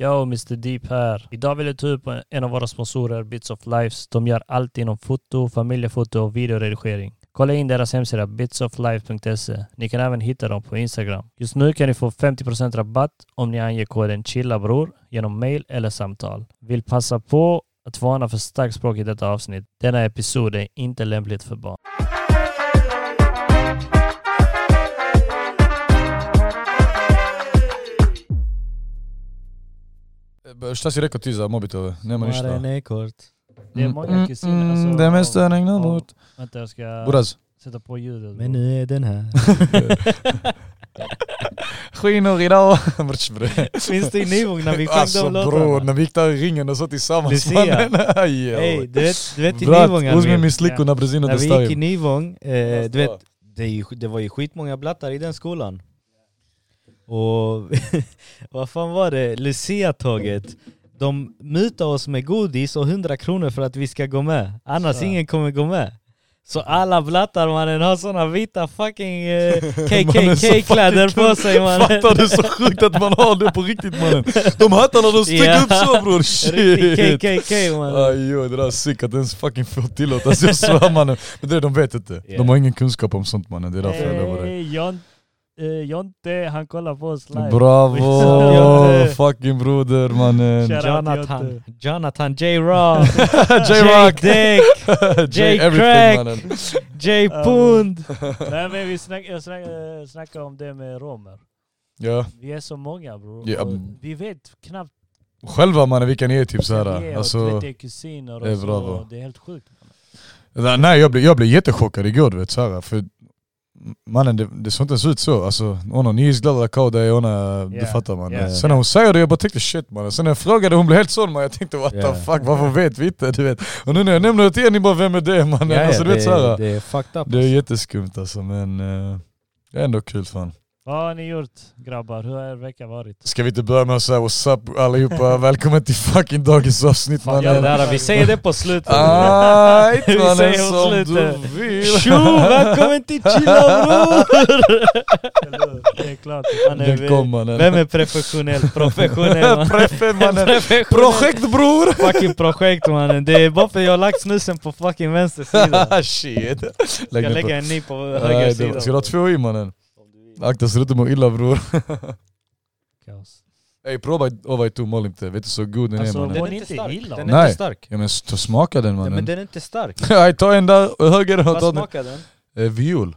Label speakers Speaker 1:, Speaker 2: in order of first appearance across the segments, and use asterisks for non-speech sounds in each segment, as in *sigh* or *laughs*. Speaker 1: Yo, Mr Deep här. Idag vill jag ta upp en av våra sponsorer, Bits of Lives. De gör allt inom foto, familjefoto och videoredigering. Kolla in deras hemsida bitsoflife.se. Ni kan även hitta dem på Instagram. Just nu kan ni få 50% rabatt om ni anger koden CHILLABROR genom mail eller samtal. Vill passa på att varna för starkt språk i detta avsnitt. Denna episod är inte lämpligt för barn.
Speaker 2: E, Šta si rekao ti za mobitove? Nema ništa.
Speaker 3: Marenekort.
Speaker 1: Det är många kusiner. Alltså,
Speaker 2: Mm. Det är mest
Speaker 1: av-
Speaker 2: störning
Speaker 1: av-
Speaker 2: mot...
Speaker 1: Vänta, jag ska
Speaker 3: *laughs*
Speaker 2: Buraz.
Speaker 1: sätta på ljudet.
Speaker 3: Men nu är den *laughs* här.
Speaker 2: Skinor idag. *laughs* Mrč bre.
Speaker 3: Minns du i Nyvång när vi sjöng
Speaker 2: Alltså
Speaker 3: de
Speaker 2: bror,
Speaker 3: låtarna?
Speaker 2: när vi gick där i ringen och så tillsammans
Speaker 3: Lucia.
Speaker 2: *laughs* Aj,
Speaker 3: Ej,
Speaker 2: joj.
Speaker 3: du vet, du vet i
Speaker 2: Brat,
Speaker 3: Nyvång
Speaker 2: uzmi
Speaker 3: Amir,
Speaker 2: mi sliku na brzinu
Speaker 3: när
Speaker 2: da
Speaker 3: vi gick i
Speaker 2: stavim.
Speaker 3: Nyvång, eh,
Speaker 2: Fast *laughs*
Speaker 3: du vet,
Speaker 2: då.
Speaker 3: det, är ju, sk- det var ju skitmånga blattar i den skolan. Och *laughs* vad fan var det, Lucia-tåget. De mutar oss med godis och 100 kronor för att vi ska gå med. Annars
Speaker 1: Så.
Speaker 3: ingen kommer gå med. Så alla blattar mannen har såna vita fucking eh,
Speaker 2: *laughs* Mannen, så fucking
Speaker 3: KKK-kläder
Speaker 2: *laughs*
Speaker 3: på sig mannen.
Speaker 2: Fattar du så sjukt att man
Speaker 3: *laughs*
Speaker 2: har det på riktigt mannen? De hattarna de sticker
Speaker 3: Ja.
Speaker 2: upp så bror, shit!
Speaker 3: Riktig KKK mannen.
Speaker 2: Aj oj, det där är sick att ens fucking får tillåtas, jag svär mannen. Men det, är- de vet inte.
Speaker 3: Ja.
Speaker 2: De har ingen kunskap om sånt mannen, det är därför jag lovar dig.
Speaker 1: Hey, Jon, eh, Jonte, han kollar på oss live.
Speaker 2: Bravo! fucking broder mannen!
Speaker 1: Shout out
Speaker 3: Jonathan,
Speaker 1: Jonte.
Speaker 3: Jonathan J. *laughs* Rock, J.
Speaker 2: J-Rock!
Speaker 3: Dick,
Speaker 2: J
Speaker 3: J.
Speaker 2: everything
Speaker 3: Crack. *laughs*
Speaker 2: mannen.
Speaker 3: J. Pund.
Speaker 1: Nej men vi snack, jag snack, eh, snackade om det med romer.
Speaker 2: Ja,
Speaker 1: Vi är så många bror.
Speaker 2: Ja,
Speaker 1: Och
Speaker 2: mm.
Speaker 1: Vi vet knappt
Speaker 2: själva mannen vilka ni är typ
Speaker 1: vilka vi
Speaker 2: såhär.
Speaker 1: är. och du
Speaker 2: Alltså,
Speaker 1: vet, det är kusiner
Speaker 2: det är
Speaker 1: och
Speaker 2: bra,
Speaker 1: så.
Speaker 2: bro.
Speaker 1: Det är helt sjukt.
Speaker 2: nej, nej jag blev, jag blev jättechockad igår du vet såhär. För mannen det, det såg inte ens ut så. Alltså ona ni är glada kao det är ona, du
Speaker 1: Yeah,
Speaker 2: fattar mannen.
Speaker 1: yeah.
Speaker 2: Sen när hon säger det jag bara tänkte shit mannen. Sen när jag frågade hon blev helt sån mannen. Jag tänkte what
Speaker 3: Yeah.
Speaker 2: the fuck varför vet vi inte? Du vet. Och nu när jag nämner det till er ni bara vem är det mannen? alltså, du vet, så här, det,
Speaker 3: är fucked up.
Speaker 2: det är jätteskumt alltså men eh, det är ändå kul fan.
Speaker 1: Vad har ni gjort grabbar? Hur har er vecka varit?
Speaker 2: *laughs* Ska vi inte börja med att säga what's up allihopa?
Speaker 3: *laughs*
Speaker 2: Välkommen till fucking dagens avsnitt
Speaker 1: Fan,
Speaker 3: ja,
Speaker 2: mannen.
Speaker 3: där, vi säger det på slutet.
Speaker 2: Ah. Ajt
Speaker 3: Vi
Speaker 2: mannen
Speaker 3: säger åt
Speaker 2: som du
Speaker 3: slutet.
Speaker 2: vill!
Speaker 3: Tjo, välkommen till Chilla
Speaker 2: *laughs*
Speaker 3: bror!
Speaker 1: Eller hur? det är klart.
Speaker 3: Han är-
Speaker 2: Den kom mannen.
Speaker 3: Vem
Speaker 2: *laughs*
Speaker 3: är professionell? Professionell man.
Speaker 2: Prefe
Speaker 3: *laughs*
Speaker 2: mannen.
Speaker 3: Professionell.
Speaker 2: Projekt bror!
Speaker 3: Fucking projekt mannen. Det är bara för jag har lagt snusen på fucking vänster sida.
Speaker 2: Ah, Shit.
Speaker 3: Jag
Speaker 2: Lägg ner
Speaker 3: ska
Speaker 2: på.
Speaker 3: lägga en ny på höger
Speaker 2: Nej, det- Ska du
Speaker 3: sida.
Speaker 2: ha två i mannen? Akta så du inte mår illa bror.
Speaker 1: Kaos.
Speaker 2: Ey proba ovaj tu molim te, vet du så god den är
Speaker 1: Alltså,
Speaker 2: mannen?
Speaker 1: Den är inte illa.
Speaker 3: Den är
Speaker 2: Nej.
Speaker 3: inte stark.
Speaker 2: Ja men s- ta- smaka den
Speaker 3: Men
Speaker 2: *laughs* mannen.
Speaker 3: den är inte stark.
Speaker 2: Nej ta en där och höger och
Speaker 3: Vad
Speaker 2: ta den.
Speaker 3: smakar den?
Speaker 2: Eh, Viol.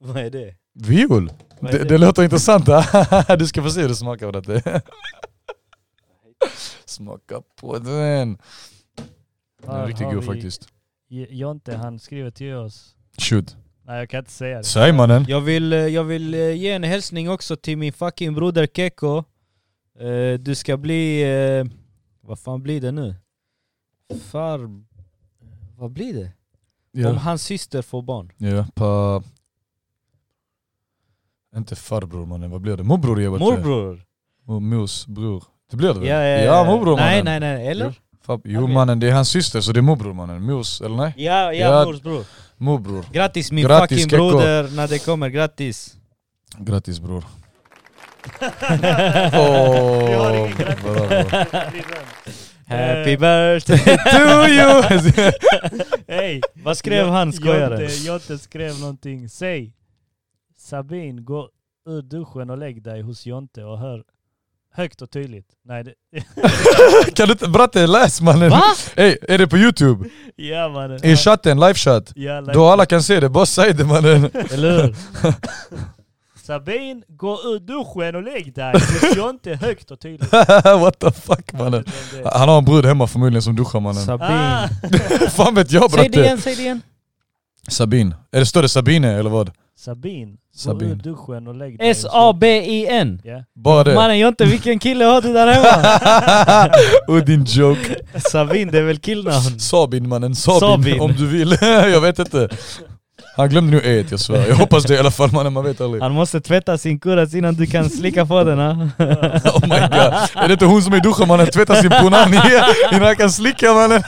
Speaker 3: Vad är det?
Speaker 2: Viol?
Speaker 3: Vad är
Speaker 2: Det, det
Speaker 3: det?
Speaker 2: låter intressant. *laughs* du ska få se hur det smakar på
Speaker 3: *laughs*
Speaker 2: det. Smaka på den. Den är
Speaker 1: Här
Speaker 2: riktigt
Speaker 1: har
Speaker 2: god
Speaker 1: vi
Speaker 2: faktiskt.
Speaker 1: J- Jonte han skriver till oss.
Speaker 2: Shoot.
Speaker 1: Nej jag kan inte säga *laughs* det.
Speaker 2: Säg mannen.
Speaker 3: Jag vill, eh, jag vill eh, ge en hälsning också till min fucking broder Keko. Eh, Du ska bli... eh, Vad fan blir det nu? Far... Vad blir det? Om hans syster får barn.
Speaker 2: Ja, pa... Inte farbror mannen, vad blir det? Morbror jag vet inte.
Speaker 3: Morbror!
Speaker 2: Mo- Mors bror. Det blir det
Speaker 3: Ja,
Speaker 2: väl?
Speaker 3: ja, eh,
Speaker 2: morbror
Speaker 3: Nej,
Speaker 2: mannen.
Speaker 3: nej, nej. Eller?
Speaker 2: Fab- jo
Speaker 3: Okej.
Speaker 2: mannen, det är hans syster så det är morbror mannen. Mors, eller nej? Ja.
Speaker 3: Ja, ja, morsbror.
Speaker 2: Morbror.
Speaker 3: Grattis min
Speaker 2: Grattis,
Speaker 3: fucking
Speaker 2: Keko.
Speaker 3: broder när det kommer, grattis!
Speaker 2: Grattis
Speaker 3: *laughs*
Speaker 2: bror.
Speaker 1: Vi har
Speaker 2: Åh,
Speaker 1: ingen grattis.
Speaker 2: bravo.
Speaker 1: *laughs*
Speaker 3: Happy
Speaker 1: Eh.
Speaker 2: *laughs*
Speaker 3: birthday!
Speaker 2: To you!
Speaker 1: Hej!
Speaker 3: Vad skrev han skojaren?
Speaker 1: Jonte,
Speaker 2: *laughs*
Speaker 1: Jonte skrev någonting. Säg Sabin, gå ur duschen och lägg dig hos Jonte och hör högt och tydligt. Nej, det,
Speaker 2: kan du inte... Bratte, läs mannen!
Speaker 3: Va?
Speaker 2: Ey, är det på youtube?
Speaker 1: ja mannen.
Speaker 2: I chatten, live chat.
Speaker 1: Ja, like-
Speaker 2: Då alla kan se det, bara säg det mannen. *laughs*
Speaker 3: Eller hur?
Speaker 1: Sabin, gå ur duschen och lägg dig hos Jonte högt och tydligt.
Speaker 2: What the fuck mannen. Ah. Han har en brud hemma förmodligen som duschar mannen.
Speaker 1: Ah,
Speaker 3: Sabine.
Speaker 2: Fan vet jag
Speaker 3: Säg det
Speaker 2: bratte.
Speaker 3: igen, säg det igen!
Speaker 2: Sabin. Är det större Sabine eller vad?
Speaker 1: Sabin, gå ur
Speaker 2: Sabin.
Speaker 1: duschen och lägg dig. hos Jonte.
Speaker 3: S-A-B-I-N!
Speaker 1: Ja.
Speaker 2: Bara det.
Speaker 3: Mannen Jonte, vilken kille har du där hemma?
Speaker 2: *laughs* Och din joke.
Speaker 3: Sabin, det är väl killnamn?
Speaker 2: Sabin mannen, Sabin,
Speaker 3: Sabin.
Speaker 2: om du vill. *laughs* jag vet inte. Han glömde nu et, jag svär. Jag hoppas det i alla fall mannen, man vet
Speaker 3: *laughs*
Speaker 2: aldrig.
Speaker 3: Han måste tvätta sin kuras innan du kan slicka på den ha?
Speaker 2: Oh my god. Är det inte hon som är i duschen mannen? Tvättar sin punani innan han kan slicka mannen.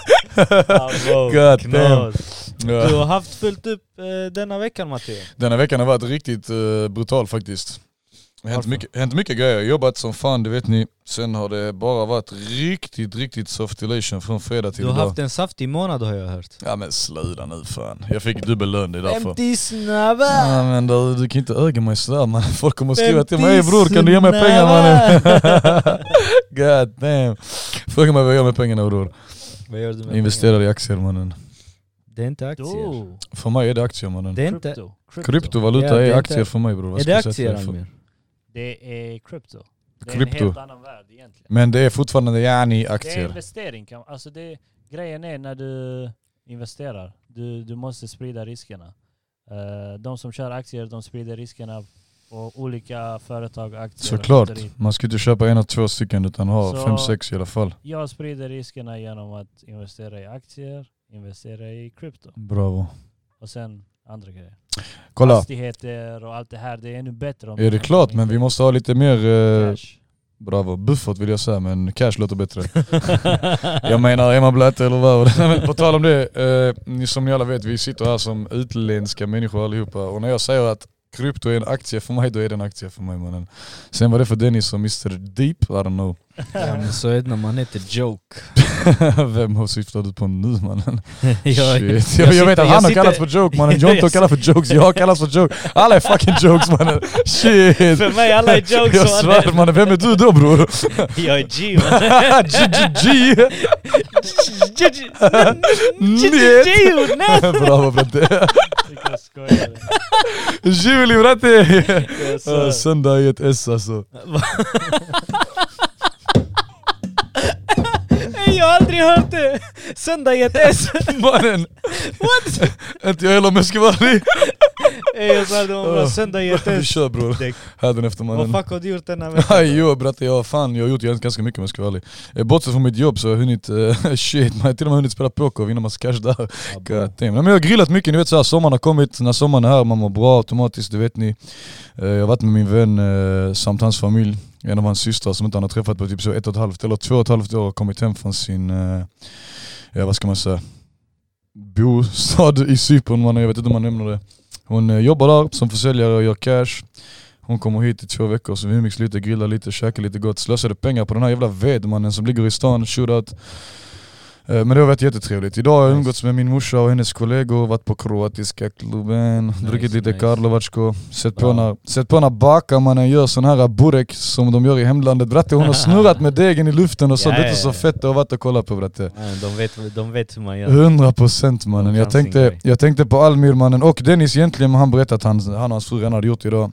Speaker 2: God damn.
Speaker 3: Du
Speaker 2: Ja.
Speaker 3: har haft fullt upp eh, denna veckan Matteo.
Speaker 2: Denna veckan har varit riktigt eh, brutal faktiskt. Det har hänt
Speaker 3: Varför?
Speaker 2: mycket, hänt mycket grejer. Jag har jobbat som fan, det vet ni. Sen har det bara varit riktigt, riktigt soft elation från fredag till
Speaker 3: Du har
Speaker 2: idag.
Speaker 3: haft en saftig månad har jag hört.
Speaker 2: Ja men sluta nu fan. Jag fick dubbel lön, det är därför.
Speaker 3: snabbar!
Speaker 2: Ja, men du, du kan inte öga mig sådär man. Folk kommer skriva till mig,
Speaker 3: 50
Speaker 2: "Hey, bror kan du ge mig pengar mannen? *laughs*
Speaker 3: snabbar!
Speaker 2: God damn. Fråga mig vad jag gör med pengarna bror.
Speaker 3: Vad gör du med
Speaker 2: Jag investerar i aktier mannen.
Speaker 3: pengarna? Det är inte aktier.
Speaker 1: Oh,
Speaker 2: För mig är det aktier mannen.
Speaker 3: Det är inte...
Speaker 1: Krypto. Krypto.
Speaker 2: Kryptovaluta
Speaker 3: Ja, det är
Speaker 2: är
Speaker 3: inte-
Speaker 2: aktier för mig bror. Vad
Speaker 3: Är
Speaker 2: ska
Speaker 3: det
Speaker 2: jag säga till
Speaker 3: aktier
Speaker 2: dig för-
Speaker 3: Almir?
Speaker 1: Det är krypto. Det är en
Speaker 2: Krypto.
Speaker 1: helt annan värld egentligen.
Speaker 2: Men det är fortfarande yani
Speaker 1: Det är
Speaker 2: aktier.
Speaker 1: investering. kan- Alltså det, grejen är när du investerar, du, du måste sprida riskerna. Eh, de som kör aktier, de sprider riskerna på olika företag, aktier. och
Speaker 2: Såklart.
Speaker 1: lotteri.
Speaker 2: Man ska inte köpa en av två stycken utan ha
Speaker 1: Så-
Speaker 2: fem, sex i alla fall.
Speaker 1: Jag sprider riskerna genom att investera i aktier, investera i krypto
Speaker 2: Bravo.
Speaker 1: och sen andra grejer.
Speaker 2: Kolla.
Speaker 1: Fastigheter och allt det här, det är ännu bättre. om
Speaker 2: Är det klart men vi måste ha lite mer... Eh,
Speaker 1: Cash.
Speaker 2: bravo. Buffert vill jag säga men cash
Speaker 1: *laughs*
Speaker 2: låter bättre. *laughs* Jag menar, är man blöt eller vad? *laughs* Men på tal om det, eh, ni som ni alla vet, vi sitter här som utländska människor allihopa. Och när jag säger att krypto är en aktie för mig, då är det en aktie för mig mannen. Sen var det för Dennis och Mr Deep, I don't know. *laughs*
Speaker 3: Ja men så är det när man heter joke.
Speaker 2: Vem syftar du på nu mannen?
Speaker 3: *laughs* jag,
Speaker 2: Shit. Jag, jag vet att han har kallats för joke mannen, John har
Speaker 3: Jag-
Speaker 2: kallats för jokes, jag har kallats för joke. Alla är fucking jokes mannen. Shit.
Speaker 3: För mig alla är jokes
Speaker 2: Jag svär mannen, vem är du då
Speaker 3: *laughs*
Speaker 2: bror?
Speaker 3: *laughs* Jag är
Speaker 2: *laughs*
Speaker 3: G man.
Speaker 2: GGG! Bravo Bratte!
Speaker 1: Vilka skojare.
Speaker 2: Juli Bratte!
Speaker 3: Jag
Speaker 2: Ah,
Speaker 3: svär.
Speaker 2: Söndag är ett S alltså.
Speaker 3: Nej, Jag har aldrig hört det! Söndag i ett S.
Speaker 2: Mannen! What? Inte jag heller om jag ska vara ärlig.
Speaker 3: Nej, Jag sa det var bra, Oh. söndag i ett
Speaker 2: Vi
Speaker 3: S.
Speaker 2: kör bror.
Speaker 3: Däck.
Speaker 2: Hädanefter
Speaker 3: Vad
Speaker 2: mannen.
Speaker 3: fuck har du gjort denna veckan?
Speaker 2: Aj, Jo bratte, jag, har fan, jag har gjort ganska mycket om jag ska vara ärlig. Eh, Bortsett från mitt jobb så har jag hunnit, eh, *laughs* shit, man har till och med hunnit spela poker och vinna massa cash där. God damn. Nej, men jag har grillat mycket, ni vet såhär, sommaren har kommit, när sommaren är här man mår bra automatiskt, det vet ni. Eh, Jag har varit med min vän eh, samt hans familj, en av hans systrar som inte han har träffat på typ så ett och ett halvt eller två och ett halvt år har kommit hem från sin, eh, ja vad ska man säga, bostad i Cypern mannen, jag vet inte om man nämner det. Hon eh, jobbar där som försäljare och gör cash. Hon kommer hit i två veckor så vi umgicks lite, grillade lite, käkade lite gott, slösade pengar på den här jävla vedmannen som ligger i stan, shootout. Eh, Men det har varit jättetrevligt. Idag har jag
Speaker 3: Nice.
Speaker 2: umgåtts med min morsa och hennes kollegor, varit på kroatiska klubben, druckit lite
Speaker 3: nice.
Speaker 2: Karlovacko, sett på,
Speaker 3: Bra.
Speaker 2: när, sett på när bakarmannen gör sån här burek som de gör i hemlandet. Bratte
Speaker 3: *laughs*
Speaker 2: hon har snurrat med degen i luften och så,
Speaker 3: Ja,
Speaker 2: vet
Speaker 3: ja,
Speaker 2: du så
Speaker 3: ja.
Speaker 2: fett det har varit att kolla på bratte.
Speaker 3: Nej, De vet, de vet hur man gör.
Speaker 2: 100% mannen.
Speaker 3: De
Speaker 2: Jag
Speaker 3: kan sin
Speaker 2: tänkte,
Speaker 3: grej.
Speaker 2: jag tänkte på Almir mannen och Dennis egentligen, men han berättade att han, han och hans fru redan hade gjort det idag.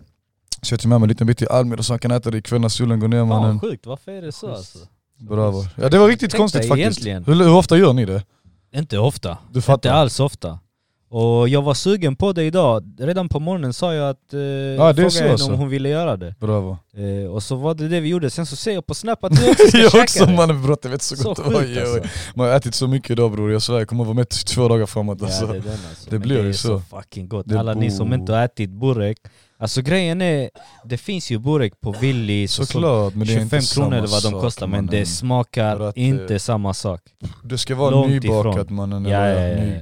Speaker 2: Så jag tog med mig en liten bit till Almir så han kan äta det ikväll när solen går ner
Speaker 3: Fan
Speaker 2: mannen.
Speaker 3: sjukt, varför är det så alltså?
Speaker 2: Bravo. Ja det var riktigt
Speaker 3: Tänk
Speaker 2: konstigt
Speaker 3: dig
Speaker 2: faktiskt.
Speaker 3: egentligen.
Speaker 2: Hur, hur ofta gör ni det?
Speaker 3: Inte ofta.
Speaker 2: Du fattar?
Speaker 3: Inte alls ofta. Och jag var sugen på det idag. Redan på morgonen sa jag att... Eh,
Speaker 2: är
Speaker 3: ah,
Speaker 2: så
Speaker 3: henne
Speaker 2: alltså.
Speaker 3: om hon ville göra det.
Speaker 2: Bravo.
Speaker 3: Eh, och så var det det vi gjorde. Sen så ser jag på Snap att
Speaker 2: *laughs*
Speaker 3: du också ska
Speaker 2: jag
Speaker 3: käka
Speaker 2: också
Speaker 3: det.
Speaker 2: mannen bror, jag vet så
Speaker 3: Så
Speaker 2: gott.
Speaker 3: sjukt
Speaker 2: Oj, oj.
Speaker 3: alltså.
Speaker 2: Man har ätit så mycket idag bror, jag svär jag kommer vara mätt i två dagar framåt alltså.
Speaker 3: Ja, det, är den, alltså.
Speaker 2: Det
Speaker 3: Men
Speaker 2: blir
Speaker 3: det
Speaker 2: ju
Speaker 3: är
Speaker 2: så.
Speaker 3: så fucking gott.
Speaker 2: Det
Speaker 3: Alla ni
Speaker 2: bo-
Speaker 3: som inte har ätit burek. Alltså grejen är, det finns ju burek på Willys och sånt.
Speaker 2: Såklart men det är
Speaker 3: 25
Speaker 2: inte
Speaker 3: kronor
Speaker 2: samma
Speaker 3: eller vad de
Speaker 2: sak,
Speaker 3: kostar men
Speaker 2: mannen.
Speaker 3: det smakar
Speaker 2: För att, eh,
Speaker 3: inte samma sak.
Speaker 2: Det ska vara
Speaker 3: långt
Speaker 2: nybakat
Speaker 3: ifrån.
Speaker 2: mannen,
Speaker 3: Ja, ja,
Speaker 2: eller
Speaker 3: ja, ja.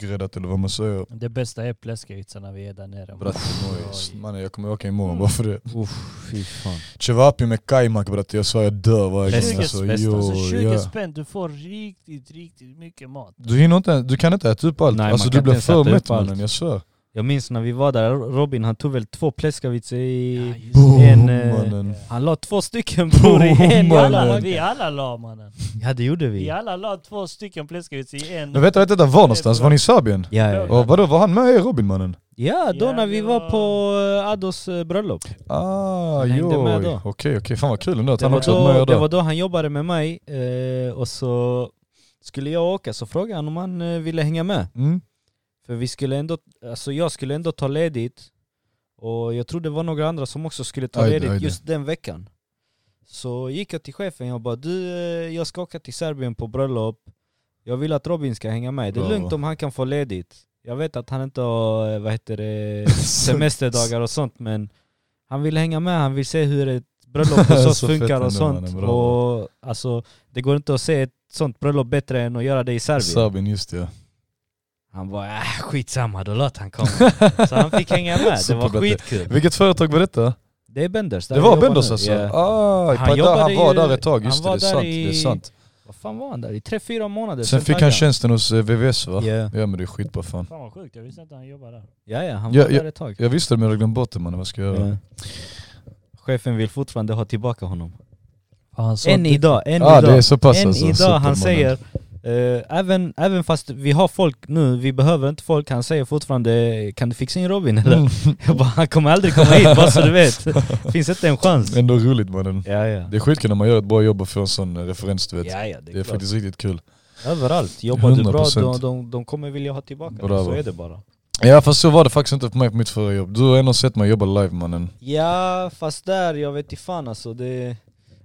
Speaker 2: nygräddat eller vad man säger.
Speaker 1: *laughs* Det bästa är pläskpizzorna vi är där nere.
Speaker 2: Bratte,
Speaker 1: Oj.
Speaker 2: noise. Mannen jag kommer åka
Speaker 3: Mm.
Speaker 2: imorgon bara för det.
Speaker 3: Uff, fy fan.
Speaker 2: Cevapi med kajmak bratte, jag sa jag dör varje
Speaker 3: Bästa,
Speaker 2: gång alltså.
Speaker 3: bästa.
Speaker 2: Jo,
Speaker 1: Alltså 20
Speaker 2: ja.
Speaker 1: spänn, du får riktigt, riktigt mycket mat.
Speaker 2: Du hinner inte, du kan inte äta upp allt.
Speaker 3: Nej,
Speaker 2: alltså
Speaker 3: man
Speaker 2: du
Speaker 3: kan
Speaker 2: blir
Speaker 3: inte
Speaker 2: för
Speaker 3: äta
Speaker 2: mätt
Speaker 3: upp allt.
Speaker 2: mannen, jag svär.
Speaker 3: Jag minns när vi var där, Robin han tog väl två pläskavitser i...
Speaker 1: Ja, just
Speaker 2: Boom
Speaker 1: det.
Speaker 3: En, eh,
Speaker 2: Oh, mannen.
Speaker 3: Han la två stycken på i en
Speaker 2: Boom,
Speaker 1: Vi
Speaker 3: jävla
Speaker 1: alla,
Speaker 2: mannen.
Speaker 1: vi
Speaker 3: macka.
Speaker 1: alla la mannen.
Speaker 3: Ja det gjorde vi.
Speaker 1: Vi
Speaker 3: Ja,
Speaker 1: alla la två stycken pläskavits i en.
Speaker 2: Men vänta, vänta, där var någonstans? Var ni i Serbien?
Speaker 3: ja, ja.
Speaker 2: Och vadå, var han med er Robin mannen?
Speaker 3: ja då
Speaker 1: Ja,
Speaker 3: när vi
Speaker 1: det
Speaker 3: var
Speaker 1: var-
Speaker 3: på eh, Addos eh, bröllop.
Speaker 2: Ah,
Speaker 3: Han hängde
Speaker 2: jo.
Speaker 3: med
Speaker 2: Okej,
Speaker 3: då.
Speaker 2: okej, fan vad kul ändå att
Speaker 3: Det
Speaker 2: han
Speaker 3: var,
Speaker 2: också var med
Speaker 3: då,
Speaker 2: er
Speaker 3: det
Speaker 2: där.
Speaker 3: var då han jobbade med mig eh, och så skulle jag åka så frågade han om han eh, ville hänga med.
Speaker 2: Mm.
Speaker 3: För vi skulle ändå, alltså jag skulle ändå ta ledigt och jag tror det var några andra som också skulle ta
Speaker 2: Ajde,
Speaker 3: ledigt
Speaker 2: ajde.
Speaker 3: just den veckan. Så gick jag till chefen, jag bara du, eh, jag ska åka till Serbien på bröllop. Jag vill att Robin ska hänga med. Det är
Speaker 2: Bra.
Speaker 3: lugnt om han kan få ledigt. Jag vet att han inte har, eh, vad
Speaker 2: *laughs*
Speaker 3: heter det, semesterdagar och sånt men han vill hänga med, han vill se hur ett bröllop hos
Speaker 2: *laughs*
Speaker 3: oss
Speaker 2: Så fett
Speaker 3: funkar och
Speaker 2: ändå,
Speaker 3: sånt.
Speaker 2: mannen, bravo.
Speaker 3: Och alltså, det går inte att se ett sånt bröllop bättre än att göra det i Serbien.
Speaker 2: Serbien, just det, ja.
Speaker 3: Han bara äh, *laughs* skitsamma, då låt han komma. så han fick hänga med, det var
Speaker 2: Superbättre.
Speaker 3: skitkul.
Speaker 2: Vilket företag var detta?
Speaker 3: Det är Benders. där
Speaker 2: Det
Speaker 3: han
Speaker 2: var
Speaker 3: jobbar
Speaker 2: Benders
Speaker 3: nu.
Speaker 2: alltså?
Speaker 3: Ja.
Speaker 2: Ah,
Speaker 3: Han
Speaker 2: han, där,
Speaker 3: jobbade
Speaker 2: han var
Speaker 3: ju-
Speaker 2: där ett tag,
Speaker 3: han
Speaker 2: just det,
Speaker 3: var
Speaker 2: det är
Speaker 3: där
Speaker 2: sant.
Speaker 3: i-
Speaker 2: Det är sant.
Speaker 3: Vad fan var han där? I tre, fyra månader?
Speaker 2: Sen fick han
Speaker 3: flaggan.
Speaker 2: tjänsten hos eh, VVS va?
Speaker 3: Ja.
Speaker 2: Ja men det är skitbra fan.
Speaker 1: Fan vad sjukt, jag visste inte han jobbade där.
Speaker 3: Ja, ja, han
Speaker 2: Ja,
Speaker 3: var
Speaker 2: ja.
Speaker 3: där ett tag.
Speaker 2: Jag visste det men jag hade glömt bort det mannen, vad ska jag göra?
Speaker 3: Ja. Chefen vill fortfarande ha tillbaka honom.
Speaker 1: Han sa
Speaker 3: Än idag, än
Speaker 2: ah
Speaker 3: idag.
Speaker 2: det är så pass
Speaker 3: Än
Speaker 2: alltså.
Speaker 3: idag,
Speaker 2: supermannen.
Speaker 3: han säger, eh, även, även fast vi har folk nu, vi behöver inte folk, han säger fortfarande kan du fixa in Robin eller?
Speaker 2: Mm.
Speaker 3: *laughs* Jag bara, han kommer aldrig komma hit bara så
Speaker 2: *laughs*
Speaker 3: du vet. Finns inte en chans.
Speaker 2: Ändå roligt mannen.
Speaker 3: Ja ja.
Speaker 2: Det är skitkul när man gör ett bra jobb och får en sån eh, referens du vet.
Speaker 3: Ja, ja, det är,
Speaker 2: Det är
Speaker 3: klart.
Speaker 2: faktiskt riktigt kul.
Speaker 3: Överallt, jobbar du bra,
Speaker 2: 100%.
Speaker 3: de, de, de kommer vilja ha tillbaka dig.
Speaker 2: Bravo.
Speaker 3: Så är det bara.
Speaker 2: Ja fast så var det faktiskt inte för mig på mitt förra jobb. Du har ändå sett mig jobba live mannen.
Speaker 3: Ja, fast där, jag vet inte fan alltså. Det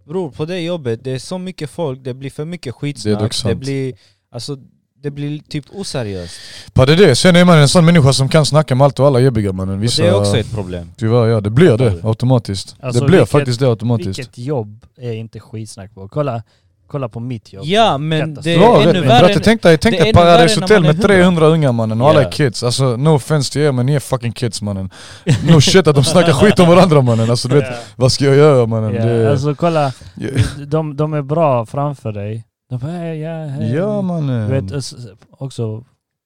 Speaker 3: beror på det jobbet. Det är så mycket folk, det blir för mycket skitsnack.
Speaker 2: dock sant.
Speaker 3: blir, alltså, det blir typ oseriöst.
Speaker 2: Ja det är det, sen är man en sån människa som kan snacka med allt och alla jobbiga mannen.
Speaker 3: Och
Speaker 2: Vissa,
Speaker 3: det är också ett problem.
Speaker 2: Tyvärr ja, det blir det automatiskt.
Speaker 1: Alltså,
Speaker 2: det blir
Speaker 1: vilket-
Speaker 2: faktiskt det automatiskt.
Speaker 1: Vilket jobb är inte skitsnack på? Kolla, kolla på mitt jobb.
Speaker 3: Ja, men
Speaker 1: Katastrof.
Speaker 3: det
Speaker 2: Ja,
Speaker 3: är ännu
Speaker 2: vet, värre,
Speaker 3: värre.
Speaker 2: bratte,
Speaker 3: än-
Speaker 2: tänk dig, tänk
Speaker 3: det är
Speaker 2: dig
Speaker 3: ännu värre
Speaker 2: Paradise
Speaker 3: när
Speaker 2: Hotel
Speaker 3: man är
Speaker 2: med 300 unga mannen och alla
Speaker 3: Ja.
Speaker 2: är kids. Alltså no offense till er men ni är fucking kids
Speaker 3: *laughs*
Speaker 2: mannen. No shit att de snackar skit om varandra mannen. Alltså du vet, vad ska jag göra mannen?
Speaker 1: Ja,
Speaker 2: Det,
Speaker 1: alltså kolla,
Speaker 2: Ja.
Speaker 1: de, de är bra framför dig. De bara, "Hej, ja, hej."
Speaker 2: ja mannen.
Speaker 1: Ehm, Du vet, alltså, också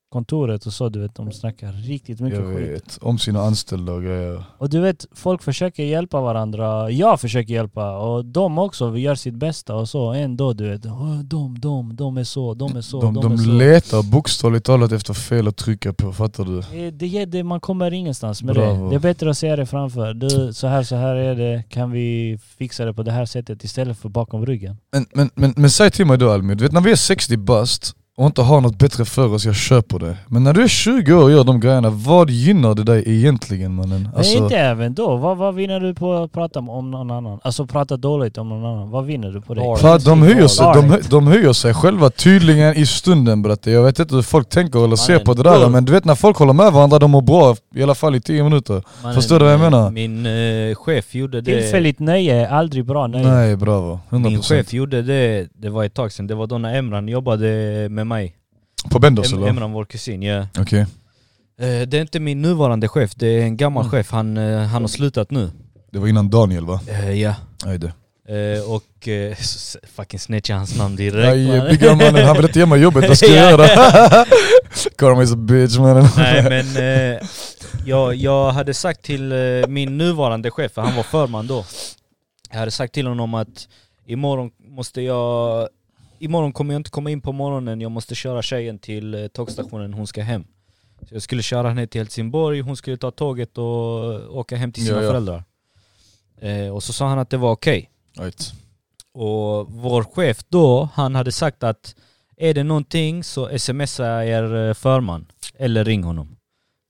Speaker 1: kontoret och så, du vet, de snackar riktigt mycket
Speaker 2: jag
Speaker 1: skit.
Speaker 2: vet, om sina anställda och grejer.
Speaker 1: Och du vet, folk försöker hjälpa varandra. Jag försöker hjälpa och de också gör sitt bästa och så. Ändå du vet, "Åh, de, de, de är så, de är så,
Speaker 2: De, de
Speaker 1: är så.
Speaker 2: letar bokstavligt talat efter fel att trycka på, fattar du?
Speaker 1: Eh, Det, är det, man kommer ingenstans med
Speaker 2: Bravo.
Speaker 1: det. Det är bättre att säga det framför. Du, så här, så här är det. Kan vi fixa det på det här sättet istället för bakom ryggen?
Speaker 2: Men, men, men, men säg till mig då Almi, du vet när vi är 60 bast och inte har något bättre för oss, jag köper det. Men när du är 20 år och gör de grejerna, vad gynnar det dig egentligen mannen? Alltså,
Speaker 1: Nej, inte även då. Vad, vad vinner du på att prata om någon annan? Alltså prata dåligt om någon annan. Vad vinner du på det?
Speaker 3: Bara.
Speaker 2: För att de höjer, sig, de, hö-
Speaker 1: Alright.
Speaker 2: de höjer sig själva tydligen i stunden bratte. Jag vet inte hur folk tänker eller ser
Speaker 3: Mannen,
Speaker 2: på det där
Speaker 3: bror.
Speaker 2: men du vet när folk håller med varandra, de mår bra i alla fall i 10 minuter.
Speaker 3: Mannen,
Speaker 2: Förstår du vad jag menar?
Speaker 3: Min eh, chef gjorde det...
Speaker 1: Tillfälligt nöje är aldrig bra nöje.
Speaker 2: Nej bravo, 100%
Speaker 3: Min chef gjorde det, det var ett tag sedan, det var då när Emran jobbade med mig.
Speaker 2: På Bendos
Speaker 3: Em,
Speaker 2: eller?
Speaker 3: Emran, vår kusin, ja.
Speaker 2: Okej,
Speaker 3: Eh, Det är inte min nuvarande chef, det är en gammal chef, han, eh, han har slutat nu.
Speaker 2: det var innan Daniel va?
Speaker 3: Eh, Ja.
Speaker 2: Aj det.
Speaker 3: Eh, Och eh, *laughs* så s- fucking snitchade hans namn direkt.
Speaker 2: Nej
Speaker 3: mannen.
Speaker 2: bigga mannen, han vill inte ge mig jobbet, vad ska
Speaker 3: *laughs*
Speaker 2: jag göra? *laughs* Karma is a bitch mannen. *laughs*
Speaker 3: Nej men eh, jag, jag hade sagt till eh, min nuvarande chef, för han var förman då. Jag hade sagt till honom att imorgon måste jag... Imorgon kommer jag inte komma in på morgonen, jag måste köra tjejen till eh, tågstationen, hon ska hem. Så jag skulle köra henne till Helsingborg, hon skulle ta tåget och eh, åka hem till sina
Speaker 2: Ja, ja.
Speaker 3: föräldrar. Eh, och så sa han att det var okej.
Speaker 2: Right.
Speaker 3: Och vår chef då, han hade sagt att är det någonting så smsa er eh, förman eller ring honom.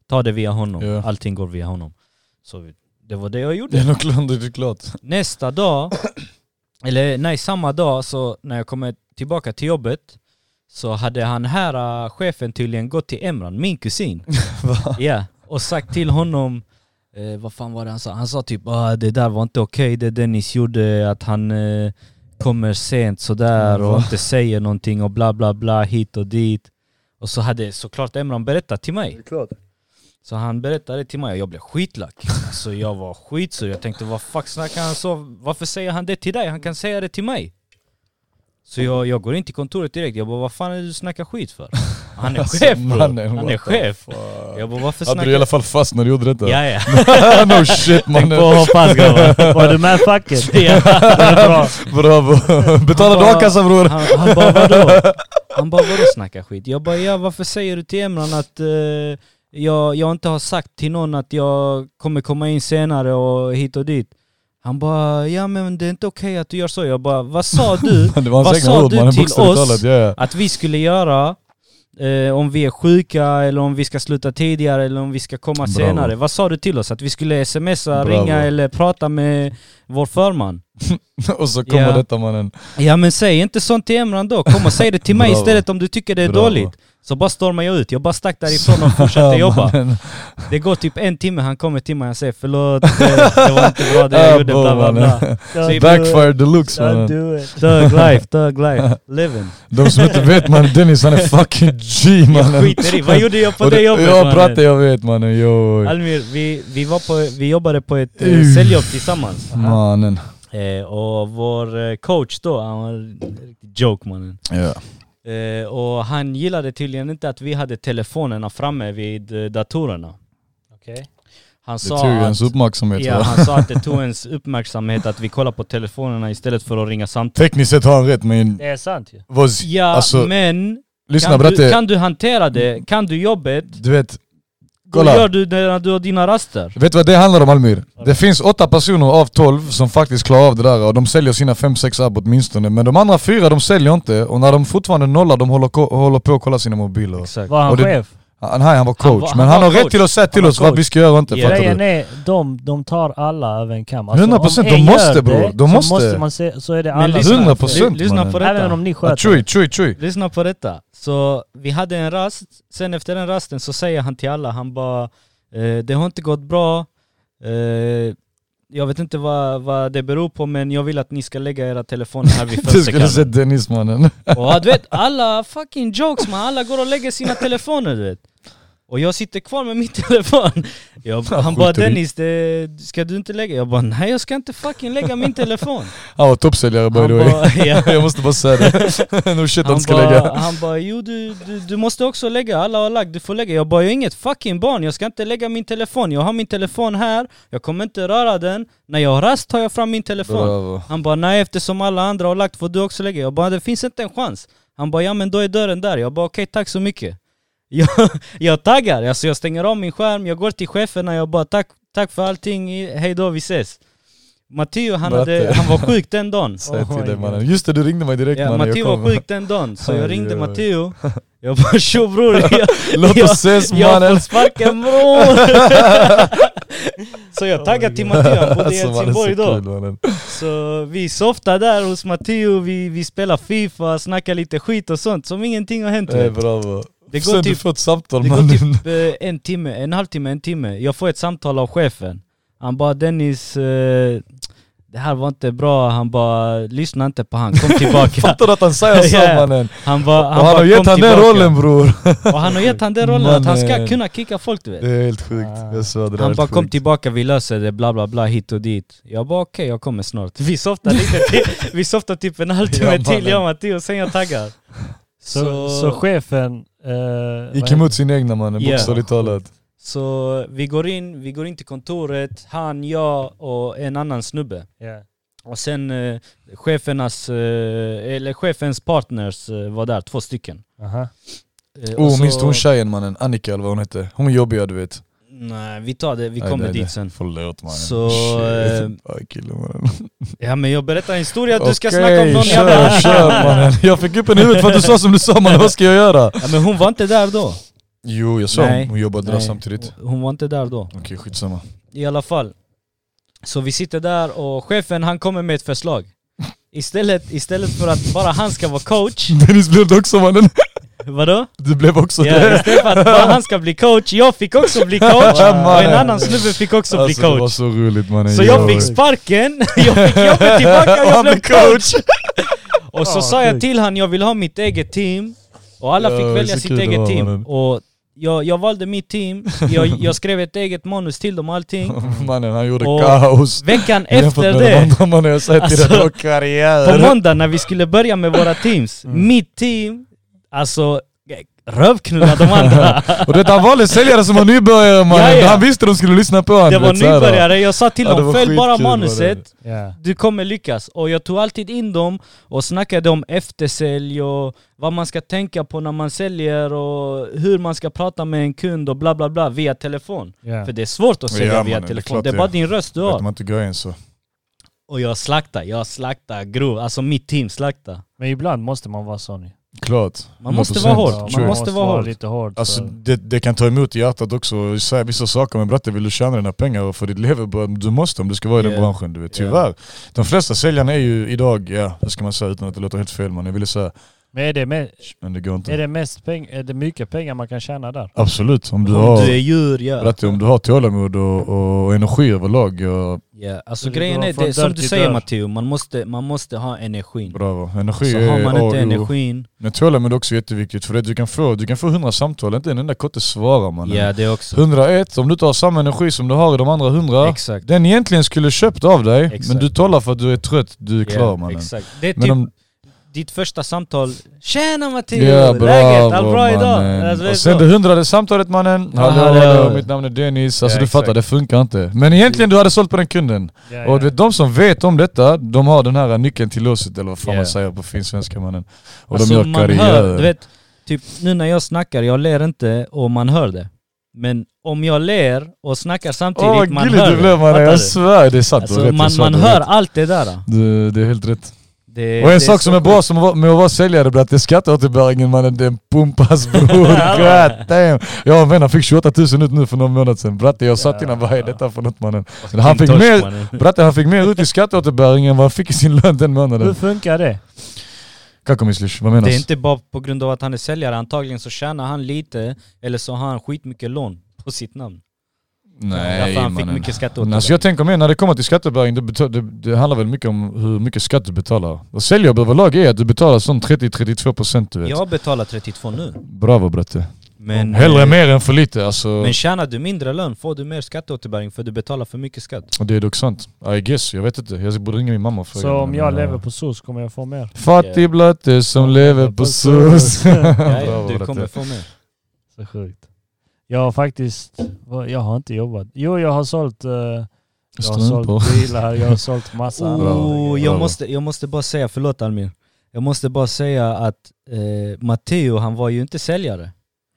Speaker 3: Ta det via honom,
Speaker 2: Ja.
Speaker 3: allting går via honom. Så vi- det var det jag
Speaker 2: Det är
Speaker 3: gjorde.
Speaker 2: nog klart, det är klart.
Speaker 3: Nästa dag, eller nej samma dag så när jag kommer tillbaka till jobbet så hade han här eh, chefen tydligen gått till Emran, min kusin. Ja, och sagt till honom eh, vad fan var det han sa? Han sa typ ah, det där var inte okej det Dennis gjorde, att han eh, kommer sent sådär och
Speaker 2: Va?
Speaker 3: inte säger någonting och bla bla bla hit och dit. Och så hade såklart Emran berättat till mig. Så han berättade till mig och jag blev skitlack. Alltså jag var skitsur, jag tänkte vad fuck snackar han så? Varför säger han det till dig? Han kan säga det till mig. Så jag, jag går in till kontoret direkt, jag bara vad fan är det du snackar skit för? Han är
Speaker 2: Alltså,
Speaker 3: chef bror,
Speaker 2: mannen,
Speaker 3: han
Speaker 2: what the
Speaker 3: är chef.
Speaker 2: fuck.
Speaker 3: Jag bara varför
Speaker 2: Hade du i
Speaker 3: snackar
Speaker 2: alla fall fast när du gjorde detta?
Speaker 3: Ja
Speaker 2: *laughs*
Speaker 3: ja.
Speaker 2: no shit
Speaker 1: Tänk på
Speaker 2: mannen.
Speaker 1: att hoppas grabbar. Var du med
Speaker 2: *laughs*
Speaker 1: facket?
Speaker 3: Ja.
Speaker 1: Det är bra.
Speaker 2: Bravo. Betalade du
Speaker 3: bara-
Speaker 2: a-kassa bror?
Speaker 3: Han, han bara vadå? Han bara vadå snacka skit? Jag bara ja varför säger du till Emran att eh, jag, jag inte har sagt till någon att jag kommer komma in senare och hit och dit? Han bara ja men det är inte okej att du gör så. Jag bara vad sa
Speaker 2: *laughs*
Speaker 3: du
Speaker 2: Det var
Speaker 3: Vad
Speaker 2: hans egna
Speaker 3: sa
Speaker 2: ord
Speaker 3: du
Speaker 2: mannen,
Speaker 3: till
Speaker 2: bokstavligt
Speaker 3: oss?
Speaker 2: talat. Ja, ja.
Speaker 3: att vi skulle göra eh, om vi är sjuka eller om vi ska sluta tidigare eller om vi ska komma
Speaker 2: Bravo.
Speaker 3: senare? Vad sa du till oss? Att vi skulle smsa,
Speaker 2: Bravo.
Speaker 3: ringa eller prata med vår förman?
Speaker 2: Och så kommer
Speaker 3: Ja.
Speaker 2: detta mannen.
Speaker 3: Ja men säg inte sånt till Emran då, kom och säg det till mig
Speaker 2: Bravo.
Speaker 3: istället om du tycker det är
Speaker 2: Bravo.
Speaker 3: dåligt. Så bara stormar jag ut, jag bara stack därifrån och
Speaker 2: *laughs*
Speaker 3: fortsatte jobba. Det går typ en timme, han kommer till mig och säger förlåt, det, det var inte bra det jag gjorde, bla
Speaker 2: *laughs*
Speaker 3: bla bla.
Speaker 1: Don't do
Speaker 2: Backfire
Speaker 1: it.
Speaker 2: deluxe
Speaker 1: Don't
Speaker 2: mannen.
Speaker 1: do it.
Speaker 3: Thug life, thug life,
Speaker 2: *laughs*
Speaker 3: living.
Speaker 2: De som inte vet mannen, Dennis han är fucking G
Speaker 3: Jag
Speaker 2: mannen.
Speaker 3: skiter i, vad gjorde jag på
Speaker 2: Och
Speaker 3: det jobbet
Speaker 2: Ja
Speaker 3: mannen? Alltså,
Speaker 2: bratte jag vet mannen, yo.
Speaker 3: Almir, vi, vi, var på, vi jobbade på ett eh,
Speaker 2: Uff. Mm.
Speaker 3: säljjobb tillsammans.
Speaker 2: Mannen.
Speaker 3: Eh, och vår eh, coach då, han var en riktig joke mannen.
Speaker 2: Ja.
Speaker 3: Eh, och han gillade tydligen inte att vi hade telefonerna framme vid eh, datorerna.
Speaker 1: Okej.
Speaker 3: Han
Speaker 2: Det tog ju
Speaker 3: sa, att,
Speaker 2: ens uppmärksamhet
Speaker 3: ja,
Speaker 2: va?
Speaker 3: han sa att det tog ens uppmärksamhet att vi kollar på telefonerna istället för att ringa samtal.
Speaker 2: Tekniskt sett har han rätt men...
Speaker 1: Det är sant ju.
Speaker 2: Vad,
Speaker 3: Ja,
Speaker 2: alltså,
Speaker 3: men
Speaker 2: lyssna
Speaker 3: kan, du,
Speaker 2: bratte.
Speaker 3: kan du hantera det? Kan du jobbet?
Speaker 2: Du vet,
Speaker 3: Då
Speaker 2: Kolla.
Speaker 3: gör du det när du har dina raster.
Speaker 2: Vet du vad det handlar om Almir? Det finns åtta personer av tolv som faktiskt klarar av det där och de säljer sina fem, sex app åtminstone. Men de andra fyra de säljer inte och när de fortfarande nollar de håller, ko- håller på att kolla sina mobiler.
Speaker 3: Exakt.
Speaker 1: Var han
Speaker 2: Och det-
Speaker 1: chef?
Speaker 2: Han, nej han var coach,
Speaker 3: Han var- han
Speaker 2: men han,
Speaker 3: var
Speaker 2: har rätt
Speaker 3: coach.
Speaker 2: till att säga till
Speaker 3: var
Speaker 2: oss vad
Speaker 3: coach.
Speaker 2: vi ska göra och inte.
Speaker 3: Ja.
Speaker 2: Fattar
Speaker 1: Grejen
Speaker 2: du?
Speaker 1: är, de, de tar alla över en kam. Alltså,
Speaker 2: 100%,
Speaker 1: om
Speaker 2: de
Speaker 1: en
Speaker 2: måste,
Speaker 1: gör
Speaker 2: bror.
Speaker 1: det,
Speaker 2: De
Speaker 1: så
Speaker 2: måste.
Speaker 1: man se, så är det
Speaker 3: Men
Speaker 1: alla.
Speaker 3: lyssna,
Speaker 2: 100%
Speaker 3: ly- lyssna
Speaker 2: mannen.
Speaker 3: på
Speaker 1: Även
Speaker 3: detta.
Speaker 1: om ni
Speaker 2: Ah,
Speaker 1: sköter
Speaker 2: Chui, chui, chui.
Speaker 3: Lyssna på detta. Så vi hade en rast, sen efter den rasten så säger han till alla, han bara eh, Det har inte gått bra, eh, jag vet inte vad, vad det beror på men jag vill att ni ska lägga era telefoner här
Speaker 2: *laughs*
Speaker 3: vid
Speaker 2: Du skulle
Speaker 3: fönsterkarmen.
Speaker 2: sett Dennis mannen. *laughs*
Speaker 3: Och du vet, alla fucking jokes man, alla går och lägger sina telefoner du vet. Och jag sitter kvar med min *laughs* telefon. Jag, han bara
Speaker 2: skiter i.
Speaker 3: Dennis, det, ska du inte lägga? Jag bara nej jag ska inte fucking lägga min telefon.
Speaker 2: Han var toppsäljare by
Speaker 3: Han
Speaker 2: the way.
Speaker 3: bara, ja.
Speaker 2: *laughs* Jag måste bara säga
Speaker 3: *laughs*
Speaker 2: det. No shit han ska
Speaker 3: bara,
Speaker 2: lägga.
Speaker 3: Han bara, jo du, du, du måste också lägga, alla har lagt, du får lägga. Jag bara, jag är inget fucking barn, jag ska inte lägga min telefon. Jag har min telefon här, jag kommer inte röra den. När jag har rast tar jag fram min telefon.
Speaker 2: Bravo.
Speaker 3: Han bara, nej eftersom alla andra har lagt får du också lägga. Jag bara, det finns inte en chans. Han bara, ja men då är dörren där. Jag bara, okej tack så mycket. *laughs* Jag, jag taggar, alltså jag stänger av min skärm, jag går till cheferna, jag bara, tack, tack för allting, hej då, vi ses. Matteo han, hade,
Speaker 2: Bratte.
Speaker 3: han var sjuk
Speaker 2: *laughs*
Speaker 3: den dagen.
Speaker 2: Säg till
Speaker 1: Oj.
Speaker 2: dig mannen. Just det, du ringde mig direkt
Speaker 3: Ja,
Speaker 2: mannen.
Speaker 3: Matteo
Speaker 2: Jag
Speaker 3: var
Speaker 2: kom.
Speaker 3: sjuk den dagen, så
Speaker 2: Aj,
Speaker 3: jag ringde
Speaker 2: aj.
Speaker 3: Matteo Jag bara tjo bror,
Speaker 2: *laughs*
Speaker 3: jag,
Speaker 2: *laughs* Låt
Speaker 3: jag,
Speaker 2: oss ses
Speaker 3: jag får
Speaker 2: mannen. *laughs*
Speaker 3: sparken bror! så jag taggade till Matteo, han bodde
Speaker 2: *laughs*
Speaker 3: i
Speaker 2: Alltså, mannen,
Speaker 3: Helsingborg
Speaker 2: så
Speaker 3: då
Speaker 2: kul, mannen.
Speaker 3: Så vi softade där hos Matteo, vi, vi spelade Fifa, snackade lite skit och sånt som ingenting har hänt
Speaker 2: Eh,
Speaker 3: vet.
Speaker 2: Bravo.
Speaker 3: Det går
Speaker 2: Sen du
Speaker 3: typ,
Speaker 2: får ett samtal
Speaker 3: det går
Speaker 2: mannen.
Speaker 3: typ eh, en timme, en halvtimme, en timme Jag får ett samtal av chefen Han bara Dennis, eh, det här var inte bra, han bara lyssna inte på han, kom
Speaker 2: *laughs* *laughs*
Speaker 3: tillbaka
Speaker 2: Fattar du att han säger så
Speaker 3: Ja.
Speaker 2: mannen?
Speaker 3: Han, bara,
Speaker 2: Och han
Speaker 3: bara,
Speaker 2: har gett
Speaker 3: "Kom
Speaker 2: han den
Speaker 3: tillbaka."
Speaker 2: rollen bror.
Speaker 3: Och han har gett han den rollen att han ska
Speaker 2: Mannen.
Speaker 3: kunna kicka folk du
Speaker 2: Det
Speaker 3: vet
Speaker 2: är helt sjukt. Jag svär det där är
Speaker 3: Ah. Han
Speaker 2: helt
Speaker 3: bara kom
Speaker 2: sjukt.
Speaker 3: tillbaka, vi löser det, bla bla bla hit och dit Jag bara okej, jag kommer snart Vi softar *laughs* lite till, vi softar typ en halvtimme
Speaker 2: Ja, mannen.
Speaker 3: till jag och Matteo, sen jag taggar
Speaker 1: Så, så, chefen... eh,
Speaker 2: Gick
Speaker 1: vad-
Speaker 2: emot sin egna mannen,
Speaker 3: Ja.
Speaker 2: bokstavligt talat.
Speaker 3: så vi går in, vi går in till kontoret, han, jag och en annan snubbe
Speaker 1: Ja.
Speaker 3: Och sen eh, chefernas, eh, eller chefens partners eh, var där, två stycken
Speaker 1: Aha.
Speaker 3: Eh, och
Speaker 2: Oh,
Speaker 3: så-
Speaker 2: minns du hon tjejen mannen? Annika eller vad hon hette? Hon är jobbiga du vet.
Speaker 3: Nej, vi tar det, vi
Speaker 2: Nej,
Speaker 3: kommer
Speaker 2: nej, nej.
Speaker 3: dit sen
Speaker 2: Förlåt mannen.
Speaker 3: Så, eh,
Speaker 2: Shit. Aj, kille, mannen.
Speaker 3: Ja men jag berättar en historia, du ska
Speaker 2: Okej,
Speaker 3: snacka om någon
Speaker 2: kör,
Speaker 3: jävla...
Speaker 2: kör mannen. Jag fick upp en huvud för att du sa som du sa mannen, vad ska jag göra?
Speaker 3: Ja, men hon var inte där då.
Speaker 2: Jo jag sa
Speaker 3: Nej.
Speaker 2: hon jobbade där
Speaker 3: Nej,
Speaker 2: samtidigt.
Speaker 3: Hon var inte där då.
Speaker 2: Okej skitsamma. *laughs*
Speaker 3: I alla fall. Så vi sitter där och chefen han kommer med ett förslag. Istället, istället för att bara han ska vara coach, *laughs*
Speaker 2: Dennis blev det också mannen. *laughs*
Speaker 3: vadå?
Speaker 2: Du blev också
Speaker 3: Ja,
Speaker 2: det.
Speaker 3: istället för att bara han ska bli coach, jag fick också bli coach och en
Speaker 2: Mannen.
Speaker 3: annan snubbe fick också bli
Speaker 2: Alltså, det var
Speaker 3: coach.
Speaker 2: så roligt mannen.
Speaker 3: Så jag fick sparken, *laughs* jag fick jobbet tillbaka
Speaker 2: *laughs* Och
Speaker 3: och jag
Speaker 2: han
Speaker 3: blev
Speaker 2: blev
Speaker 3: coach!
Speaker 2: coach!
Speaker 3: Och så
Speaker 1: Ah,
Speaker 3: sa jag
Speaker 1: sjukt.
Speaker 3: till han jag vill ha mitt eget team Och alla
Speaker 2: Ja,
Speaker 3: fick välja
Speaker 2: så
Speaker 3: sitt
Speaker 2: kul det
Speaker 3: eget
Speaker 2: var,
Speaker 3: team
Speaker 2: mannen.
Speaker 3: Och jag, jag valde mitt team, jag, jag skrev ett eget manus till dem och allting
Speaker 2: *laughs* Mannen han gjorde
Speaker 3: Och
Speaker 2: kaos.
Speaker 3: Veckan
Speaker 2: Jämfört
Speaker 3: efter
Speaker 2: med de
Speaker 3: det,
Speaker 2: andra, mannen jag säger till dig,
Speaker 3: Alltså,
Speaker 2: vår
Speaker 3: på
Speaker 2: karriär.
Speaker 3: måndag när vi skulle börja med våra teams
Speaker 2: Mm.
Speaker 3: Mitt team, alltså rövknullade de
Speaker 2: *laughs*
Speaker 3: andra
Speaker 2: Och det han valde säljare som var nybörjare mannen.
Speaker 3: Ja, ja.
Speaker 2: Han visste de skulle lyssna på honom.
Speaker 3: Det
Speaker 2: du
Speaker 3: var
Speaker 2: vet, så här.
Speaker 3: nybörjare, jag sa till
Speaker 2: Ja, det
Speaker 3: dem
Speaker 2: var
Speaker 3: följ bara
Speaker 2: skitkul, var det.
Speaker 3: manuset
Speaker 1: Ja.
Speaker 3: du kommer lyckas. Och jag tog alltid in dem och snackade om eftersälj och vad man ska tänka på när man säljer och hur man ska prata med en kund och bla bla bla via telefon.
Speaker 1: Ja.
Speaker 3: För det är svårt att sälja
Speaker 2: Ja,
Speaker 3: via
Speaker 2: mannen, det är
Speaker 3: telefon,
Speaker 2: klart
Speaker 3: det är
Speaker 2: det.
Speaker 3: bara din röst du
Speaker 2: Vet
Speaker 3: har.
Speaker 2: man inte grejen så.
Speaker 3: Och jag slaktar, jag slaktar grov, alltså mitt team slaktar.
Speaker 1: Men ibland måste man vara sån ju.
Speaker 2: Klart.
Speaker 3: Man måste
Speaker 2: 100%.
Speaker 3: vara hård.
Speaker 1: Ja,
Speaker 3: man
Speaker 2: Sure.
Speaker 3: måste vara hård.
Speaker 1: lite hård.
Speaker 2: Alltså
Speaker 1: så-
Speaker 2: det, det kan ta emot i hjärtat också, säga vissa saker men bratte vill du tjäna dina pengar och för ditt levebröd, du måste om du ska vara i den
Speaker 3: Ja.
Speaker 2: branschen du vet.
Speaker 3: Ja.
Speaker 2: Tyvärr. De flesta säljarna är ju idag, ja vad ska man säga utan att det låter helt fel man, jag ville säga
Speaker 1: Men är det, me-
Speaker 2: Men det går inte.
Speaker 1: är det, mest peng- är det mycket pengar man kan tjäna där?
Speaker 2: Absolut, om du
Speaker 3: Om du
Speaker 2: har,
Speaker 3: är djur ja.
Speaker 2: Ratti, om du har tålamod och, och energi överlag. Ja,
Speaker 3: ja. Alltså
Speaker 1: Så det
Speaker 3: grejen
Speaker 1: går
Speaker 3: är,
Speaker 1: från dörr
Speaker 3: det, som du
Speaker 1: till
Speaker 3: säger
Speaker 1: dörr.
Speaker 3: Matteo, man måste, man måste ha energin.
Speaker 2: bravo. Energi
Speaker 3: Så
Speaker 2: är
Speaker 3: har man
Speaker 2: A
Speaker 3: inte
Speaker 2: och O.
Speaker 3: energin,
Speaker 2: Men tålamod är också jätteviktigt för det du kan få, du kan få 100 samtal, inte en enda kotte svarar mannen.
Speaker 3: ja det också.
Speaker 2: 101, om du inte har samma energi som du har i de andra 100,
Speaker 3: Exakt.
Speaker 2: den egentligen skulle köpt av dig, men
Speaker 3: Exakt.
Speaker 2: du talar för att du är trött, du är
Speaker 3: Ja,
Speaker 2: klar mannen.
Speaker 3: Exakt. Det är
Speaker 2: Men
Speaker 3: typ
Speaker 2: om,
Speaker 3: ditt första samtal. Tjena Matteo!
Speaker 2: ja
Speaker 3: Läget? Allt
Speaker 2: bravo
Speaker 3: bra idag?
Speaker 2: mannen.
Speaker 3: Alltså, det är
Speaker 2: Och sen
Speaker 3: så.
Speaker 2: det hundrade samtalet mannen, hallå,
Speaker 3: hallå.
Speaker 2: hallå, mitt namn är Dennis, alltså
Speaker 3: Ja,
Speaker 2: du fattar
Speaker 3: exakt.
Speaker 2: det funkar inte. Men egentligen du hade sålt på den kunden.
Speaker 1: Ja,
Speaker 2: Och du vet, de som vet om detta, de har den här nyckeln till låset eller vad fan
Speaker 3: Ja.
Speaker 2: man säger på fin svenska mannen. Och
Speaker 3: Alltså,
Speaker 2: de gör
Speaker 3: man hör,
Speaker 2: karriär.
Speaker 3: du vet, typ nu när jag snackar, jag ler inte och man hör det. Men om jag ler och snackar samtidigt,
Speaker 2: Åh
Speaker 3: man
Speaker 2: gulligt
Speaker 3: hör
Speaker 2: du blev
Speaker 3: Fattar
Speaker 2: mannen, jag
Speaker 3: du?
Speaker 2: svär det är sant. du
Speaker 3: Alltså,
Speaker 2: har rätt, jag
Speaker 3: man,
Speaker 2: svär,
Speaker 3: man
Speaker 2: du har
Speaker 3: hör
Speaker 2: rätt.
Speaker 3: allt det där.
Speaker 2: Du, det är helt rätt.
Speaker 3: Det,
Speaker 2: Och
Speaker 3: det
Speaker 2: en sak som
Speaker 3: så
Speaker 2: är bra
Speaker 3: sjukt.
Speaker 2: som var- med att vara säljare blir att det är skatteåterbäringen mannen, den
Speaker 3: *laughs*
Speaker 2: pumpas bror. God damn. Jag har en vän, han fick 28 000 ut nu för någon månad sedan. Bratte jag sa till honom, vad är detta för något mannen? Men han fick
Speaker 3: Torsk,
Speaker 2: mer,
Speaker 3: mannen.
Speaker 2: bratte han fick mer ut i skatteåterbäring än vad han fick i sin lön den
Speaker 1: Hur
Speaker 2: månaden.
Speaker 1: funkar det?
Speaker 2: Kakomislish, vad
Speaker 3: Det är
Speaker 2: menas?
Speaker 3: inte bara på grund av att han är säljare, antagligen så tjänar han lite, eller så har han skitmycket lån på sitt namn. Därför han fick
Speaker 2: mannen.
Speaker 3: mycket
Speaker 2: Men
Speaker 3: skatteåterbäring.
Speaker 2: Alltså jag tänker mer när det kommer till skattebäring, det, betal- det, det handlar väl mycket om hur mycket skatt du betalar. Och säljjobb överlag är att du betalar sån 30-32% du vet.
Speaker 3: Jag betalar 32 nu.
Speaker 2: Bravo Bratte.
Speaker 3: Men,
Speaker 2: Hellre
Speaker 3: eh,
Speaker 2: mer än för lite alltså.
Speaker 3: men tjänar du mindre lön får du mer skatteåterbäring för du betalar för mycket skatt.
Speaker 2: *laughs* Och Det är dock sant. I guess, jag vet inte. Jag borde ringa min mamma och fråga.
Speaker 1: Så om
Speaker 2: Men,
Speaker 1: jag
Speaker 2: ja.
Speaker 1: lever på SOS kommer jag få mer?
Speaker 2: Fattig blatte som lever på sus.
Speaker 3: Ja,
Speaker 2: Bra,
Speaker 3: ja, du
Speaker 2: Bratte.
Speaker 3: kommer
Speaker 2: *laughs*
Speaker 3: få mer.
Speaker 1: *laughs* Så sjukt. Jag har faktiskt, vad- jag har inte jobbat. Jo jag har sålt, eh, jag har
Speaker 2: Strumpor.
Speaker 1: sålt bilar, jag har
Speaker 2: *laughs*
Speaker 1: sålt massa andra
Speaker 3: Oh,
Speaker 1: grejer.
Speaker 3: jag,
Speaker 2: Bravo.
Speaker 3: måste, jag måste bara säga, förlåt Almir. Jag måste bara säga att eh, Matteo, han var ju inte säljare.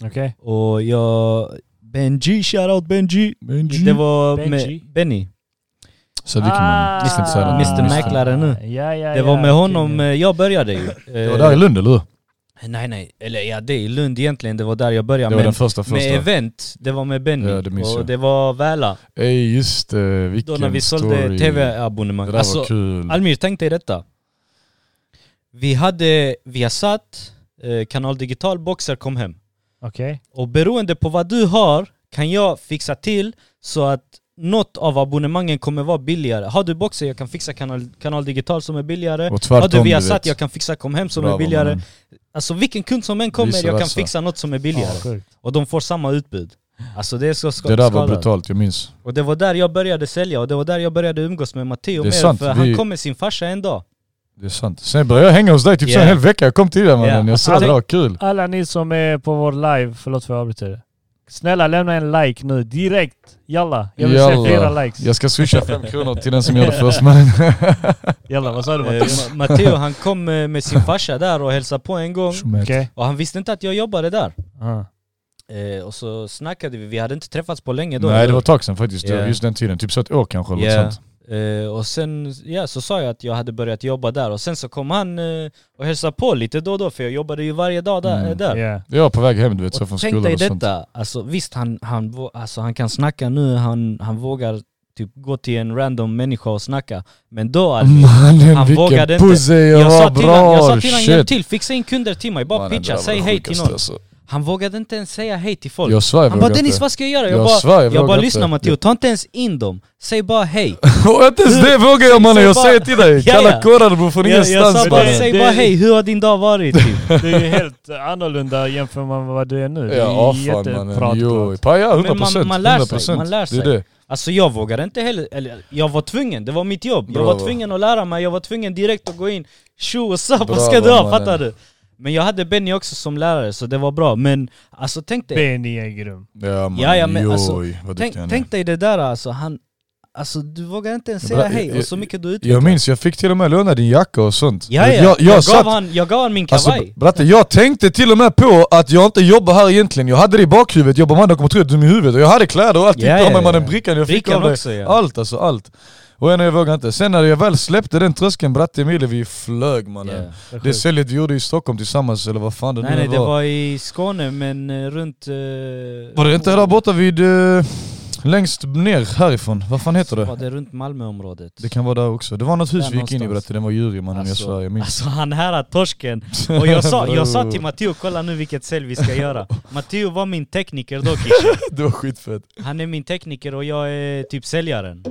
Speaker 1: Okej?
Speaker 3: Och jag... Benji, shoutout Benji!
Speaker 2: Benji.
Speaker 3: Det var
Speaker 1: Benji.
Speaker 3: med Benny.
Speaker 2: Så vilken
Speaker 1: Ah.
Speaker 2: man. Visst inte så här.
Speaker 3: Mr.
Speaker 2: Visst.
Speaker 3: Ah. Mäklare nu.
Speaker 1: Ja, ja,
Speaker 3: Det
Speaker 1: ja,
Speaker 3: var med honom
Speaker 1: killen.
Speaker 3: eh, jag började ju. Eh,
Speaker 2: Det var där i Lund eller hur?
Speaker 3: Nej nej, eller ja det är i Lund egentligen, det var där jag började.
Speaker 2: Det var
Speaker 3: Men
Speaker 2: den första
Speaker 3: med
Speaker 2: första.
Speaker 3: event, det var med Benny.
Speaker 2: Ja, det minns
Speaker 3: och
Speaker 2: jag.
Speaker 3: det var Väla.
Speaker 2: Ey just det,
Speaker 3: Då
Speaker 2: vilken
Speaker 3: när vi
Speaker 2: story.
Speaker 3: sålde
Speaker 2: Det
Speaker 3: tv-abonnemang.
Speaker 2: där var
Speaker 3: Alltså,
Speaker 2: kul.
Speaker 3: Almir, tänk dig detta. Vi hade Viasat, eh, Kanal Digital, Boxer kom hem.
Speaker 1: Okej.
Speaker 3: Och beroende på vad du har kan jag fixa till så att något av abonnemangen kommer vara billigare. Har du Boxer, jag kan fixa Kanal, kanal Digital som är billigare.
Speaker 2: Och
Speaker 3: har du
Speaker 2: tvärtom
Speaker 3: Viasat, jag kan fixa Kom Hem som är
Speaker 2: Bravo,
Speaker 3: billigare.
Speaker 2: mannen.
Speaker 3: Alltså vilken kund som än kommer,
Speaker 2: Vice
Speaker 3: jag kan
Speaker 2: versa.
Speaker 3: fixa något som är billigare.
Speaker 1: Ja, sjukt.
Speaker 3: Och de får samma utbud. Alltså det är så ska-
Speaker 2: Det där var
Speaker 3: skadat.
Speaker 2: brutalt, jag minns.
Speaker 3: Och det var där jag började sälja och det var där jag började umgås med Matteo
Speaker 2: Det är
Speaker 3: mer,
Speaker 2: sant,
Speaker 3: för
Speaker 2: vi-
Speaker 3: han kom med sin farsa en dag.
Speaker 2: Det är sant. Sen började jag hänga hos dig typ så en
Speaker 3: Yeah.
Speaker 2: hel vecka, jag kom till dig mannen.
Speaker 3: Yeah.
Speaker 2: Jag sa det
Speaker 1: Alltså-
Speaker 2: var kul.
Speaker 1: Alla ni som är på vår live, förlåt för att jag avbryter det. Snälla lämna en like nu direkt. Jalla. Jag vill
Speaker 2: Jalla.
Speaker 1: se flera likes.
Speaker 2: Jag ska swisha fem kronor till den som
Speaker 3: *laughs*
Speaker 2: gör det först mannen.
Speaker 1: Jalla, vad sa du
Speaker 3: Eh,
Speaker 1: Matteo?
Speaker 3: Ma- Matteo han kom eh, med sin farsa där och hälsade på en gång.
Speaker 2: Eh,
Speaker 1: Okej.
Speaker 3: Och han visste inte att jag jobbade där.
Speaker 1: Ah.
Speaker 3: Eh, och så snackade vi, vi hade inte träffats på länge då.
Speaker 2: Nej
Speaker 3: eller
Speaker 2: det var ett tag sedan faktiskt, Det var
Speaker 3: Yeah.
Speaker 2: just den tiden. Typ så ett år kanske eller
Speaker 3: Ja.
Speaker 2: yeah. sånt.
Speaker 3: Eh, och sen ja, så sa jag att jag hade börjat jobba där och sen så kom han eh, och hälsade på lite då och då för jag jobbade ju varje dag där.
Speaker 2: Mm.
Speaker 3: eh, där.
Speaker 1: Yeah.
Speaker 2: Jag var på väg hem du vet, så från
Speaker 3: Och tänk dig
Speaker 2: skolan och sånt.
Speaker 3: detta, alltså, visst han, han, vå- alltså, han kan snacka nu, han, han vågar typ gå till en random människa och snacka. Men då Alvin,
Speaker 2: Mannen
Speaker 3: Han vågade
Speaker 2: vilken
Speaker 3: inte.
Speaker 2: pussy jag,
Speaker 3: jag,
Speaker 2: var,
Speaker 3: sa till han,
Speaker 2: Mm.
Speaker 3: jag
Speaker 2: bra!
Speaker 3: sa till han hjälp till, fixa in kunder till mig, bara
Speaker 2: Mannen, det
Speaker 3: pitcha,
Speaker 2: där var
Speaker 3: säg
Speaker 2: det
Speaker 3: hej till
Speaker 2: sjukaste,
Speaker 3: någon.
Speaker 2: alltså.
Speaker 3: Han vågade inte ens säga hej till folk.
Speaker 2: Jag svär jag
Speaker 3: han bara
Speaker 2: vågar
Speaker 3: Dennis
Speaker 2: inte.
Speaker 3: vad ska jag göra?
Speaker 2: Jag
Speaker 3: bara,
Speaker 2: svär, jag
Speaker 3: jag
Speaker 2: vågar
Speaker 3: bara
Speaker 2: inte.
Speaker 3: lyssna
Speaker 2: *laughs*
Speaker 3: Matteo, ta inte ens in dem, säg bara hej.
Speaker 2: Och inte ens det vågar jag mannen, jag säger till dig!
Speaker 3: Ja, ja.
Speaker 2: Kalla kårar bror från
Speaker 3: Jag, jag sa
Speaker 2: ingenstans
Speaker 3: bara
Speaker 1: det-
Speaker 2: mannen.
Speaker 3: säg
Speaker 1: det-
Speaker 3: bara hej, hur har din dag varit? Typ.
Speaker 1: Det är ju helt annorlunda jämfört med vad du är nu. Det är
Speaker 2: Ja fan mannen,
Speaker 1: jättepratklart.
Speaker 2: jo. Paja, 100%.
Speaker 3: Men man- man lär sig,
Speaker 2: 100%.
Speaker 3: man lär sig.
Speaker 2: Det är det.
Speaker 3: Alltså jag vågade inte heller, eller jag var tvungen, det var mitt jobb. Jag var
Speaker 2: Bravo.
Speaker 3: tvungen att lära mig, jag var tvungen direkt att gå in Tjo och sa, vad
Speaker 2: Bravo,
Speaker 3: ska du ha?
Speaker 2: mannen.
Speaker 3: Fattar du? Men jag hade Benny också som lärare så det var bra, men alltså tänk dig,
Speaker 1: Benny är grym.
Speaker 2: Ja
Speaker 3: Ja, ja,
Speaker 2: mannen,
Speaker 3: men alltså,
Speaker 2: joj vad
Speaker 3: tänk,
Speaker 2: duktig han är.
Speaker 3: tänk dig det där alltså, han, alltså du vågar inte ens
Speaker 2: Ja,
Speaker 3: säga
Speaker 2: bra,
Speaker 3: hej
Speaker 2: jag-
Speaker 3: och så mycket du utvecklar.
Speaker 2: Jag minns, jag fick till och med låna din jacka och sånt.
Speaker 3: ja, ja.
Speaker 2: Jag, jag,
Speaker 3: Jag,
Speaker 2: jag
Speaker 3: gav
Speaker 2: satt
Speaker 3: han, jag gav han min
Speaker 2: Alltså,
Speaker 3: kavaj.
Speaker 2: bratte, jag tänkte till och med på att jag inte jobbar här egentligen. Jag hade det i bakhuvudet, jag bara man de kommer tro att du är dum i huvudet. Och jag hade kläder och allt,
Speaker 3: Ja,
Speaker 2: yeah, yeah,
Speaker 3: ja,
Speaker 2: med
Speaker 3: ja.
Speaker 2: den brickan jag fick
Speaker 3: Brickan
Speaker 2: av dig.
Speaker 3: också, ja.
Speaker 2: Allt alltså, allt. Och ändå jag vågade inte. Sen när jag väl släppte den tröskeln, bratte Emilie, vi flög mannen.
Speaker 3: Ja.
Speaker 2: Det säljet vi gjorde i Stockholm tillsammans, eller vad fan det
Speaker 3: Nej
Speaker 2: nu
Speaker 3: nej, det
Speaker 2: var.
Speaker 3: var i Skåne men eh, runt... eh,
Speaker 2: Var det inte där borta vid... eh, Längst ner härifrån, vad fan heter det?
Speaker 3: Var det runt Malmöområdet?
Speaker 2: Det kan vara där också. Det var något hus
Speaker 3: Där
Speaker 2: vi gick in i
Speaker 3: någonstans.
Speaker 2: berättade, den var djurig mannen, jag
Speaker 3: Alltså,
Speaker 2: svär, jag minns.
Speaker 3: Alltså han här är torsken. Och jag sa,
Speaker 2: *laughs*
Speaker 3: jag sa till Matteo, kolla nu vilket sälj vi ska göra. Matteo var min tekniker dock Isha.
Speaker 2: Det var skitfett.
Speaker 3: Han är min tekniker och jag är typ säljaren.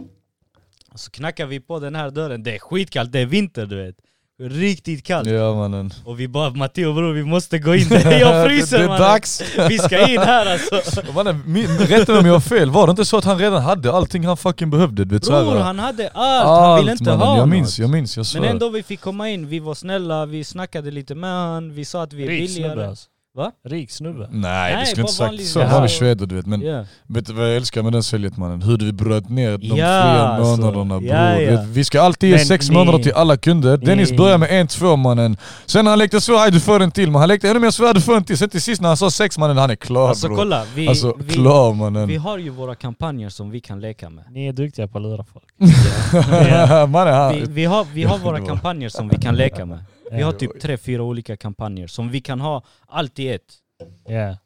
Speaker 3: Och så knackar vi på den här dörren, det är skitkallt, det är vinter du vet. Riktigt kallt.
Speaker 2: Ja mannen.
Speaker 3: Och vi bara Matteo bror vi måste gå in, *laughs* jag
Speaker 2: *laughs* Det
Speaker 3: fryser
Speaker 2: är
Speaker 3: mannen.
Speaker 2: dags!
Speaker 3: *laughs* Vi ska in här alltså.
Speaker 2: Mannen, min- Rätta mig om jag har fel, var det inte så att han redan hade allting han fucking behövde? Du vet, så här, eh,
Speaker 3: Bror han hade allt, han
Speaker 2: allt
Speaker 3: ville inte
Speaker 2: mannen,
Speaker 3: ha
Speaker 2: jag
Speaker 3: något.
Speaker 2: minns, jag minns, jag svär.
Speaker 3: Men ändå vi fick komma in, vi var snälla, vi snackade lite med han, vi sa att vi är
Speaker 1: Rik snubbe
Speaker 3: billigare.
Speaker 1: alltså.
Speaker 3: Va? Mm.
Speaker 1: Rik snubbe.
Speaker 2: Nej
Speaker 3: Nej,
Speaker 2: det skulle jag inte
Speaker 3: bara
Speaker 2: sagt.
Speaker 3: vanlig-
Speaker 2: Så
Speaker 3: Ja.
Speaker 2: vanlig schweder du vet. Men
Speaker 3: Ja.
Speaker 2: vet du vad jag älskar med den säljet mannen? Hur vi bröt ner de
Speaker 3: Ja,
Speaker 2: fria
Speaker 3: alltså.
Speaker 2: månaderna bror.
Speaker 3: Ja,
Speaker 2: Du
Speaker 3: ja.
Speaker 2: Vet, vi ska alltid ge
Speaker 1: Men
Speaker 2: sex
Speaker 1: ni-
Speaker 2: månader till alla kunder. Dennis började med en, två mannen. Sen när han lekte så, hej du får en till. Men han lekte ännu mer så, "Hej, du får en till. Sen till sist när han sa sex mannen, han är klar
Speaker 3: Alltså
Speaker 2: bror.
Speaker 3: kolla, vi,
Speaker 2: alltså
Speaker 3: vi,
Speaker 2: klar mannen. *laughs*
Speaker 3: vi har ju våra kampanjer som vi kan leka med.
Speaker 1: Ni är duktiga på att lura
Speaker 3: *laughs*
Speaker 1: folk.
Speaker 2: mannen han...
Speaker 3: Vi, vi, har, vi har
Speaker 2: *laughs* Ja,
Speaker 3: våra
Speaker 2: det var-
Speaker 3: kampanjer som vi kan
Speaker 2: *laughs*
Speaker 3: leka med. Vi har
Speaker 1: Ja.
Speaker 3: typ tre, fyra olika kampanjer som vi kan ha allt i ett.
Speaker 1: Ja.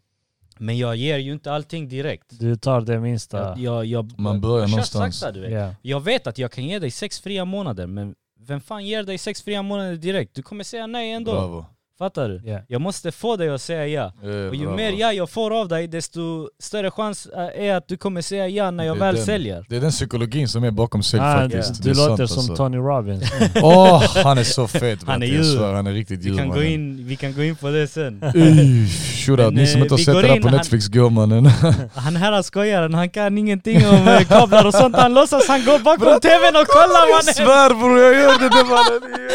Speaker 3: Men jag ger ju inte allting direkt.
Speaker 1: Du tar det minsta.
Speaker 3: Jag, jag, jag,
Speaker 2: Man börjar
Speaker 3: jag kör
Speaker 2: någonstans.
Speaker 3: Sakta, du vet.
Speaker 1: Ja.
Speaker 3: Jag vet att jag kan ge dig sex fria månader, men vem fan ger dig sex fria månader direkt? Du kommer säga nej ändå.
Speaker 2: Bravo.
Speaker 3: Fattar du?
Speaker 1: Ja.
Speaker 3: Jag måste få dig att säga ja.
Speaker 2: Eh,
Speaker 3: Och ju
Speaker 2: bravo.
Speaker 3: mer ja jag får av dig, desto större chans eh, är att du kommer säga ja när jag
Speaker 2: Det är
Speaker 3: väl
Speaker 2: den.
Speaker 3: säljer.
Speaker 2: Det är den psykologin som är bakom sälj
Speaker 1: Ah,
Speaker 2: faktiskt. Det
Speaker 1: Du
Speaker 2: är sant,
Speaker 1: låter som
Speaker 2: alltså.
Speaker 1: Tony
Speaker 2: *laughs*
Speaker 1: Robbins.
Speaker 2: Åh, han är så fet
Speaker 3: *laughs* Han är
Speaker 2: bror. Jag
Speaker 3: djur.
Speaker 2: svär, han är riktigt
Speaker 3: Vi
Speaker 2: djur
Speaker 3: kan, gå
Speaker 2: mannen.
Speaker 3: in, vi kan gå in på det sen.
Speaker 2: Uy, Shoutout,
Speaker 3: Men,
Speaker 2: ni som
Speaker 3: eh,
Speaker 2: inte har
Speaker 3: vi
Speaker 2: sett
Speaker 3: går
Speaker 2: det där
Speaker 3: in,
Speaker 2: på
Speaker 3: han-
Speaker 2: Netflix, gå
Speaker 3: *laughs*
Speaker 2: mannen.
Speaker 3: Han här skojaren, han kan ingenting om eh, kablar och sånt. Han låtsas han går bakom tvn och kollar
Speaker 2: *laughs* Jag
Speaker 3: mannen!
Speaker 2: svär bror, jag gör det där
Speaker 3: *laughs*
Speaker 2: mannen!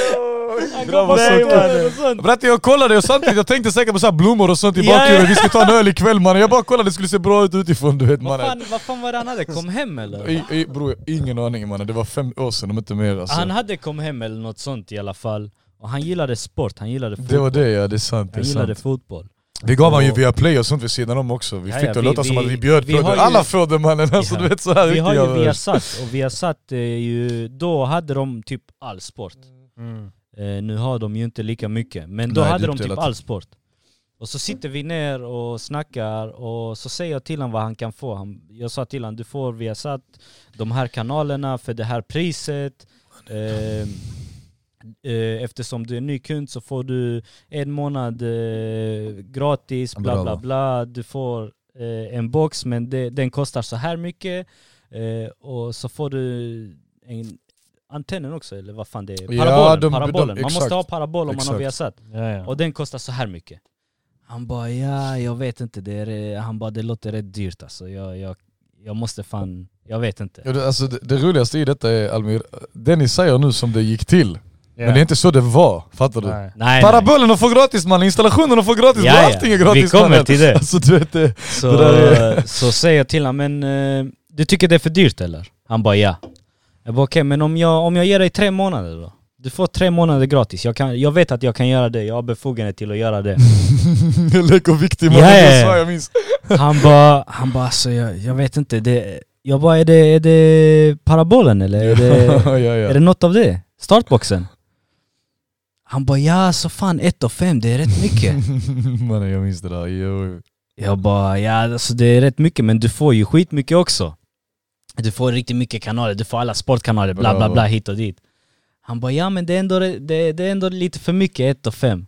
Speaker 3: Han
Speaker 2: Jo.
Speaker 3: går
Speaker 2: Grabbar,
Speaker 3: bakom
Speaker 2: säg mannen.
Speaker 3: tvn och sånt.
Speaker 2: Bratte jag kollade och samtidigt jag tänkte säkert på så här blommor och sånt i
Speaker 3: Ja, ja.
Speaker 2: bakgrunden, vi ska ta en öl ikväll mannen. Jag bara kollade, det skulle se bra ut utifrån du vet
Speaker 3: Vad
Speaker 2: mannen.
Speaker 3: fan, vad fan var det han hade? Kom hem eller?
Speaker 2: I, i, bror, ingen aning mannen, det var fem år sedan om inte mer alltså.
Speaker 3: Han hade kom hem eller något sånt i alla fall. Och han gillade sport, han gillade
Speaker 2: Det
Speaker 3: fotboll.
Speaker 2: var det ja, det är sant. Det är
Speaker 3: Han gillade
Speaker 2: sant.
Speaker 3: fotboll.
Speaker 2: Vi gav han ju via play och sånt vid sidan om också. Vi
Speaker 3: Ja,
Speaker 2: fick
Speaker 3: ja,
Speaker 2: det att
Speaker 3: vi-
Speaker 2: låta som
Speaker 3: vi-
Speaker 2: att vi bjöd
Speaker 3: vi
Speaker 2: på
Speaker 3: har
Speaker 2: det.
Speaker 3: ju-
Speaker 2: Alla får det mannen, alltså
Speaker 3: Ja.
Speaker 2: du vet såhär
Speaker 3: Vi har
Speaker 2: riktiga...
Speaker 3: ju Viasat och Viasat är ju, då hade de typ all sport.
Speaker 1: Mm.
Speaker 3: Eh, nu har de ju inte lika mycket, men då
Speaker 2: Nej, det är
Speaker 3: hade de
Speaker 2: uppdelat.
Speaker 3: typ all sport. Och så sitter vi ner och snackar och så säger jag till honom vad han kan få. Han, jag sa till honom, du får Viasat, de här kanalerna för det här priset. Eh, eh, eftersom du är ny kund så får du en månad eh, gratis, bla bla
Speaker 2: Bravo.
Speaker 3: bla. Du får eh, en box men det, den kostar så här mycket. Eh, och så får du en antennen också, eller vad fan det är.
Speaker 2: Ja,
Speaker 3: Parabolen,
Speaker 2: de-
Speaker 3: parabolen.
Speaker 2: de-
Speaker 3: man
Speaker 2: exakt.
Speaker 3: måste ha parabol om man
Speaker 2: Exakt.
Speaker 3: har Viasat.
Speaker 1: Ja, ja.
Speaker 3: Och den kostar så här mycket. Han bara ja, jag vet inte. Det är, eh," han bara det låter rätt dyrt alltså. Jag, jag, jag måste fan, jag vet inte.
Speaker 2: Ja, det, alltså, det, det roligaste i detta är Almir, Dennis säger nu som det gick till. Men det är inte så det var, fattar du?
Speaker 1: Nej.
Speaker 3: Nej, nej.
Speaker 2: Parabolen de får gratis mannen, installationen de får gratis,
Speaker 3: Ja,
Speaker 2: ja,
Speaker 3: ja.
Speaker 2: allting är gratis
Speaker 3: Vi kommer
Speaker 2: mannen.
Speaker 3: till det.
Speaker 2: Alltså du vet det. *laughs*
Speaker 3: Så,
Speaker 2: Det där
Speaker 3: så säger jag till honom, men eh, du tycker det är för dyrt eller? Han bara ja. Jag bara okej, men om jag, om jag ger dig tre månader då? Du får tre månader gratis. Jag, kan, jag vet att jag kan göra det. Jag har befogenhet till att göra det.
Speaker 2: Jag leker viktig mannen,
Speaker 3: Ja, ja,
Speaker 2: jag
Speaker 3: ja.
Speaker 2: svär jag minns.
Speaker 3: Han bara, han bara alltså jag, jag vet inte. Det, jag bara är det, är det parabolen eller? Är det,
Speaker 2: *laughs* ja, ja,
Speaker 3: Är
Speaker 2: ja.
Speaker 3: det något av det? Startboxen? Han bara ja, så fan 1 och 5 det är rätt mycket.
Speaker 2: *laughs* mannen jag minns det där, jo.
Speaker 3: jag bara ja, alltså det är rätt mycket men du får ju skitmycket också. Du får riktigt mycket kanaler, du får alla sportkanaler, bla bla bla hit och dit. Han bara ja men det är ändå, det, det är ändå lite för mycket 1 och 5.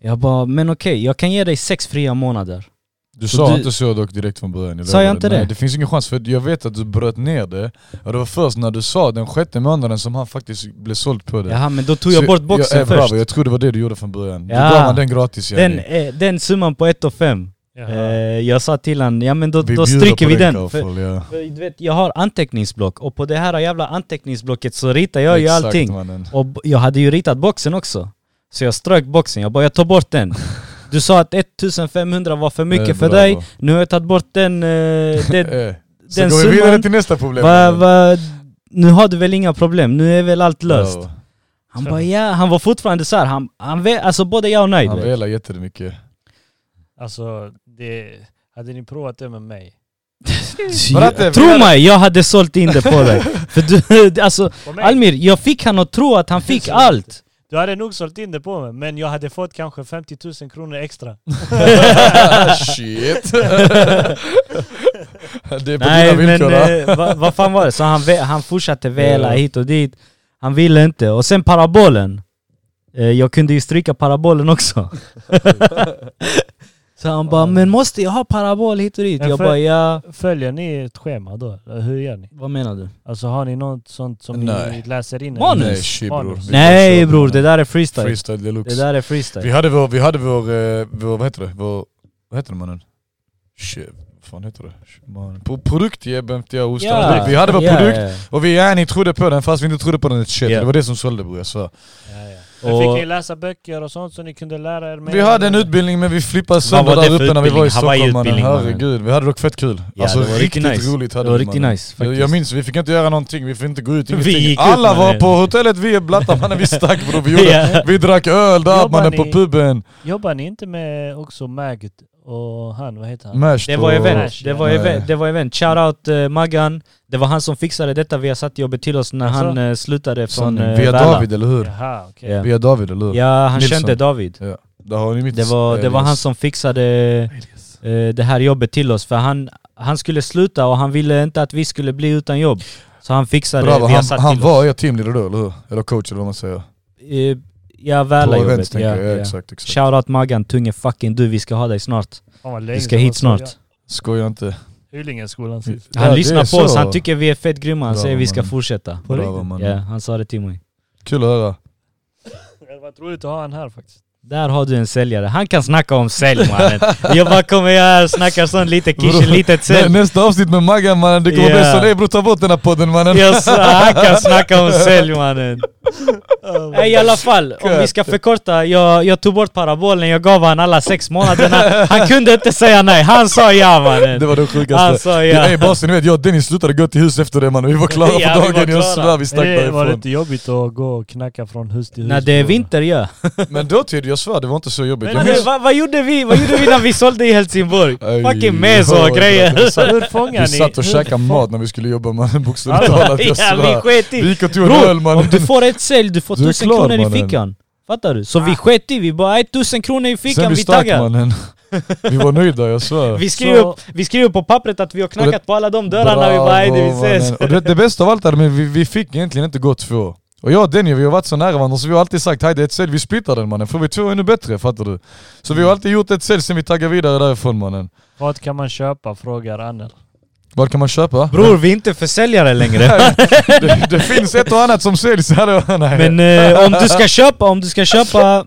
Speaker 3: Jag bara men okej, jag kan ge dig sex fria månader.
Speaker 2: Du
Speaker 3: Så
Speaker 2: sa
Speaker 3: du-
Speaker 2: inte så dock direkt från början.
Speaker 3: Sa jag
Speaker 2: lovar
Speaker 3: inte
Speaker 2: dig. Nej,
Speaker 3: det?
Speaker 2: det finns ingen chans, för jag vet att du bröt ner det. Och det var först när du sa den sjätte månaden som han faktiskt blev såld på det.
Speaker 3: Jaha men då tog jag
Speaker 2: Så-
Speaker 3: bort boxen
Speaker 2: ja,
Speaker 3: först.
Speaker 2: Bravo, jag tror det var det du gjorde från början.
Speaker 3: Ja.
Speaker 2: Du gav han den gratis
Speaker 3: den,
Speaker 2: Jenny.
Speaker 3: eh, den summan på 1 och 5. Eh,
Speaker 1: Jaha.
Speaker 3: jag sa till honom, ja men då,
Speaker 2: Vi
Speaker 3: då
Speaker 2: bjuder
Speaker 3: stryker
Speaker 2: på
Speaker 3: vi
Speaker 2: den
Speaker 3: den. För,
Speaker 2: Kaufhall, ja.
Speaker 3: För du vet, jag har anteckningsblock och på det här jävla anteckningsblocket så ritar jag ju
Speaker 2: Exakt,
Speaker 3: allting.
Speaker 2: mannen.
Speaker 3: Och b- jag hade ju ritat boxen också. Så jag strök boxen, jag bara jag tar
Speaker 2: *laughs*
Speaker 3: bort den. Du sa att 1500 var för mycket
Speaker 2: Eh,
Speaker 3: för
Speaker 2: bravo.
Speaker 3: dig, nu har jag tagit bort
Speaker 2: *laughs*
Speaker 3: den... eh, det,
Speaker 2: Eh, Så
Speaker 3: den
Speaker 2: går vi vidare
Speaker 3: summan-
Speaker 2: till nästa problem.
Speaker 3: va, va, nu har du väl inga problem, nu är väl allt löst.
Speaker 2: Bravo.
Speaker 3: Han bara ja, han var fortfarande såhär, han, han vet, alltså både ja och nej.
Speaker 2: Han
Speaker 3: du vet.
Speaker 2: velar jättemycket.
Speaker 3: *laughs*
Speaker 1: Alltså, det... Hade ni provat det med mig?
Speaker 2: Bratte,
Speaker 3: Tro mig, jag hade sålt in det på *laughs* dig. För du, alltså,
Speaker 1: På mig?
Speaker 3: Almir, jag fick han att tro att han fick allt.
Speaker 1: Du hade nog sålt in det på mig, men jag hade fått kanske
Speaker 3: *laughs*
Speaker 1: 50 000 kronor extra.
Speaker 2: Shit. Det är på
Speaker 3: Nej
Speaker 2: dina
Speaker 3: men
Speaker 2: villkor men,
Speaker 3: eh, vad vad fan var det? Så han, ve- han fortsatte vela hit och dit. Han ville inte. Och sen parabolen. Eh, Jag kunde ju stryka parabolen också. *laughs* så han bara, men måste jag ha parabol hit och dit?
Speaker 1: Men
Speaker 3: Jag
Speaker 1: för-
Speaker 3: bara, ja.
Speaker 1: Följer ni ett schema då? Eller Hur gör ni?
Speaker 3: Vad menar du?
Speaker 1: Alltså har ni något sånt som ni
Speaker 2: Nej.
Speaker 1: läser in?
Speaker 3: Manus?
Speaker 2: Nej, shit, bror.
Speaker 1: Manus.
Speaker 2: Vi
Speaker 3: Nej
Speaker 2: kör
Speaker 3: bror,
Speaker 2: med
Speaker 3: det där är freestyle.
Speaker 2: Freestyle
Speaker 3: Det
Speaker 2: deluxe.
Speaker 3: där är freestyle.
Speaker 2: Vi hade vår, vi hade vår, eh, vår vad heter det? Vår, vad heter det mannen? Shit, vad fan heter det? Shit, man. På produktjebben till jag hostade. Vi hade vår produkt och vi ja, ni trodde på den fast vi inte trodde på den ett shit.
Speaker 3: Ja.
Speaker 2: Det var det som sålde bror, jag svär.
Speaker 1: Men fick
Speaker 3: Och-
Speaker 1: ni läsa böcker och sånt så ni kunde lära er mer?
Speaker 2: Vi hade en utbildning men vi flippade sönder
Speaker 3: var det
Speaker 2: där
Speaker 3: för
Speaker 2: uppe när vi var i
Speaker 3: utbildning?
Speaker 2: Stockholm mannen.
Speaker 3: Hawaii-utbildning, mannen.
Speaker 2: Herregud, vi hade dock fett kul.
Speaker 3: Ja,
Speaker 2: alltså
Speaker 3: det var riktigt
Speaker 2: riktigt
Speaker 3: nice.
Speaker 2: roligt hade
Speaker 3: Det var
Speaker 2: vi,
Speaker 3: riktigt
Speaker 2: mannen.
Speaker 3: nice
Speaker 2: Jag,
Speaker 3: faktiskt.
Speaker 2: jag minns, vi fick inte göra någonting, vi fick inte gå ut,
Speaker 3: Vi
Speaker 2: ingenting.
Speaker 3: gick ut,
Speaker 2: Alla var
Speaker 3: mannen.
Speaker 2: på hotellet, vi är blattar mannen, vi stack
Speaker 3: *laughs*
Speaker 2: bror. Vi, gjorde,
Speaker 3: Ja.
Speaker 2: vi drack öl där
Speaker 1: Jobbar
Speaker 2: mannen
Speaker 1: ni-
Speaker 2: på puben.
Speaker 1: Jobbar ni inte med också Maggot och han, vad heter han?
Speaker 2: Mashed
Speaker 3: Det var
Speaker 2: och-
Speaker 3: event, det var
Speaker 2: Nej.
Speaker 3: event, det var event. Shoutout eh, Maggan, det var han som fixade detta, vi har satt jobbet till oss när
Speaker 1: Alltså?
Speaker 3: han eh, slutade från
Speaker 2: Sanning.
Speaker 3: eh,
Speaker 2: Via
Speaker 3: Värla.
Speaker 2: David, eller hur?
Speaker 1: Jaha, okej.
Speaker 3: Ja.
Speaker 2: Via David, eller hur?
Speaker 3: Ja, han
Speaker 2: Nilsson.
Speaker 3: kände David.
Speaker 2: Där har ni mitt
Speaker 3: Det var, det var
Speaker 2: alias.
Speaker 3: han som fixade eh, det här jobbet till oss, för han, han skulle sluta och han ville inte att vi skulle bli utan jobb. Så han fixade,
Speaker 2: Bravo,
Speaker 3: vi har
Speaker 2: han,
Speaker 3: satt
Speaker 2: han
Speaker 3: till
Speaker 2: var
Speaker 3: oss.
Speaker 2: er teamleader då, eller hur? Eller coach eller vad man säger.
Speaker 3: Eh, ja,
Speaker 2: På
Speaker 3: Värla
Speaker 2: events
Speaker 3: jobbet.
Speaker 2: tänker
Speaker 3: Ja,
Speaker 2: jag, ja,
Speaker 3: ja.
Speaker 2: exakt. exakt.
Speaker 3: Shoutout Maggan, tunge fucking du, vi ska ha dig snart.
Speaker 1: Fan, vad länge
Speaker 3: Vi ska
Speaker 1: sedan
Speaker 3: hit
Speaker 1: man såg
Speaker 3: snart.
Speaker 2: Skojar inte.
Speaker 1: jag. Hylingeskolan sist.
Speaker 2: Ja,
Speaker 3: Han
Speaker 2: det är
Speaker 3: lyssnar på oss,
Speaker 2: så.
Speaker 3: han tycker vi är fett grymma, han
Speaker 2: Bra,
Speaker 3: säger vi ska
Speaker 2: mannen.
Speaker 3: fortsätta.
Speaker 1: På
Speaker 2: Bravo
Speaker 1: riktigt.
Speaker 2: man.
Speaker 3: Ja, han sa det till mig.
Speaker 2: Kul att höra.
Speaker 1: Det hade varit Mm. roligt att ha han här faktiskt.
Speaker 3: Där har du en säljare, han kan snacka om sälj mannen. Jag bara kommer här och snackar sånt lite kishen,
Speaker 2: Bro.
Speaker 3: litet
Speaker 2: Nä,
Speaker 3: sälj.
Speaker 2: nästa avsnitt med Maggan mannen, det kommer
Speaker 3: Ja.
Speaker 2: bli så. Ey bror ta bort den här podden mannen.
Speaker 3: Jag sa, han kan snacka om sälj mannen. *laughs* Nej i alla fall, om vi ska förkorta, jag, jag tog bort parabolen, jag gav han alla sex månaderna. Han kunde inte säga nej, han sa ja
Speaker 2: Det
Speaker 3: mannen.
Speaker 2: var det
Speaker 3: Han
Speaker 2: sjukaste. Ja.
Speaker 3: sa ja.
Speaker 2: Ey basen, ni vet jag och Dennis slutade gå till hus efter det mannen. Vi var klara
Speaker 3: Ja,
Speaker 2: på
Speaker 3: vi var
Speaker 2: dagen, jag
Speaker 3: klara.
Speaker 2: svär vi stack
Speaker 1: Det var
Speaker 2: därifrån.
Speaker 1: lite jobbigt att gå och knacka från hus till hus.
Speaker 3: När det är vinter ja.
Speaker 2: Men dåtid, jag svär det var inte så jobbigt.
Speaker 1: Men
Speaker 2: Jag
Speaker 1: nu,
Speaker 2: minns-
Speaker 3: Vad vad gjorde vi? Vad gjorde vi när vi sålde i Helsingborg?
Speaker 2: Ej,
Speaker 3: Fucking meso och
Speaker 2: ja,
Speaker 1: *laughs*
Speaker 3: grejer.
Speaker 1: Så hur fångar
Speaker 2: Vi
Speaker 1: ni?
Speaker 2: satt och
Speaker 1: hur-
Speaker 2: käkade mat när vi skulle jobba mannen, bokstavligt
Speaker 1: Alltså,
Speaker 2: talat. Jag
Speaker 3: *laughs* Ja, vi
Speaker 2: svär.
Speaker 3: sket i.
Speaker 2: Vi gick och tog en öl
Speaker 3: Bror,
Speaker 2: *laughs*
Speaker 3: om
Speaker 2: mannen.
Speaker 3: du får ett sälj, du får
Speaker 2: Du är
Speaker 3: tusen
Speaker 2: klar,
Speaker 3: kronor i
Speaker 2: mannen.
Speaker 3: fickan. Fattar du? Så
Speaker 1: Ah.
Speaker 3: vi sket i, vi bara "Ey, tusen kronor i
Speaker 2: Sen
Speaker 3: fickan,
Speaker 2: vi
Speaker 3: vi
Speaker 2: stack
Speaker 3: taggar.
Speaker 2: mannen. Vi var nöjda, jag svär.
Speaker 3: Vi skriver,
Speaker 1: Så-
Speaker 3: upp, vi skriver på pappret att vi har
Speaker 2: Och
Speaker 3: knackat på alla de dörrarna, vi bara "Ey, det vi
Speaker 2: Bravo,
Speaker 3: ses.
Speaker 2: mannen. Och det, det bästa av allt är att vi, vi fick egentligen inte gå två. Och jag och Denny, vi har varit så nära varandra så vi har alltid sagt hej det är ett sälj, vi splittar den mannen. Får vi två ännu bättre, fattar du? Så vi har alltid gjort ett sälj sen vi taggar vidare därifrån mannen.
Speaker 1: Vad kan man köpa? Frågar Annel.
Speaker 2: Vad kan man köpa?
Speaker 3: Bror, vi är inte försäljare längre.
Speaker 2: *laughs* det, det finns ett och annat som säljs här och nej.
Speaker 3: Men eh, om du ska köpa, om du ska köpa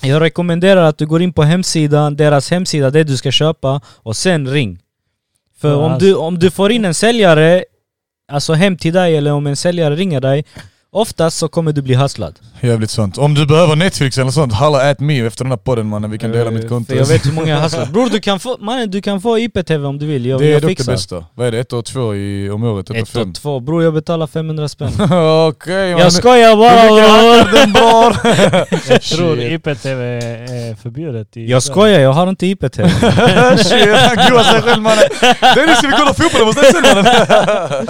Speaker 3: jag rekommenderar att du går in på hemsidan, deras hemsida, det du ska köpa och sen ring. För
Speaker 1: Ja,
Speaker 3: om,
Speaker 1: alltså.
Speaker 3: du, om du får in en säljare, alltså hem till dig eller om en säljare ringer dig, oftast så kommer du bli hustlad.
Speaker 2: Jävligt sant. Om du behöver Netflix eller sånt, halla at me efter den här podden mannen, vi kan dela
Speaker 3: Eh,
Speaker 2: mitt konto.
Speaker 3: För jag vet hur många jag hustlar. Bror du kan få, mannen, du kan få IPTV om du vill, jag,
Speaker 2: det är
Speaker 3: jag
Speaker 2: dock det
Speaker 3: fixar.
Speaker 2: bästa. Vad är det, ett och två i, om året? Ett, och
Speaker 3: Ett
Speaker 2: fem?
Speaker 3: och två, bror jag betalar 500 spänn.
Speaker 2: *laughs* Okej mannen.
Speaker 3: jag skojar
Speaker 2: Hur mycket
Speaker 3: bara!
Speaker 2: hattar den bar?
Speaker 1: Jag tror
Speaker 2: Shit.
Speaker 1: IPTV är förbjudet i
Speaker 3: *laughs* Jag skojar, jag har
Speaker 2: *laughs*
Speaker 3: inte IPTV.
Speaker 2: *laughs* Shit, han goar sig själv mannen. Dennis ska vi kolla fotboll? Jag måste sen
Speaker 3: *laughs*
Speaker 2: mannen.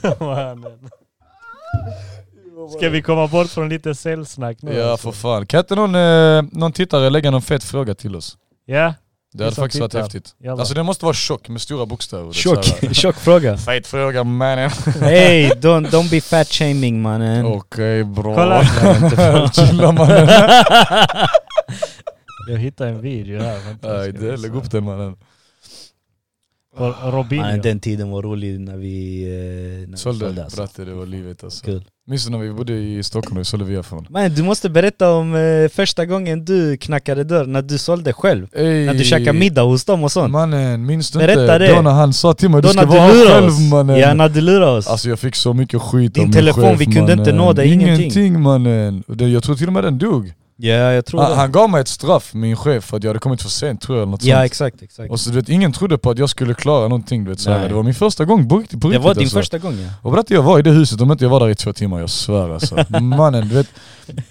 Speaker 1: Kaos. Mannen. Ska vi komma bort från lite säljsnack nu?
Speaker 2: Ja
Speaker 1: alltså?
Speaker 2: för fan. Kan inte någon, eh, någon tittare lägga någon fet fråga till oss?
Speaker 1: Ja,
Speaker 2: Det hade
Speaker 1: som
Speaker 2: faktiskt
Speaker 1: tittar.
Speaker 2: varit häftigt.
Speaker 1: Jalla.
Speaker 2: Alltså den måste vara tjock med stora bokstäver. Det är
Speaker 3: Tjock,
Speaker 2: så här, *laughs*
Speaker 3: *laughs* tjock fråga.
Speaker 2: Fet fråga mannen.
Speaker 3: Hey, don't, don't be fat shaming mannen.
Speaker 2: Okej bra.
Speaker 1: Kolla.
Speaker 2: *laughs* Chilla mannen.
Speaker 1: jag hittade en video här. Vänta,
Speaker 2: Nej
Speaker 1: jag ska
Speaker 2: det,
Speaker 1: visa.
Speaker 2: lägg upp den mannen.
Speaker 1: På Robinho.
Speaker 3: *laughs* mannen. Den tiden var rolig när vi eh, när vi
Speaker 2: Sålde
Speaker 3: alltså.
Speaker 2: bratte, det var livet alltså.
Speaker 3: Kul.
Speaker 2: Minns du när vi bodde i Stockholm och sålde via fan?
Speaker 3: Men du måste berätta om eh, första gången du knackade dörr, när du sålde själv.
Speaker 2: Ey.
Speaker 3: När du käkade middag hos dem och sånt.
Speaker 2: Mannen, minns du
Speaker 3: Berätta
Speaker 2: inte?
Speaker 3: det.
Speaker 2: Då när han sa till mig
Speaker 3: Då
Speaker 2: du
Speaker 3: när
Speaker 2: ska
Speaker 3: du
Speaker 2: vara
Speaker 3: lurade
Speaker 2: själv
Speaker 3: oss.
Speaker 2: mannen.
Speaker 3: Ja, när du lurade oss.
Speaker 2: Alltså jag fick så mycket skit
Speaker 3: Din
Speaker 2: av min
Speaker 3: telefon,
Speaker 2: chef,
Speaker 3: vi kunde inte
Speaker 2: mannen.
Speaker 3: nå dig, ingenting.
Speaker 2: Ingenting mannen. Det- Jag tror till och med den dog.
Speaker 3: ja, jag tror
Speaker 2: Han,
Speaker 3: det.
Speaker 2: Ah, han gav mig ett straff, min chef, för att jag hade kommit för sent tror jag eller något
Speaker 3: Ja,
Speaker 2: sånt.
Speaker 3: exakt, exakt.
Speaker 2: Och så du vet, ingen trodde på att jag skulle klara någonting du vet såhär.
Speaker 3: Nej.
Speaker 2: Det var min första gång på riktigt på
Speaker 3: Det
Speaker 2: riktigt,
Speaker 3: var din
Speaker 2: alltså.
Speaker 3: första gång ja.
Speaker 2: Och berätta jag var i det huset om inte jag var där i två timmar, jag svär alltså. Mannen, du vet.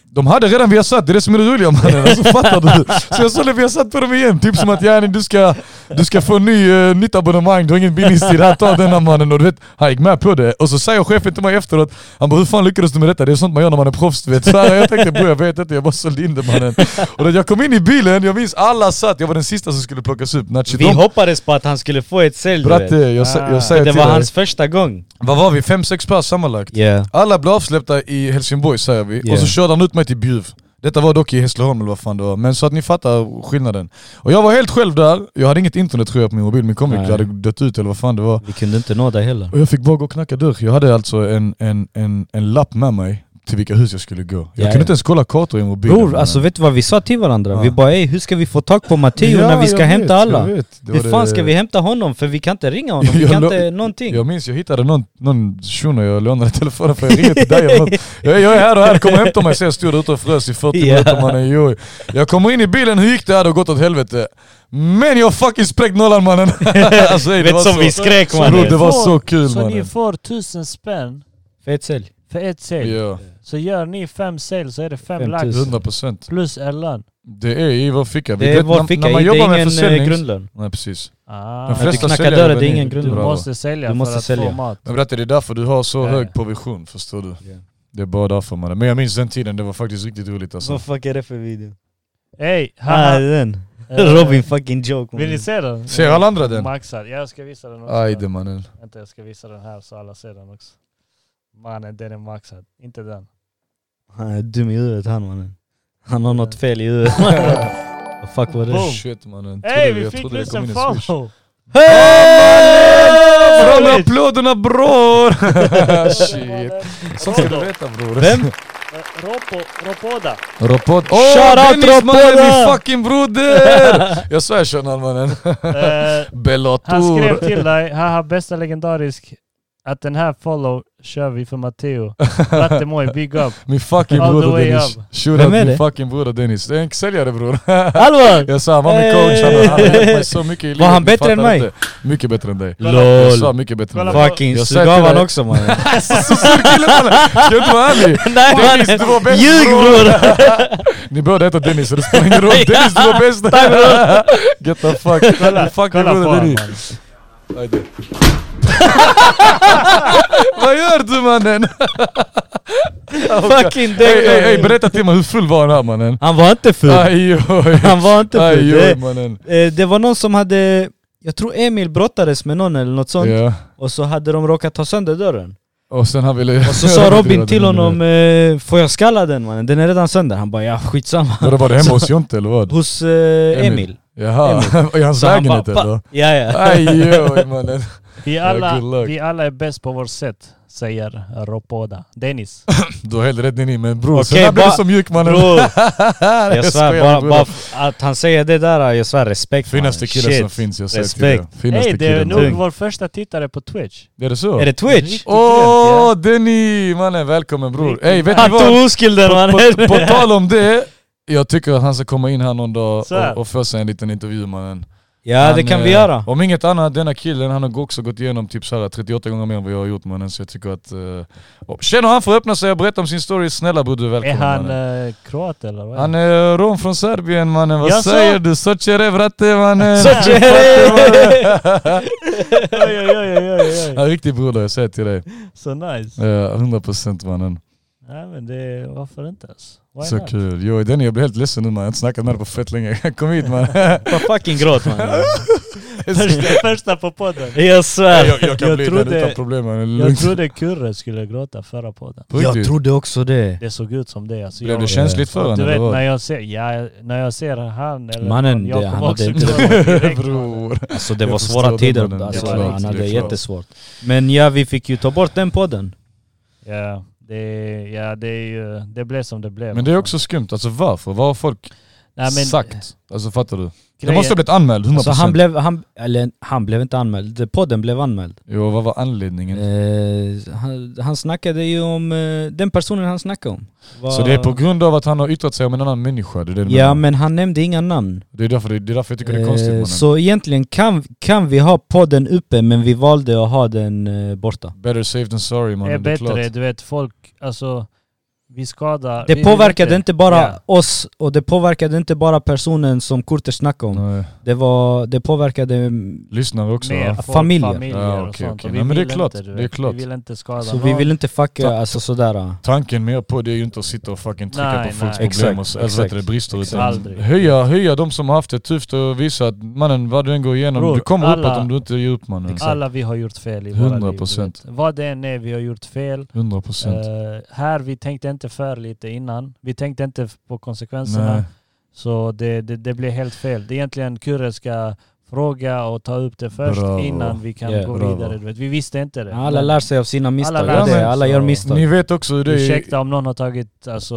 Speaker 2: De hade redan Viasat, det är det som är det roliga mannen. Alltså fattar du? Så jag sålde Viasat på dem igen, typ som att yani du ska, Du ska få ny, eh, nytt abonnemang, du har ingen bindningstid, här ta denna mannen. Och du vet, han gick med på det. Och så säger chefen till mig efteråt, han bara hur fan lyckades du med detta? Det är sånt man gör när man är proffs du vet. Så här, jag tänkte bror jag vet inte, jag bara sålde in det mannen. Och då, jag kom in i bilen, jag minns alla satt, jag var den sista som skulle plockas upp. Nachi,
Speaker 3: Vi hoppades på att han skulle få ett sälj du vet.
Speaker 2: Bratte, jag, sä-
Speaker 1: Ah.
Speaker 2: jag säger
Speaker 3: Det
Speaker 2: eh, till
Speaker 3: var
Speaker 2: dig.
Speaker 3: hans första gång.
Speaker 2: Vad var vi? Fem, sex pers sammanlagt?
Speaker 3: Yeah.
Speaker 2: Alla blev avsläppta i Helsingborg säger vi, och
Speaker 3: Ja.
Speaker 2: så körde han ut mig till Bjuv. Detta var dock i Hässleholm eller vad fan det var, men så att ni fattar skillnaden. Och jag var helt själv där, jag hade inget internet tror jag på min mobil, min komik
Speaker 3: Nej.
Speaker 2: hade dött ut eller vad fan det var.
Speaker 3: Vi kunde inte nå dig heller.
Speaker 2: Och jag fick bara gå och knacka dörr. Jag hade alltså en, en, en, en lapp med mig till vilka hus jag skulle gå. Jag
Speaker 3: Ja,
Speaker 2: kunde
Speaker 3: ja.
Speaker 2: inte ens kolla kartor i mobilen.
Speaker 3: Bror, alltså vet du vad vi sa till varandra?
Speaker 2: Ja.
Speaker 3: Vi bara ey, hur ska vi få tag på Matteo
Speaker 2: Ja,
Speaker 3: när vi
Speaker 2: jag
Speaker 3: ska
Speaker 2: vet,
Speaker 3: hämta alla?
Speaker 2: jag vet. Det var
Speaker 3: Hur fan
Speaker 2: det-
Speaker 3: ska vi hämta honom? För vi kan inte ringa honom, vi
Speaker 2: Jag
Speaker 3: kan
Speaker 2: lo-
Speaker 3: inte någonting.
Speaker 2: Jag minns jag hittade någon, någon shuno jag lånade telefonen för jag ringde till dig
Speaker 3: *laughs*
Speaker 2: jag, jag, jag är här och här, kom och hämta mig. Så jag stod där ute och frös i 40
Speaker 3: Ja.
Speaker 2: minuter mannen. Jo. Jag kommer in i bilen, hur gick det? Det hade gått åt helvete. Men jag har fucking spräckt nollan
Speaker 3: *laughs*
Speaker 2: mannen! alltså, ey, det
Speaker 3: Vet
Speaker 2: var
Speaker 3: som
Speaker 2: så-
Speaker 3: vi skrek
Speaker 2: Så
Speaker 1: ni
Speaker 2: det
Speaker 3: mannen.
Speaker 2: var
Speaker 1: får-
Speaker 2: så kul,
Speaker 1: Så ni
Speaker 2: mannen.
Speaker 1: får tusen spänn
Speaker 3: Fett sälj.
Speaker 1: för ett sale.
Speaker 2: Ja,
Speaker 1: Så gör ni fem sale så är det fem
Speaker 3: Fem
Speaker 1: lax
Speaker 3: tusen.
Speaker 2: 100%.
Speaker 1: plus Ellan.
Speaker 2: Det är i vår ficka. Vi
Speaker 3: Det är
Speaker 2: vet,
Speaker 3: vår
Speaker 2: när-
Speaker 3: ficka,
Speaker 2: när
Speaker 3: det
Speaker 2: man jobbar
Speaker 3: är
Speaker 2: med
Speaker 3: ingen eh,
Speaker 2: försäljning-
Speaker 3: grundlön.
Speaker 2: Nej precis.
Speaker 1: Ah,
Speaker 2: De flesta
Speaker 3: knackar
Speaker 2: säljare
Speaker 3: dörr, det är
Speaker 2: vänder
Speaker 3: ingen
Speaker 2: in.
Speaker 3: grund.
Speaker 1: du
Speaker 3: grundlön.
Speaker 2: Bravo.
Speaker 1: måste sälja
Speaker 3: Du måste
Speaker 1: för att
Speaker 3: sälja.
Speaker 1: få mat.
Speaker 2: Men berätta, det är därför du har så
Speaker 3: Ja, ja.
Speaker 2: hög provision, förstår du? Det är bara därför mannen. Men jag minns den tiden, det var faktiskt riktigt roligt alltså.
Speaker 3: Vad fuck är det för video?
Speaker 1: Hej!
Speaker 3: Ah,
Speaker 1: haha.
Speaker 3: den.
Speaker 1: Eh,
Speaker 3: Robin fucking joke.
Speaker 1: Vill ni se den?
Speaker 2: Ser alla andra den?
Speaker 1: Maxar. Jag ska visa den också.
Speaker 2: Ajde mannen.
Speaker 1: Vänta jag ska visa den här så alla ser den också. Mannen den är maxad. Inte
Speaker 2: *laughs*
Speaker 1: den.
Speaker 3: Han är dum i huvudet han mannen. Han har något fel
Speaker 1: *laughs*
Speaker 3: i huvudet. *laughs* Vad fuck var
Speaker 1: Boom.
Speaker 3: det?
Speaker 2: Shit mannen.
Speaker 1: Hej
Speaker 2: Trodde
Speaker 1: vi
Speaker 2: jag
Speaker 1: fick liksom
Speaker 2: trodde det
Speaker 1: tusen *laughs*
Speaker 2: kom in en swish.
Speaker 1: follow!
Speaker 2: Bra med
Speaker 1: Roligt. *laughs*
Speaker 2: applåderna bror! *laughs*
Speaker 1: Eh,
Speaker 2: Shit. Sånt ska du
Speaker 1: Rodo.
Speaker 2: veta bror.
Speaker 3: Vem?
Speaker 1: Eh, Ropo, Ropoda.
Speaker 2: Ropod. Åh
Speaker 3: Shout out,
Speaker 2: Dennis mannen,
Speaker 3: Ropoda!
Speaker 2: min fucking broder! *laughs* Jag svär shunon mannen.
Speaker 1: Eh, han skrev
Speaker 2: Bellator.
Speaker 1: till dig, haha bästa legendarisk att den här follow kör vi för Matteo. Rattemoy, big
Speaker 2: *laughs*
Speaker 1: up.
Speaker 2: Min fucking
Speaker 1: All the
Speaker 2: broder
Speaker 1: way
Speaker 2: Dennis.
Speaker 1: up.
Speaker 2: Shoot
Speaker 3: Vem
Speaker 2: out
Speaker 3: är
Speaker 2: min
Speaker 3: det?
Speaker 2: fucking broder Dennis. Det är en säljare bror. *laughs*
Speaker 3: Allvar!
Speaker 2: Jag sa han var min coach, han har- han har hjälpt mig så mycket i livet.
Speaker 3: Var han
Speaker 2: ni
Speaker 3: bättre än
Speaker 2: fattar
Speaker 3: mig?
Speaker 2: inte. Mycket bättre än dig. Jag sa
Speaker 3: LOL.
Speaker 2: mycket bättre än
Speaker 1: Kolla
Speaker 2: dig.
Speaker 3: Fucking
Speaker 2: Jag
Speaker 3: sug
Speaker 2: säger
Speaker 3: av
Speaker 2: till
Speaker 3: han
Speaker 2: dig. *laughs*
Speaker 3: också mannen.
Speaker 2: Så sur kille mannen! Ska jag inte vara ärlig?
Speaker 3: *laughs* Nej
Speaker 2: Dennis, du var bäst
Speaker 3: Ljug
Speaker 2: bror!
Speaker 3: bror!
Speaker 2: Ni båda heter Dennis så det spelar
Speaker 3: *laughs*
Speaker 2: ingen roll. Dennis du var bäst! Get the fuck!
Speaker 1: Kolla,
Speaker 2: fucking
Speaker 1: kolla på
Speaker 2: broder
Speaker 1: honom.
Speaker 2: Dennis. Ajde. *laughs* Vad gör du mannen?
Speaker 3: Fucking
Speaker 2: Ey, ey, ey,
Speaker 3: däck!
Speaker 2: berätta till mig, hur full var han här mannen?
Speaker 3: Han var inte full.
Speaker 2: Aj oj.
Speaker 3: Han var inte full.
Speaker 2: Aj oj
Speaker 3: Det,
Speaker 2: mannen.
Speaker 3: eh, det var någon som hade, jag tror Emil brottades med någon eller något sånt.
Speaker 2: Ja.
Speaker 3: Och så hade de råkat ta sönder dörren.
Speaker 2: Och sen han ville... *laughs*
Speaker 3: Och så sa Robin till honom, eh, får jag skalla den mannen? Den är redan sönder. Han bara,
Speaker 2: *laughs*
Speaker 3: ja skitsamma.
Speaker 2: Vadå var det hemma hos Jonte eller vad?
Speaker 3: Hos eh, Emil.
Speaker 2: Jaha, *laughs* i hans
Speaker 3: Så han bara,
Speaker 2: lägenhet
Speaker 3: pa-
Speaker 2: eller?
Speaker 3: ja
Speaker 2: *laughs*
Speaker 3: ja.
Speaker 2: Aj oj mannen.
Speaker 1: Vi
Speaker 2: Ja,
Speaker 1: alla,
Speaker 2: good luck.
Speaker 1: vi alla är bäst på vårt sätt, säger Ropoda. Dennis.
Speaker 2: Du har helt rätt Nini, men bror
Speaker 3: Okej,
Speaker 2: sen här blev
Speaker 3: bara-
Speaker 2: det så mjuk mannen. *laughs*
Speaker 3: Bror,
Speaker 2: jag,
Speaker 3: jag svär bara, bara f- att han säger det där, jag svär respekt
Speaker 2: Finaste
Speaker 3: mannen.
Speaker 2: killen
Speaker 3: Shit.
Speaker 2: som finns, jag säger till dig.
Speaker 3: Respekt.
Speaker 2: Finaste
Speaker 1: Hej, det är
Speaker 2: killen.
Speaker 1: nog
Speaker 3: Tungt.
Speaker 1: vår första tittare på Twitch.
Speaker 2: Är det så?
Speaker 3: Är det
Speaker 2: Mm.
Speaker 3: Twitch?
Speaker 2: Åh Denny! Mannen välkommen bror.
Speaker 1: Riktigt.
Speaker 2: Ey vet ni
Speaker 3: Han
Speaker 2: vad?
Speaker 3: tog oskulden
Speaker 2: På, *laughs*
Speaker 3: mannen!
Speaker 2: på tal om det, jag tycker att han ska komma in här någon dag
Speaker 1: Så här.
Speaker 2: och, och få sig en liten intervju mannen.
Speaker 3: Ja det
Speaker 2: Han,
Speaker 3: kan vi
Speaker 2: eh,
Speaker 3: göra.
Speaker 2: Om inget annat, denna killen han har också gått igenom typ så här 38 gånger mer än vad jag har gjort mannen. Så jag tycker att... eh, och känner han får öppna sig och berätta om sin story, snälla bror du är
Speaker 1: Är
Speaker 2: välkommen
Speaker 1: han
Speaker 2: mannen.
Speaker 1: eh, kroat eller vad?
Speaker 2: Han är eh, rom från Serbien mannen, vad
Speaker 1: Jaså?
Speaker 2: säger du? Soccere vratte mannen!
Speaker 1: *laughs*
Speaker 3: Soccere!
Speaker 1: oj, oj, oj, oj, oj, oj.
Speaker 2: *laughs* Ja, riktig broder, jag säger till dig.
Speaker 1: Så nice.
Speaker 2: Eh, 100% mannen.
Speaker 1: Nej men det, varför inte ens? Why
Speaker 2: Så
Speaker 1: not?
Speaker 2: kul. Jo, Denny jag blir helt ledsen nu man, jag har inte snackat med dig på fett länge. *laughs* Kom hit man.
Speaker 3: Vad fucking gråt mannen.
Speaker 1: Första, första på podden.
Speaker 3: *laughs* Jag svär.
Speaker 2: jag, jag kan
Speaker 1: Jag
Speaker 2: bli
Speaker 1: trodde-
Speaker 2: den utan problem mannen.
Speaker 1: Jag
Speaker 2: Lugnt.
Speaker 1: trodde Kurre skulle gråta förra podden.
Speaker 2: På riktigt.
Speaker 3: trodde också det.
Speaker 1: Det såg ut som det. Alltså,
Speaker 2: Blev det
Speaker 1: jag,
Speaker 2: känsligt för honom?
Speaker 1: du
Speaker 2: eller
Speaker 1: vet
Speaker 2: vad?
Speaker 1: när jag ser, ja, när jag ser han eller
Speaker 3: Mannen,
Speaker 1: någon, jag
Speaker 3: det-
Speaker 1: kommer
Speaker 3: han hade
Speaker 1: också
Speaker 3: inte-
Speaker 1: gråta direkt.
Speaker 2: *laughs* Bror.
Speaker 3: Alltså det
Speaker 2: Jag
Speaker 3: var
Speaker 2: förstår
Speaker 3: svåra
Speaker 2: det,
Speaker 3: tider,
Speaker 2: mannen.
Speaker 3: alltså,
Speaker 1: Det var
Speaker 3: han
Speaker 2: riktigt,
Speaker 3: hade
Speaker 2: det är klart.
Speaker 3: jättesvårt. Men ja, vi fick ju ta bort den podden.
Speaker 1: Ja, det, ja det, är ju, det blev som det blev.
Speaker 2: Men det är också skumt, alltså varför? Vad har folk
Speaker 1: Nej, men
Speaker 2: sagt? Alltså fattar du? Det
Speaker 1: grejen-
Speaker 2: måste ha blivit anmäld, 100%.
Speaker 3: Så Alltså, han blev, han, eller han blev inte anmäld, podden blev anmäld.
Speaker 2: Jo, vad var anledningen?
Speaker 3: Eh, han, han snackade ju om, eh, den personen han snackade om. var-
Speaker 2: Så det är på grund av att han har yttrat sig om en annan människa? Det är, det du menar?
Speaker 3: Ja men han nämnde inga namn.
Speaker 2: det är, därför, det är därför jag tycker det är konstigt
Speaker 3: Eh,
Speaker 2: mannen.
Speaker 3: så egentligen kan, kan vi ha podden uppe men vi valde att ha den eh, borta.
Speaker 2: Better safe than sorry mannen,
Speaker 1: är
Speaker 2: det är
Speaker 1: bättre,
Speaker 2: klart.
Speaker 1: du vet folk, alltså vi skadar...
Speaker 3: Det
Speaker 1: vi
Speaker 3: påverkade inte bara
Speaker 1: Ja.
Speaker 3: oss och det påverkade inte bara personen som Kurter snackade om.
Speaker 2: Nej.
Speaker 3: Det, var, det påverkade... mm,
Speaker 2: Lyssnare också
Speaker 1: Mer
Speaker 2: va?
Speaker 1: folk,
Speaker 3: Familjer.
Speaker 1: familjer
Speaker 2: Ja,
Speaker 1: och
Speaker 2: okej,
Speaker 1: sånt.
Speaker 2: okej.
Speaker 1: Och vi
Speaker 2: Nej, men det är
Speaker 1: vill
Speaker 2: klart,
Speaker 1: Inte, du
Speaker 2: det är
Speaker 1: vet.
Speaker 2: klart.
Speaker 1: Vi vill inte skada
Speaker 3: Så
Speaker 1: någon.
Speaker 3: Alltså, vi vill inte fucka
Speaker 2: Ta-
Speaker 3: alltså sådär.
Speaker 2: Tanken mer på det är ju inte att sitta och fucking trycka
Speaker 1: Nej,
Speaker 2: på folks
Speaker 1: nej.
Speaker 2: problem och
Speaker 3: Exakt,
Speaker 2: eller vad heter det,
Speaker 3: exakt.
Speaker 2: brister utan
Speaker 1: Aldrig.
Speaker 2: höja, höja de som har haft det tufft och visa att mannen vad du än går igenom,
Speaker 1: Bror,
Speaker 2: du kommer uppåt
Speaker 1: alla-
Speaker 2: om du inte ger upp mannen.
Speaker 3: Exakt.
Speaker 1: Alla vi har gjort fel i våra liv.
Speaker 2: 100%.
Speaker 1: du vet. Vad det än är, vi har gjort fel.
Speaker 2: 100 procent.
Speaker 1: Eh, här, vi tänkte inte för lite innan. Vi tänkte inte f- på konsekvenserna.
Speaker 2: Nej,
Speaker 1: Så det, det, det blir helt fel. Det är egentligen Kurre ska fråga och ta upp det först
Speaker 2: Bravo.
Speaker 1: innan vi kan
Speaker 3: Ja,
Speaker 1: gå
Speaker 2: bravo.
Speaker 1: vidare. Du vet. Vi visste inte det.
Speaker 3: Alla
Speaker 1: Men
Speaker 3: lär sig av sina misstag.
Speaker 1: lär
Speaker 3: Alla,
Speaker 2: sig.
Speaker 3: det, alla gör
Speaker 1: Så-
Speaker 3: misstag.
Speaker 2: ni vet också hur det är.
Speaker 1: Ursäkta om någon har tagit, alltså,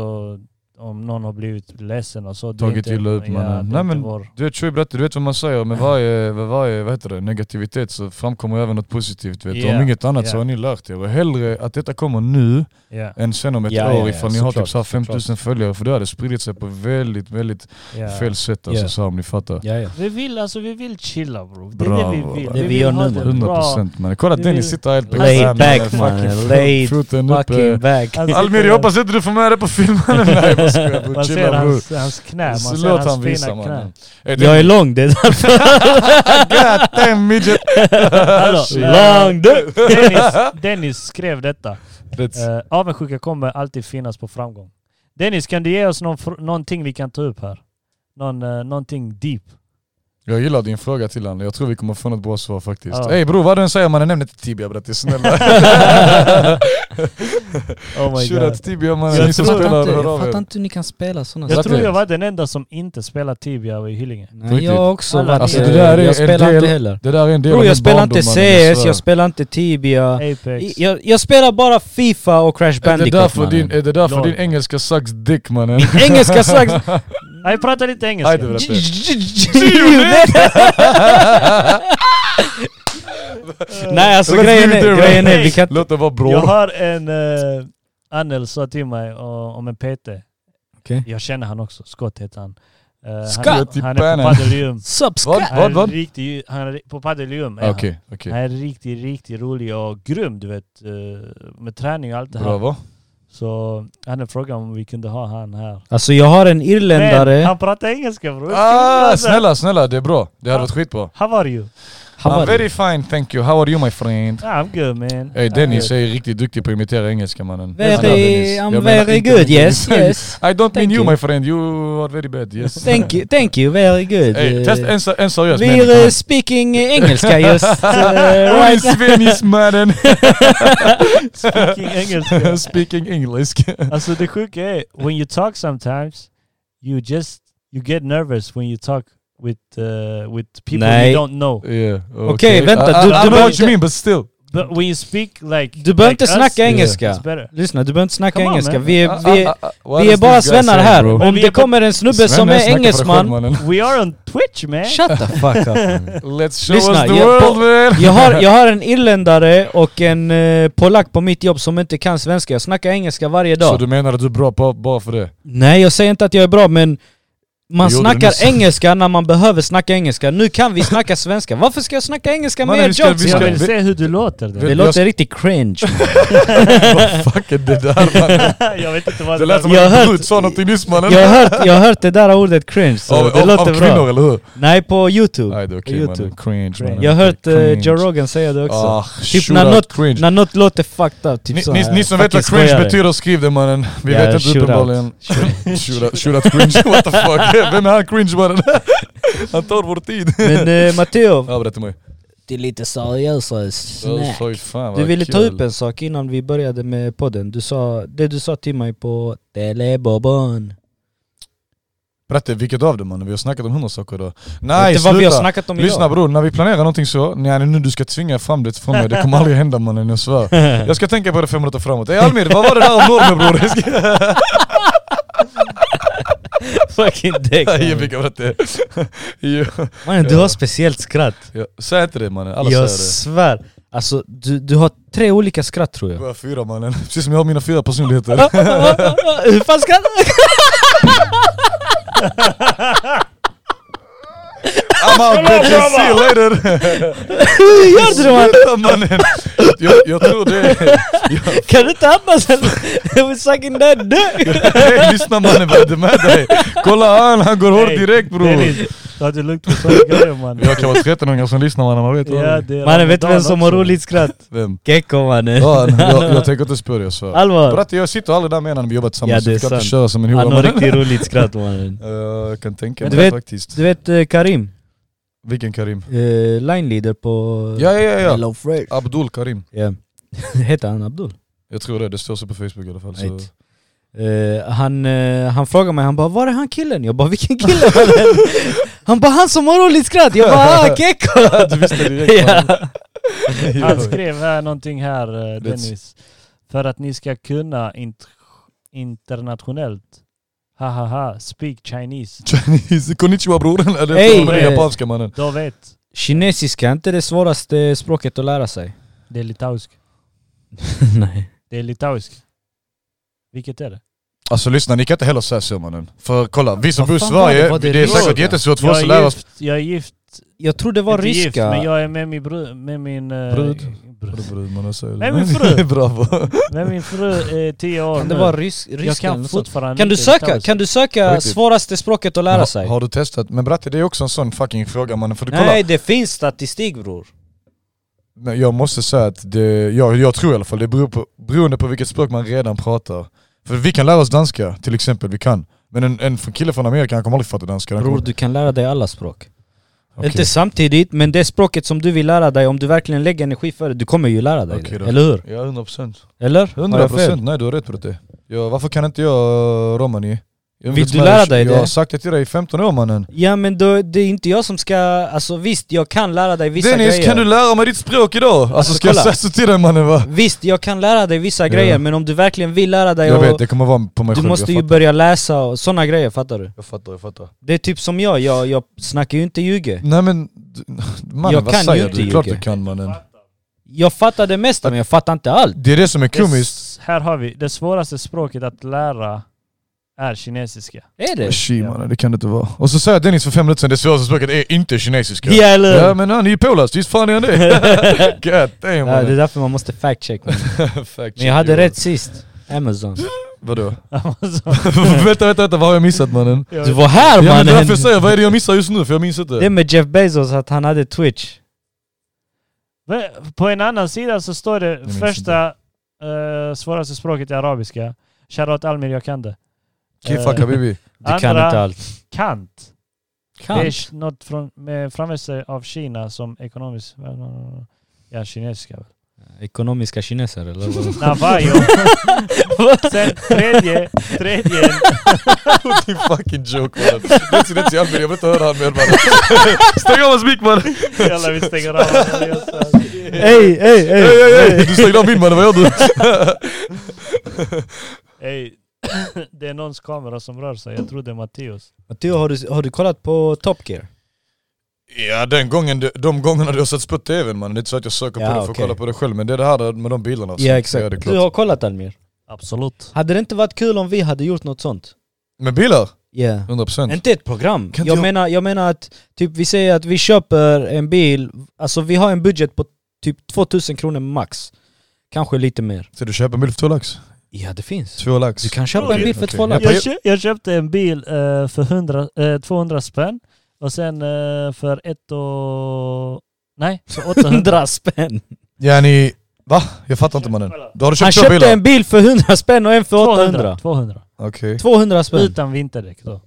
Speaker 1: om någon har blivit ledsen och så. Det är
Speaker 2: Tagit
Speaker 1: inte-
Speaker 2: illa ut,
Speaker 1: Ja,
Speaker 2: mannen.
Speaker 1: det är
Speaker 2: Nej,
Speaker 1: inte
Speaker 2: men-
Speaker 1: vår-
Speaker 2: Du vet Shoaib berättade, du vet vad man säger, med varje, med varje vad heter det, negativitet så framkommer även något positivt. Vet du. Om
Speaker 1: Ja,
Speaker 2: inget annat så
Speaker 1: ja.
Speaker 2: har ni lärt er. Och hellre att detta kommer nu
Speaker 1: ja,
Speaker 2: än sen om ett
Speaker 3: Ja,
Speaker 2: år
Speaker 3: ja, ja,
Speaker 2: ifall ni har typ
Speaker 3: såklart,
Speaker 2: så här
Speaker 3: såklart.
Speaker 2: 5000 följare. För det hade spridit sig på väldigt, väldigt
Speaker 1: ja.
Speaker 2: fel sätt alltså,
Speaker 3: Ja.
Speaker 2: så här, om ni fattar.
Speaker 3: Ja, ja.
Speaker 1: Vi vill, alltså, vi vill chilla bro. Det är
Speaker 2: Bravo,
Speaker 1: det vi vill.
Speaker 2: bravo.
Speaker 1: vi
Speaker 3: Det vi
Speaker 1: vill
Speaker 3: gör
Speaker 1: ha
Speaker 3: nu,
Speaker 1: det
Speaker 3: mannen.
Speaker 2: 100
Speaker 1: bra.
Speaker 2: procent mannen. Kolla
Speaker 1: Vi
Speaker 2: Dennis
Speaker 1: vill-
Speaker 2: sitter helt
Speaker 1: Laid
Speaker 2: back, mannen.
Speaker 3: back,
Speaker 2: Fucking
Speaker 3: mannen.
Speaker 2: fro-
Speaker 3: Laid
Speaker 2: Foten
Speaker 3: Fucking
Speaker 2: uppe.
Speaker 3: back.
Speaker 1: Alltså,
Speaker 2: Almir jag hoppas inte du får med det på filmen. *laughs* Nej jag skojar bror,
Speaker 1: Man ser
Speaker 2: chilla bror.
Speaker 1: hans, hans knä, man
Speaker 2: Så
Speaker 1: ser
Speaker 2: låt
Speaker 1: hans
Speaker 2: han
Speaker 1: fina
Speaker 2: visa
Speaker 1: knä.
Speaker 2: mannen. Hey,
Speaker 3: Jag är lång, det är därför.
Speaker 2: *laughs* God damn
Speaker 3: *laughs*
Speaker 2: midget! *laughs*
Speaker 1: Hallå,
Speaker 2: Shit.
Speaker 3: lång du!
Speaker 1: Dennis, Dennis skrev detta.
Speaker 2: That's-
Speaker 1: Eh, avundsjuka kommer alltid finnas på framgång. Dennis, kan du ge oss någon, fr- någonting vi kan ta upp här? Någon, eh, någonting deep? *laughs*
Speaker 2: Jag gillar din fråga till honom, jag tror vi kommer få något bra svar faktiskt.
Speaker 1: Ja.
Speaker 2: Ey bror vad du än säger mannen, nämn inte Tibia brattis
Speaker 3: *laughs*
Speaker 2: snälla.
Speaker 1: Oh my god.
Speaker 2: Shoutout Tibia mannen,
Speaker 1: Jag
Speaker 2: ni som
Speaker 1: tror
Speaker 2: spelar, hör
Speaker 3: jag
Speaker 2: av
Speaker 3: fattar
Speaker 2: er.
Speaker 3: inte hur ni kan spela sådana
Speaker 1: Jag
Speaker 2: Exakt.
Speaker 1: tror jag var den enda som inte spelade Tibia i Hyllinge.
Speaker 3: Nej, jag har också
Speaker 1: Alla
Speaker 3: varit...
Speaker 1: Alltså, det
Speaker 2: där är en
Speaker 3: jag spelar
Speaker 2: del-
Speaker 3: inte heller.
Speaker 2: Det där är en del
Speaker 3: Bro,
Speaker 2: av
Speaker 3: jag
Speaker 2: min
Speaker 3: spelar
Speaker 2: barndom,
Speaker 3: inte CS,
Speaker 2: mannen, jag svär.
Speaker 3: jag spelar inte Tibia. I-
Speaker 1: Apex.
Speaker 3: Jag, jag spelar bara FIFA och Crash
Speaker 2: Är det
Speaker 3: Bandicoot
Speaker 2: därför
Speaker 3: mannen.
Speaker 2: din, *laughs* är det därför din
Speaker 1: Lol.
Speaker 2: engelska sucks dick mannen? *laughs*
Speaker 3: Engelska slags...
Speaker 1: Nej, prata lite
Speaker 2: Aj,
Speaker 1: engelska.
Speaker 2: det var-
Speaker 3: *laughs* Nej alltså
Speaker 2: Let's
Speaker 3: grejen
Speaker 2: leave it
Speaker 3: är,
Speaker 2: there,
Speaker 3: grejen är,
Speaker 1: man.
Speaker 3: vi kan inte...
Speaker 2: Låt det vara
Speaker 1: Jag
Speaker 2: bror.
Speaker 1: har en... Uh, Annel sa till mig eh, om en PT.
Speaker 3: Okej.
Speaker 1: Jag känner han också. Scott heter han. Eh,
Speaker 2: Scott i
Speaker 1: han, han är på
Speaker 2: banan.
Speaker 1: Padelium.
Speaker 2: Vad,
Speaker 3: Subscribe!
Speaker 2: vad,
Speaker 1: Han är
Speaker 2: vad?
Speaker 1: riktigt... Han är på Padelium. är han.
Speaker 2: Okej, okej.
Speaker 1: Han är riktigt, riktigt rolig och grym du vet. eh, Med träning och allt det
Speaker 2: Bra
Speaker 1: här.
Speaker 2: va?
Speaker 1: Så han frågade om vi kunde ha han här.
Speaker 3: Alltså jag har en
Speaker 1: Men
Speaker 3: irländare...
Speaker 1: han pratar engelska bror. Alltså,
Speaker 2: Ah, snälla, snälla, det är bra. Det hade varit skitbra.
Speaker 1: How are you?
Speaker 3: Han
Speaker 2: I'm
Speaker 3: var
Speaker 2: very fine, thank you. How are you my friend?
Speaker 1: Ah, I'm good man.
Speaker 2: Hey Dennis
Speaker 1: I'm
Speaker 2: är riktigt duktig på att imitera engelska mannen. Jag menar,
Speaker 3: Very,
Speaker 2: Dennis.
Speaker 3: I'm
Speaker 2: Jag menar
Speaker 3: very
Speaker 2: inte
Speaker 3: good,
Speaker 2: riktigt.
Speaker 3: yes, yes.
Speaker 2: I don't mean
Speaker 3: Thank
Speaker 2: you
Speaker 3: you.
Speaker 2: my friend, you are very bad, yes.
Speaker 3: Thank you, thank you, very
Speaker 2: *laughs*
Speaker 3: good.
Speaker 2: Hey, test
Speaker 3: Eh,
Speaker 2: en, se- en seriös
Speaker 3: We're eh, speaking
Speaker 2: *laughs*
Speaker 3: engelska just... eh,
Speaker 2: Oj,
Speaker 3: right now.
Speaker 2: Svennis
Speaker 3: *laughs*
Speaker 2: mannen!
Speaker 1: Speaking engelska.
Speaker 2: Speaking English.
Speaker 1: *laughs* alltså det sjuka är, when you talk sometimes, you just, you get nervous when you talk with, uh, with people
Speaker 3: Nej.
Speaker 1: you don't know.
Speaker 2: Yeah, okay.
Speaker 3: Okej, vänta,
Speaker 2: I, I,
Speaker 3: du-
Speaker 2: I
Speaker 3: du
Speaker 2: know what
Speaker 3: behöver-
Speaker 2: you mean but still.
Speaker 1: But when you speak like
Speaker 3: Du
Speaker 1: like
Speaker 3: behöver inte
Speaker 1: us,
Speaker 3: snacka
Speaker 1: it's
Speaker 3: engelska.
Speaker 1: better.
Speaker 3: Lyssna, du behöver inte snacka
Speaker 1: Come on,
Speaker 3: engelska.
Speaker 1: man.
Speaker 3: Vi
Speaker 2: Ah,
Speaker 3: är, vi är,
Speaker 2: ah, ah, what
Speaker 3: vi är
Speaker 2: does
Speaker 3: bara
Speaker 2: this guy
Speaker 3: svennar
Speaker 2: say,
Speaker 3: här.
Speaker 2: bro?
Speaker 1: Men
Speaker 3: Om
Speaker 1: vi
Speaker 3: det
Speaker 1: är på-
Speaker 3: kommer en snubbe som
Speaker 2: Svenne
Speaker 3: är
Speaker 2: snackar för sig själv,
Speaker 3: engelsman...
Speaker 2: mannen. *laughs*
Speaker 1: We are on Twitch man!
Speaker 3: Shut the fuck up!
Speaker 2: Let's show
Speaker 3: Lyssna,
Speaker 2: us the
Speaker 3: jag-
Speaker 2: world man!
Speaker 3: *laughs* Jag har, jag har en irländare och en eh, polack på mitt jobb som inte kan svenska. Jag snackar engelska varje
Speaker 2: Så
Speaker 3: dag.
Speaker 2: du menar att du är bra på, bara för
Speaker 3: *laughs*
Speaker 2: det?
Speaker 3: Nej, jag säger inte att jag är bra men man
Speaker 2: Jo, det är
Speaker 3: snackar
Speaker 2: nyss.
Speaker 3: engelska när man behöver snacka engelska. Nu kan vi snacka svenska. Varför ska jag snacka engelska med
Speaker 2: Mannen,
Speaker 3: er
Speaker 2: vi ska-
Speaker 3: jobs?
Speaker 2: vi
Speaker 1: Jag
Speaker 2: ska-
Speaker 1: vill se hur du låter.
Speaker 3: Det
Speaker 1: Där. *laughs*
Speaker 2: jag
Speaker 3: låter
Speaker 2: ska-
Speaker 3: riktigt
Speaker 2: *laughs*
Speaker 3: cringe.
Speaker 2: Vad fuck är det där mannen?
Speaker 1: jag vet inte vad
Speaker 2: Det
Speaker 1: det där
Speaker 2: lät som
Speaker 3: Jag har
Speaker 2: att
Speaker 3: hört-
Speaker 2: Brut sa någonting nyss mannen.
Speaker 3: Jag har hört, jag har hört det där ordet cringe, så
Speaker 2: Av,
Speaker 3: det
Speaker 2: av,
Speaker 3: låter
Speaker 2: av
Speaker 3: bra.
Speaker 2: kvinnor eller hur?
Speaker 3: Nej, på youtube.
Speaker 2: Nej det är okej
Speaker 3: På
Speaker 2: mannen,
Speaker 3: YouTube.
Speaker 2: cringe mannen.
Speaker 3: Jag har hört eh,
Speaker 2: Cringe.
Speaker 3: Joe Rogan säga det också.
Speaker 2: Ah,
Speaker 3: Typ
Speaker 2: shoot
Speaker 3: när
Speaker 2: out
Speaker 3: något,
Speaker 2: cringe.
Speaker 3: när något låter fucked up, typ
Speaker 2: ni,
Speaker 3: så
Speaker 2: ni,
Speaker 3: här,
Speaker 2: ni som vet
Speaker 3: fucking
Speaker 2: vad cringe
Speaker 3: skojare.
Speaker 2: betyder, skriv det mannen. Vi
Speaker 3: Ja,
Speaker 2: vet inte
Speaker 3: *laughs* shoot out.
Speaker 2: uppenbarligen. *laughs* Shoot out- shoot out cringe, *laughs* what the fuck? Vem är han cringe mannen? *laughs* Han tar vår tid. *laughs*
Speaker 3: Men eh, Matteo,
Speaker 2: Ja berätta mig.
Speaker 3: det är lite seriösare
Speaker 2: Jag
Speaker 3: snack.
Speaker 2: sa ju, Alltså, fan, vad
Speaker 3: Du ville ta
Speaker 2: kul.
Speaker 3: upp en sak innan vi började med podden. Du sa, det du sa till mig på Telebobon.
Speaker 2: Berätta vilket av dem mannen, vi har snackat om hundra saker idag.
Speaker 3: Vet
Speaker 2: Nej
Speaker 3: du vad vi har
Speaker 2: sluta!
Speaker 3: snackat om
Speaker 2: Lyssna
Speaker 3: idag?
Speaker 2: bror, när vi planerar någonting så, nej nu du ska tvinga fram det från mig, det kommer aldrig hända mannen,
Speaker 1: *laughs*
Speaker 2: jag svär. Jag ska tänka på det fem minuter framåt. Ey Almir, vad var det där om normer bror? Jag ska-
Speaker 3: *laughs* Fucking däck.
Speaker 2: Jag fick av det. *laughs* Jo.
Speaker 3: Mannen du har speciellt skratt.
Speaker 2: Ja, Säg inte det mannen, alla
Speaker 3: Jag
Speaker 2: säger
Speaker 3: svär. Alltså du, du har tre olika skratt tror
Speaker 2: det. *laughs*
Speaker 3: jag. *laughs*
Speaker 2: Bara fyra mannen, precis som jag har mina
Speaker 1: *laughs*
Speaker 2: fyra personligheter.
Speaker 3: Hur fan skrattar
Speaker 2: I'm out bitches, see you later!
Speaker 3: Gör du det man?
Speaker 2: Sluta mannen! Jag, jag tror det är... jag-
Speaker 3: Kan du inte andas *laughs* eller? We're sucking that dick!
Speaker 2: Hey, lyssna mannen, vad är det med dig? Kolla han, han går hårt
Speaker 1: Hey,
Speaker 2: direkt bror!
Speaker 1: Dennis, ta det lugnt med sådana grejer
Speaker 2: Vi har
Speaker 1: mannen.
Speaker 2: kan vara 13-åringar som lyssnar mannen, man vet
Speaker 1: Ja,
Speaker 2: aldrig.
Speaker 1: det är
Speaker 3: Mannen vet du vem
Speaker 1: Ramadan
Speaker 3: som har
Speaker 1: också.
Speaker 3: roligt skratt?
Speaker 2: Vem?
Speaker 3: Gekko mannen!
Speaker 2: Ja, jag, jag tänker inte spöa dig, jag svär.
Speaker 3: Allvar!
Speaker 2: Bratte jag sitter aldrig där med när vi jobbar
Speaker 3: Ja,
Speaker 2: tillsammans,
Speaker 3: det
Speaker 2: vi
Speaker 3: är
Speaker 2: kan inte
Speaker 3: sant.
Speaker 2: köra som en hora
Speaker 3: Han har
Speaker 2: mannen.
Speaker 3: riktigt roligt skratt mannen.
Speaker 2: *laughs* Eh, Jag kan tänka mig
Speaker 3: Men du
Speaker 2: det
Speaker 3: vet-
Speaker 2: faktiskt.
Speaker 3: Du vet eh, Karim?
Speaker 2: Vilken Karim?
Speaker 3: Eh, Line-leader på...
Speaker 2: Ja, ja, ja, ja.
Speaker 3: Hello Fresh.
Speaker 2: Abdul Karim.
Speaker 3: Ja. *laughs* Heter han Abdul?
Speaker 2: Jag tror det, det står så på Facebook i alla fall. Så.
Speaker 3: Right. Eh, han, eh, han frågar mig, han bara var är han killen? Jag bara vilken kille var det? Han bara han som har roligt skratt! Jag bara ah, Gekko!
Speaker 2: *laughs* Du visste direkt
Speaker 3: *laughs* ja.
Speaker 1: Han skrev här någonting här eh,
Speaker 2: Let's-
Speaker 1: Dennis. För att ni ska kunna int- internationellt. Hahaha, speak Chinese.
Speaker 2: Chinese, konnichiwa bror. Eller
Speaker 3: Hey.
Speaker 2: hey, japanska mannen.
Speaker 1: Då vet.
Speaker 3: Kinesiska är inte det svåraste språket att lära sig.
Speaker 1: Det är litauisk.
Speaker 3: Nej.
Speaker 1: Det är litauisk. Vilket är det?
Speaker 2: Alltså lyssna, ni kan inte heller säga så mannen. För kolla, vi som
Speaker 3: Vad
Speaker 2: bor i
Speaker 3: fan var det?
Speaker 2: Sverige,
Speaker 3: Var
Speaker 2: det,
Speaker 3: det
Speaker 2: är
Speaker 3: ryska?
Speaker 2: säkert jättesvårt för oss att
Speaker 1: Jag är
Speaker 2: lära oss.
Speaker 1: gift, jag är gift,
Speaker 3: Jag tror det var
Speaker 1: inte gift
Speaker 3: ryska.
Speaker 1: men jag är med min, bru, med min, eh,
Speaker 2: Brud.
Speaker 1: brud.
Speaker 2: Bror, man, jag säger *laughs* det.
Speaker 1: Nej, min fru.
Speaker 2: Bravo.
Speaker 1: *laughs* med min fru eh, tio år
Speaker 3: Kan det
Speaker 1: nu.
Speaker 3: vara rys ryska
Speaker 1: Jag
Speaker 3: eller
Speaker 1: kan
Speaker 3: något sånt?
Speaker 1: fortfarande
Speaker 3: kan du
Speaker 1: inte
Speaker 3: söka,
Speaker 1: litauisk.
Speaker 3: kan du söka
Speaker 2: Riktigt.
Speaker 3: svåraste språket att lära sig?
Speaker 2: Har, har du testat? Men bratte det är också en sån fucking fråga mannen. För du kolla,
Speaker 3: Nej det finns statistik bror.
Speaker 2: Men jag måste säga att det, jag, jag tror i alla fall det beror på, beroende på vilket språk man redan pratar. För vi kan lära oss danska till exempel, vi kan. Men en, en kille från Amerika han kommer aldrig fatta danska. Han
Speaker 3: Bror
Speaker 2: kommer-
Speaker 3: du kan lära dig alla språk.
Speaker 2: Okej.
Speaker 3: Inte samtidigt, men det språket som du vill lära dig, om du verkligen lägger energi för det, du kommer ju lära dig
Speaker 2: Okej
Speaker 3: det.
Speaker 2: då.
Speaker 3: Eller hur?
Speaker 2: Ja, 100 procent.
Speaker 3: Eller? Har jag
Speaker 2: 100
Speaker 3: fel?
Speaker 2: procent, nej du har rätt bratte. Ja, varför kan inte jag romani? Jag
Speaker 3: Vill
Speaker 2: vet
Speaker 3: du
Speaker 2: inte,
Speaker 3: lära dig
Speaker 2: jag,
Speaker 3: det?
Speaker 2: Jag har sagt det till dig i 15 år mannen.
Speaker 3: Ja men då, det är inte jag som ska, alltså visst jag kan lära dig vissa
Speaker 2: Dennis,
Speaker 3: grejer.
Speaker 2: kan du lära mig ditt språk idag? Alltså,
Speaker 3: Alltså,
Speaker 2: ska
Speaker 3: kolla.
Speaker 2: jag säga så till dig mannen va?
Speaker 3: Visst jag kan lära dig vissa
Speaker 2: Ja.
Speaker 3: grejer men om du verkligen vill lära dig
Speaker 2: Jag
Speaker 3: och
Speaker 2: vet, det kommer vara på mig
Speaker 3: du
Speaker 2: själv.
Speaker 3: måste ju
Speaker 2: jag, fattar.
Speaker 3: börja läsa och sådana grejer, fattar du?
Speaker 2: jag fattar, jag fattar.
Speaker 3: Det är typ som jag, jag, jag snackar ju inte ljuga.
Speaker 2: Nej men, du- *laughs* mannen
Speaker 3: Jag
Speaker 2: vad
Speaker 3: kan ju
Speaker 2: säger
Speaker 3: inte
Speaker 2: du? Klart
Speaker 3: ljuga.
Speaker 2: du kan mannen.
Speaker 3: Jag fattar det mesta men jag fattar inte allt.
Speaker 2: Det är det som är
Speaker 1: Det s-
Speaker 2: komiskt.
Speaker 1: Här har vi. Det svåraste språket att lära är kinesiska. *laughs*
Speaker 3: Är det?
Speaker 2: Shi
Speaker 1: Ja.
Speaker 2: mannen, det kan det inte vara. Och så säger Dennis för fem minuter sedan, det svåraste språket är inte kinesiska.
Speaker 3: Ja eller
Speaker 2: Ja men han är ju påläst, visst fan är han
Speaker 3: *laughs*
Speaker 2: det? *laughs* God damn
Speaker 3: Ja, det *laughs* är
Speaker 2: mannen.
Speaker 3: därför man måste fact check. Men
Speaker 2: Fact
Speaker 3: jag hade
Speaker 2: check,
Speaker 3: rätt sist. Amazon.
Speaker 2: Vadå? *laughs*
Speaker 3: *laughs*
Speaker 1: Alltså,
Speaker 2: vänta, vänta, vänta, vad har jag missat mannen?
Speaker 1: jag-
Speaker 3: Du var här
Speaker 2: Ja men det är därför jag
Speaker 3: mannen!
Speaker 2: säger, vad är det jag missar just nu? För jag minns
Speaker 3: Det är
Speaker 2: inte.
Speaker 3: med Jeff Bezos att han hade Twitch.
Speaker 1: Men På en annan sida så står det
Speaker 2: minns
Speaker 1: första eh, svåraste språket är arabiska. Shoutout Almir, jag kan det.
Speaker 2: Kifak
Speaker 3: *laughs*
Speaker 2: habibi. *laughs*
Speaker 3: Du kan
Speaker 1: Andra-
Speaker 3: inte allt.
Speaker 1: Kant.
Speaker 3: Kan.
Speaker 1: Det är något från, med framväxten av Kina som ekonomiskt... Ja, kinesiska.
Speaker 3: *laughs* Ekonomiska kineser eller? vad?
Speaker 1: Navajo. Sen tredje, tredje.
Speaker 2: Din fucking joke mannen. Let's see, let's see, Albin, jag vill inte höra han mer
Speaker 3: *laughs*
Speaker 2: mannen. Stäng av hans mick mannen!
Speaker 1: Jalla vi stänger av.
Speaker 3: *laughs* Ey, ey,
Speaker 2: Ey, ey, ey! Du stängde av min mannen, vad gör du? *laughs*
Speaker 1: Ey, det är någons kamera som rör sig. Jag tror det är Matteus.
Speaker 3: *laughs* Matteo, har du, har du kollat på Top Gear?
Speaker 2: Ja den gången, du- de gångerna du har satt på tvn mannen, det är inte så att jag söker
Speaker 3: Ja,
Speaker 2: på det för att
Speaker 3: okej.
Speaker 2: kolla på det själv. Men det är det här med de bilderna. och sånt.
Speaker 3: Ja
Speaker 2: Ja, det är
Speaker 3: exakt.
Speaker 2: klart.
Speaker 3: Du har kollat Almir.
Speaker 1: Absolut.
Speaker 3: Hade det inte varit kul om vi hade gjort något sånt?
Speaker 2: Med bilar?
Speaker 3: Ja.
Speaker 2: 100%
Speaker 3: Inte ett program.
Speaker 2: Kan
Speaker 3: Jag,
Speaker 2: inte jag-
Speaker 3: Menar, jag menar att typ vi säger att vi köper en bil, alltså vi har en budget på typ 2000 kronor max. Kanske lite mer.
Speaker 2: Så du köper en bil för två lax?
Speaker 3: Ja det finns.
Speaker 2: Två lax?
Speaker 3: Du kan köpa en bil för
Speaker 2: Okej.
Speaker 3: två lax.
Speaker 1: Jag, kö- jag köpte en bil eh, för 100, eh, 200 spänn och sen eh, för ett och... Nej,
Speaker 2: *laughs*
Speaker 1: för 800.
Speaker 3: 100 spänn.
Speaker 2: Ja ni... Va? Jag fattar inte mannen. Då har du
Speaker 3: Han
Speaker 2: köpt två
Speaker 3: köpte
Speaker 2: bilar?
Speaker 3: en bil för 100 spänn och en för 800.
Speaker 1: 200. 200.
Speaker 2: Okej.
Speaker 3: 200 spänn.
Speaker 1: Utan vinterdäck
Speaker 2: *laughs*
Speaker 1: då.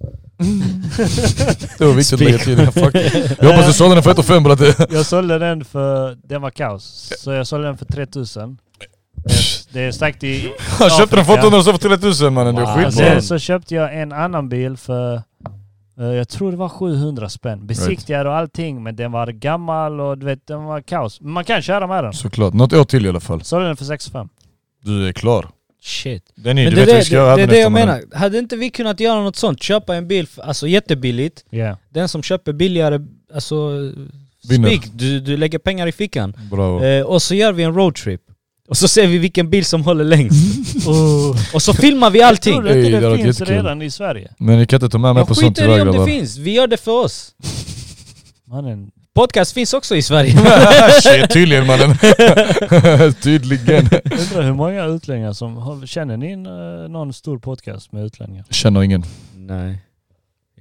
Speaker 2: Det var viktigt att lägga
Speaker 3: *laughs*
Speaker 2: till. Fuck. Jag hoppas du sålde den för ett och fem bratte.
Speaker 1: Jag sålde den för... Den var kaos. Så jag sålde den för 3000. Eh, Det är starkt
Speaker 2: *laughs*
Speaker 1: i...
Speaker 2: Han köpte den för
Speaker 1: Afrika.
Speaker 2: 800 och så för 3000 mannen. Det är
Speaker 3: Wow. Alltså,
Speaker 1: Och
Speaker 2: skitbra.
Speaker 1: Sen så köpte jag en annan bil för... eh, Jag tror det var 700 spänn. Besiktigad och allting, men den var gammal och du vet, den var kaos. Men man kan köra med den.
Speaker 2: Såklart. Något år till i alla fall.
Speaker 1: Sålde den för 65.
Speaker 2: Du är klar.
Speaker 3: Shit.
Speaker 2: Benny,
Speaker 3: Men
Speaker 2: du
Speaker 3: det,
Speaker 2: vet
Speaker 3: det,
Speaker 2: vad vi ska göra
Speaker 3: det, det är det jag
Speaker 2: hädanefter, mannen.
Speaker 3: menar. Hade inte vi kunnat göra något sånt? Köpa en bil, för, alltså jättebilligt.
Speaker 1: Yeah.
Speaker 3: Den som köper billigare, alltså...
Speaker 2: Vinner.
Speaker 3: Spik, du, du lägger pengar i fickan.
Speaker 2: Bravo.
Speaker 3: Eh, och så gör vi en roadtrip. Och så ser vi vilken bil som
Speaker 2: *laughs*
Speaker 3: håller längst. och, och så filmar vi allting.
Speaker 1: Oh. Tror du
Speaker 2: Ey,
Speaker 1: inte
Speaker 2: det
Speaker 1: det
Speaker 2: hade
Speaker 1: finns
Speaker 2: varit jättekul.
Speaker 1: redan i Sverige?
Speaker 2: Men ni kan inte ta med mig
Speaker 3: Jag
Speaker 2: på sånt
Speaker 3: skiter i
Speaker 2: idag
Speaker 3: om det
Speaker 2: grabbar.
Speaker 3: finns, vi gör det för oss.
Speaker 1: Mannen,
Speaker 3: Podcast finns också i Sverige.
Speaker 2: *laughs* Shit, tydligen mannen. *laughs* tydligen.
Speaker 1: undrar hur många utlänningar som... har- Känner ni eh, någon stor podcast med utlänningar?
Speaker 2: Känner ingen.
Speaker 3: Nej.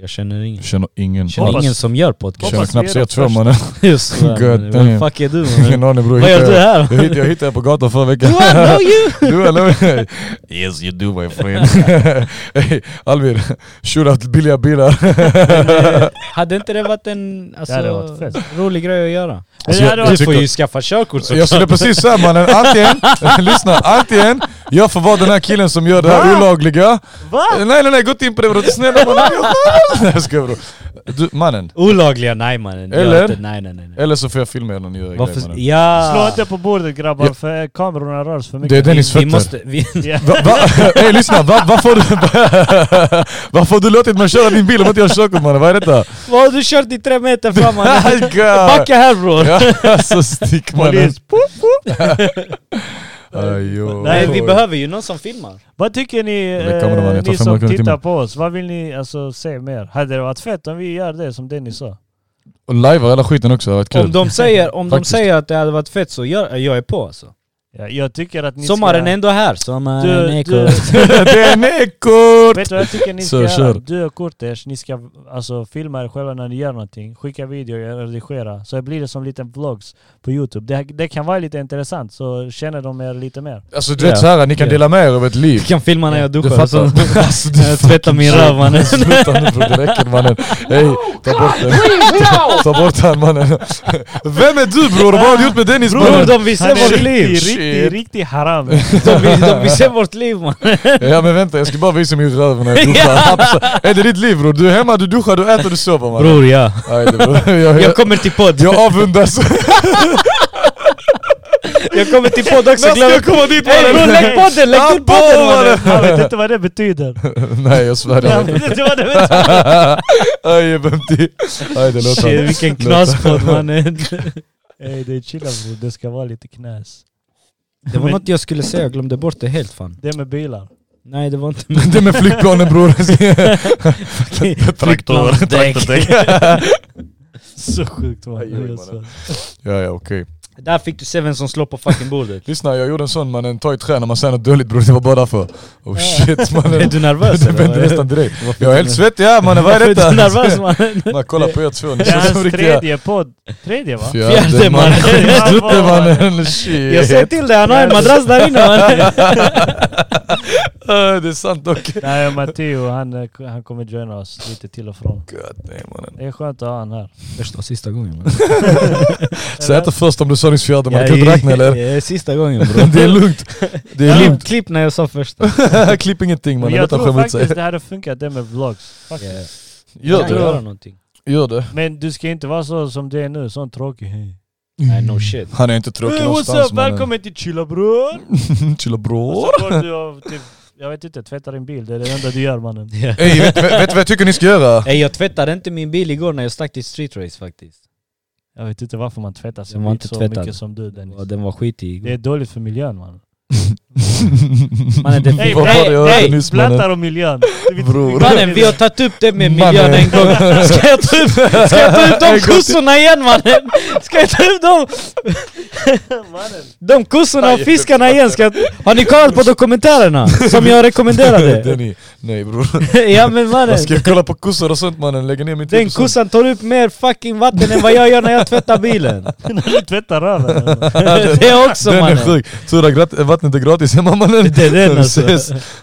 Speaker 3: Jag känner ingen.
Speaker 2: Känner ingen.
Speaker 3: Jag känner
Speaker 1: Hoppas-
Speaker 3: ingen som gör podcast.
Speaker 2: Känner
Speaker 1: Hoppas
Speaker 2: knappt
Speaker 1: vi är
Speaker 2: er
Speaker 1: de
Speaker 2: två
Speaker 1: första.
Speaker 2: mannen.
Speaker 3: Just
Speaker 2: God
Speaker 3: det.
Speaker 2: damn.
Speaker 3: Vem fuck är du
Speaker 2: *laughs*
Speaker 3: mannen?
Speaker 2: Ingen aning bror.
Speaker 3: Vad gör du här?
Speaker 2: Jag hittade, jag hittade er på gatan förra veckan.
Speaker 3: Do I know you?
Speaker 2: *laughs* Du eller
Speaker 3: *laughs*
Speaker 2: Yes you do my friend. *laughs* hey, Alvin, shootout till billiga bilar.
Speaker 3: *laughs* Hade inte det varit en alltså,
Speaker 1: hade varit fest.
Speaker 3: rolig grej att göra?
Speaker 2: Alltså,
Speaker 1: det
Speaker 2: jag- jag
Speaker 1: var-
Speaker 3: Du får
Speaker 2: tycker-
Speaker 3: ju skaffa körkort så.
Speaker 2: Jag skulle precis säga mannen, antingen, *laughs* lyssna, antingen jag får vara den här killen som gör det här olagliga.
Speaker 1: Va?
Speaker 2: Nej nej nej, gå inte in på det bror, snälla mannen. *laughs* Nej jag skojar bror. Du, mannen,
Speaker 3: Olagliga? Nej mannen. Gör
Speaker 2: Eller?
Speaker 3: inte. Nej nej nej. nej.
Speaker 2: eller så får jag filma er när ni gör er grej
Speaker 3: Varför?
Speaker 2: mannen.
Speaker 3: Ja.
Speaker 1: Slå inte på bordet grabbar
Speaker 2: Ja.
Speaker 1: för kamerorna rör sig för mycket.
Speaker 2: Det är Dennis
Speaker 3: Vi
Speaker 2: fötter.
Speaker 3: måste...
Speaker 2: *laughs*
Speaker 3: Vi,
Speaker 1: Ja.
Speaker 2: Va, va, hey, lyssna, va, varför, har du, varför har du *laughs* låtit mig köra din bil om inte jag har körkort mannen? Vad är detta?
Speaker 3: vad har du kört i tre meter fram mannen?
Speaker 2: Oh, God.
Speaker 3: Backa här bror!
Speaker 2: Ja, så stick mannen.
Speaker 1: Polis. Puff, puff.
Speaker 2: Ajo.
Speaker 3: Nej vi behöver ju någon som filmar.
Speaker 1: Vad tycker ni,
Speaker 2: Men det kommer de
Speaker 1: eh,
Speaker 2: att ta
Speaker 1: ni
Speaker 2: 500
Speaker 1: som
Speaker 2: kronor i
Speaker 1: tittar
Speaker 2: timmen.
Speaker 1: på oss? Vad vill ni alltså, se mer? Hade det varit fett om vi gör det som Dennis sa?
Speaker 2: Och lajvar hela skiten också, det hade varit kul.
Speaker 3: Om de säger, om de
Speaker 2: Faktiskt.
Speaker 3: säger att det hade varit fett så gör, jag är på alltså.
Speaker 1: Ja, jag tycker att ni
Speaker 3: Sommaren är
Speaker 1: ska...
Speaker 3: ändå här.
Speaker 1: Du-
Speaker 3: Sommaren
Speaker 1: du-
Speaker 3: är kort.
Speaker 2: *laughs* det är
Speaker 1: *laughs*
Speaker 2: nekort!
Speaker 1: Vet du vad jag tycker ni
Speaker 2: Så,
Speaker 1: ska
Speaker 2: kör.
Speaker 1: göra? Du och Kurters, ni ska alltså, filma er själva när ni gör någonting. Skicka videor, redigera. Så blir det som liten vlogs på Youtube. Det, det kan vara lite intressant, så känner de er lite mer.
Speaker 2: Alltså du vet
Speaker 3: Ja.
Speaker 2: såhär, ni kan
Speaker 3: Ja.
Speaker 2: dela med er av ett liv.
Speaker 3: Du kan filma när jag
Speaker 2: Du
Speaker 3: duschar.
Speaker 2: fattar? *laughs*
Speaker 3: Så.
Speaker 2: Alltså, du
Speaker 3: Jag tvättar min röv mannen.
Speaker 2: Sluta nu bror, det räcker mannen. Hej, ta bort den. Ta, ta bort han mannen. Vem är du bror? Vad har du gjort med Dennis
Speaker 3: Bror
Speaker 2: mannen?
Speaker 3: de vill se
Speaker 1: Han är
Speaker 3: vårt
Speaker 1: riktig,
Speaker 3: liv!
Speaker 1: riktig,
Speaker 2: Shit.
Speaker 1: riktig
Speaker 2: *laughs*
Speaker 1: haram.
Speaker 3: De vill, de vill se vårt liv man!
Speaker 2: Ja men vänta, jag ska bara visa min röv när jag duschar. Absolut. Är det ditt liv bror? Du är hemma, du duschar, du äter, du sover mannen.
Speaker 3: Bror ja.
Speaker 2: Aj, det, bror. Jag,
Speaker 3: Jag
Speaker 2: jag,
Speaker 3: kommer till podd.
Speaker 2: jag avundas.
Speaker 3: Jag kommer till podd också.
Speaker 2: När ska jag
Speaker 3: Glöm...
Speaker 2: komma dit
Speaker 3: Ey bror
Speaker 2: mannen?
Speaker 3: lägg podden! Lägg till podden mannen!
Speaker 1: Han vet inte vad det betyder.
Speaker 2: *laughs* Nej jag svär. jag
Speaker 1: Han
Speaker 2: vet
Speaker 1: vet
Speaker 2: *laughs* inte.
Speaker 1: inte vad det betyder.
Speaker 2: Aj, jag skämtar. Aj, det låter
Speaker 3: Shit vilken knaspodd mannen.
Speaker 1: Ey, det är chilla bror. Det ska vara lite knäs.
Speaker 3: *laughs* Det var något jag skulle säga, jag glömde bort det helt fan.
Speaker 1: Det med bilar.
Speaker 3: Nej det var *laughs* inte
Speaker 2: *laughs* Det med flygplanen bror. *laughs* Traktordäck.
Speaker 1: Så sjukt var
Speaker 2: Aj, oj,
Speaker 1: det.
Speaker 2: mannen.
Speaker 1: alltså.
Speaker 2: Ja, ja okej.
Speaker 3: *laughs* Där fick du se vem som slår på fucking bordet.
Speaker 2: Lyssna, jag gjorde en sån mannen, ta i trä när man säger något dåligt bror, det var bara därför. Oh shit
Speaker 3: Är
Speaker 2: mannen.
Speaker 3: du
Speaker 2: *laughs*
Speaker 3: nervös
Speaker 2: Det vände nästan direkt. Jag är helt svettig här mannen, vad är
Speaker 3: Varför
Speaker 2: detta?
Speaker 3: *laughs* är du nervös mannen?
Speaker 2: Man, kolla *laughs* på er två, ni
Speaker 1: Det är
Speaker 2: känns som
Speaker 1: hans
Speaker 2: riktiga...
Speaker 1: tredje podd. Tredje va?
Speaker 3: Fjärde *laughs* mannen.
Speaker 2: *laughs* Fjärde mannen, shit. *laughs*
Speaker 3: Jag säger till dig, han har en madrass där inne mannen.
Speaker 2: Ah, Det är sant dock.
Speaker 1: Nej, och Matteo han, eh, han kommer joina oss lite till och från.
Speaker 2: God damn mannen.
Speaker 1: Det är skönt att ha han här.
Speaker 3: Första och sista gången.
Speaker 2: Säg inte först om du sa nyss fjärde, man
Speaker 3: Ja,
Speaker 2: kan inte räkna eller?
Speaker 3: *laughs* ja, Sista gången
Speaker 2: Det är lugnt. Det är
Speaker 3: Klipp,
Speaker 2: lugnt.
Speaker 3: klipp när jag sa *laughs* första.
Speaker 2: *laughs* Klipp ingenting
Speaker 1: Men
Speaker 2: mannen,
Speaker 1: jag
Speaker 2: låt han
Speaker 1: tror
Speaker 2: skämma ut sig.
Speaker 1: faktiskt det hade funkat det med vlogs. Faktiskt.
Speaker 2: Gör
Speaker 3: Kan göra
Speaker 2: det.
Speaker 3: någonting.
Speaker 2: Gör det.
Speaker 1: Men du ska inte vara så som du är nu, sån tråkig.
Speaker 3: Nej no shit. *laughs*
Speaker 2: Han är inte tråkig
Speaker 1: Hey, what's
Speaker 2: någonstans
Speaker 1: up? Välkommen till Chilla bror!
Speaker 2: mannen. *laughs* Chilla
Speaker 1: Och
Speaker 2: bror.
Speaker 1: så går du och typ, jag vet inte, tvättar din bil. Det är det enda du gör mannen.
Speaker 2: Ey, vet, vet, vet vad jag tycker ni ska
Speaker 3: *laughs*
Speaker 2: göra?
Speaker 3: Ey, jag tvättade inte min bil igår när jag stack till street race faktiskt.
Speaker 1: Jag vet inte varför man tvättar sig
Speaker 3: Den var
Speaker 1: inte
Speaker 3: inte
Speaker 1: så
Speaker 3: tvättad.
Speaker 1: mycket som du Dennis.
Speaker 3: Och den var skitig
Speaker 1: Det
Speaker 3: igår.
Speaker 1: är dåligt för miljön mannen.
Speaker 3: Mannen, det
Speaker 1: Ey,
Speaker 2: Vad var det jag
Speaker 3: ey,
Speaker 2: hörde
Speaker 3: ey,
Speaker 2: nyss
Speaker 1: Blattar
Speaker 2: mannen?
Speaker 1: om miljön.
Speaker 2: Bror.
Speaker 3: Mannen vi har tagit upp det med
Speaker 2: Mannen.
Speaker 3: miljön en gång. Ska jag ta upp, ska jag
Speaker 2: *laughs*
Speaker 3: ta upp de kossorna igen mannen? Ska jag ta upp de,
Speaker 1: mannen.
Speaker 3: de kossorna och fiskarna igen? Ska jag, har ni kollat på dokumentärerna som
Speaker 2: *laughs*
Speaker 3: jag rekommenderade?
Speaker 2: Denny, nej bror.
Speaker 3: *laughs* Ja men mannen.
Speaker 2: Jag ska kolla på kossor och sånt mannen, lägga ner min tid
Speaker 3: Den
Speaker 2: på sånt.
Speaker 3: kossan tar upp mer fucking vatten än vad jag gör när jag tvättar bilen.
Speaker 1: *laughs*
Speaker 2: *laughs*
Speaker 1: När du tvättar röven. mannen.
Speaker 3: Det är också
Speaker 2: Den är
Speaker 3: mannen.
Speaker 2: sjuk. Tur att grat- vattnet är gratis hemma mannen.
Speaker 3: Det är den alltså.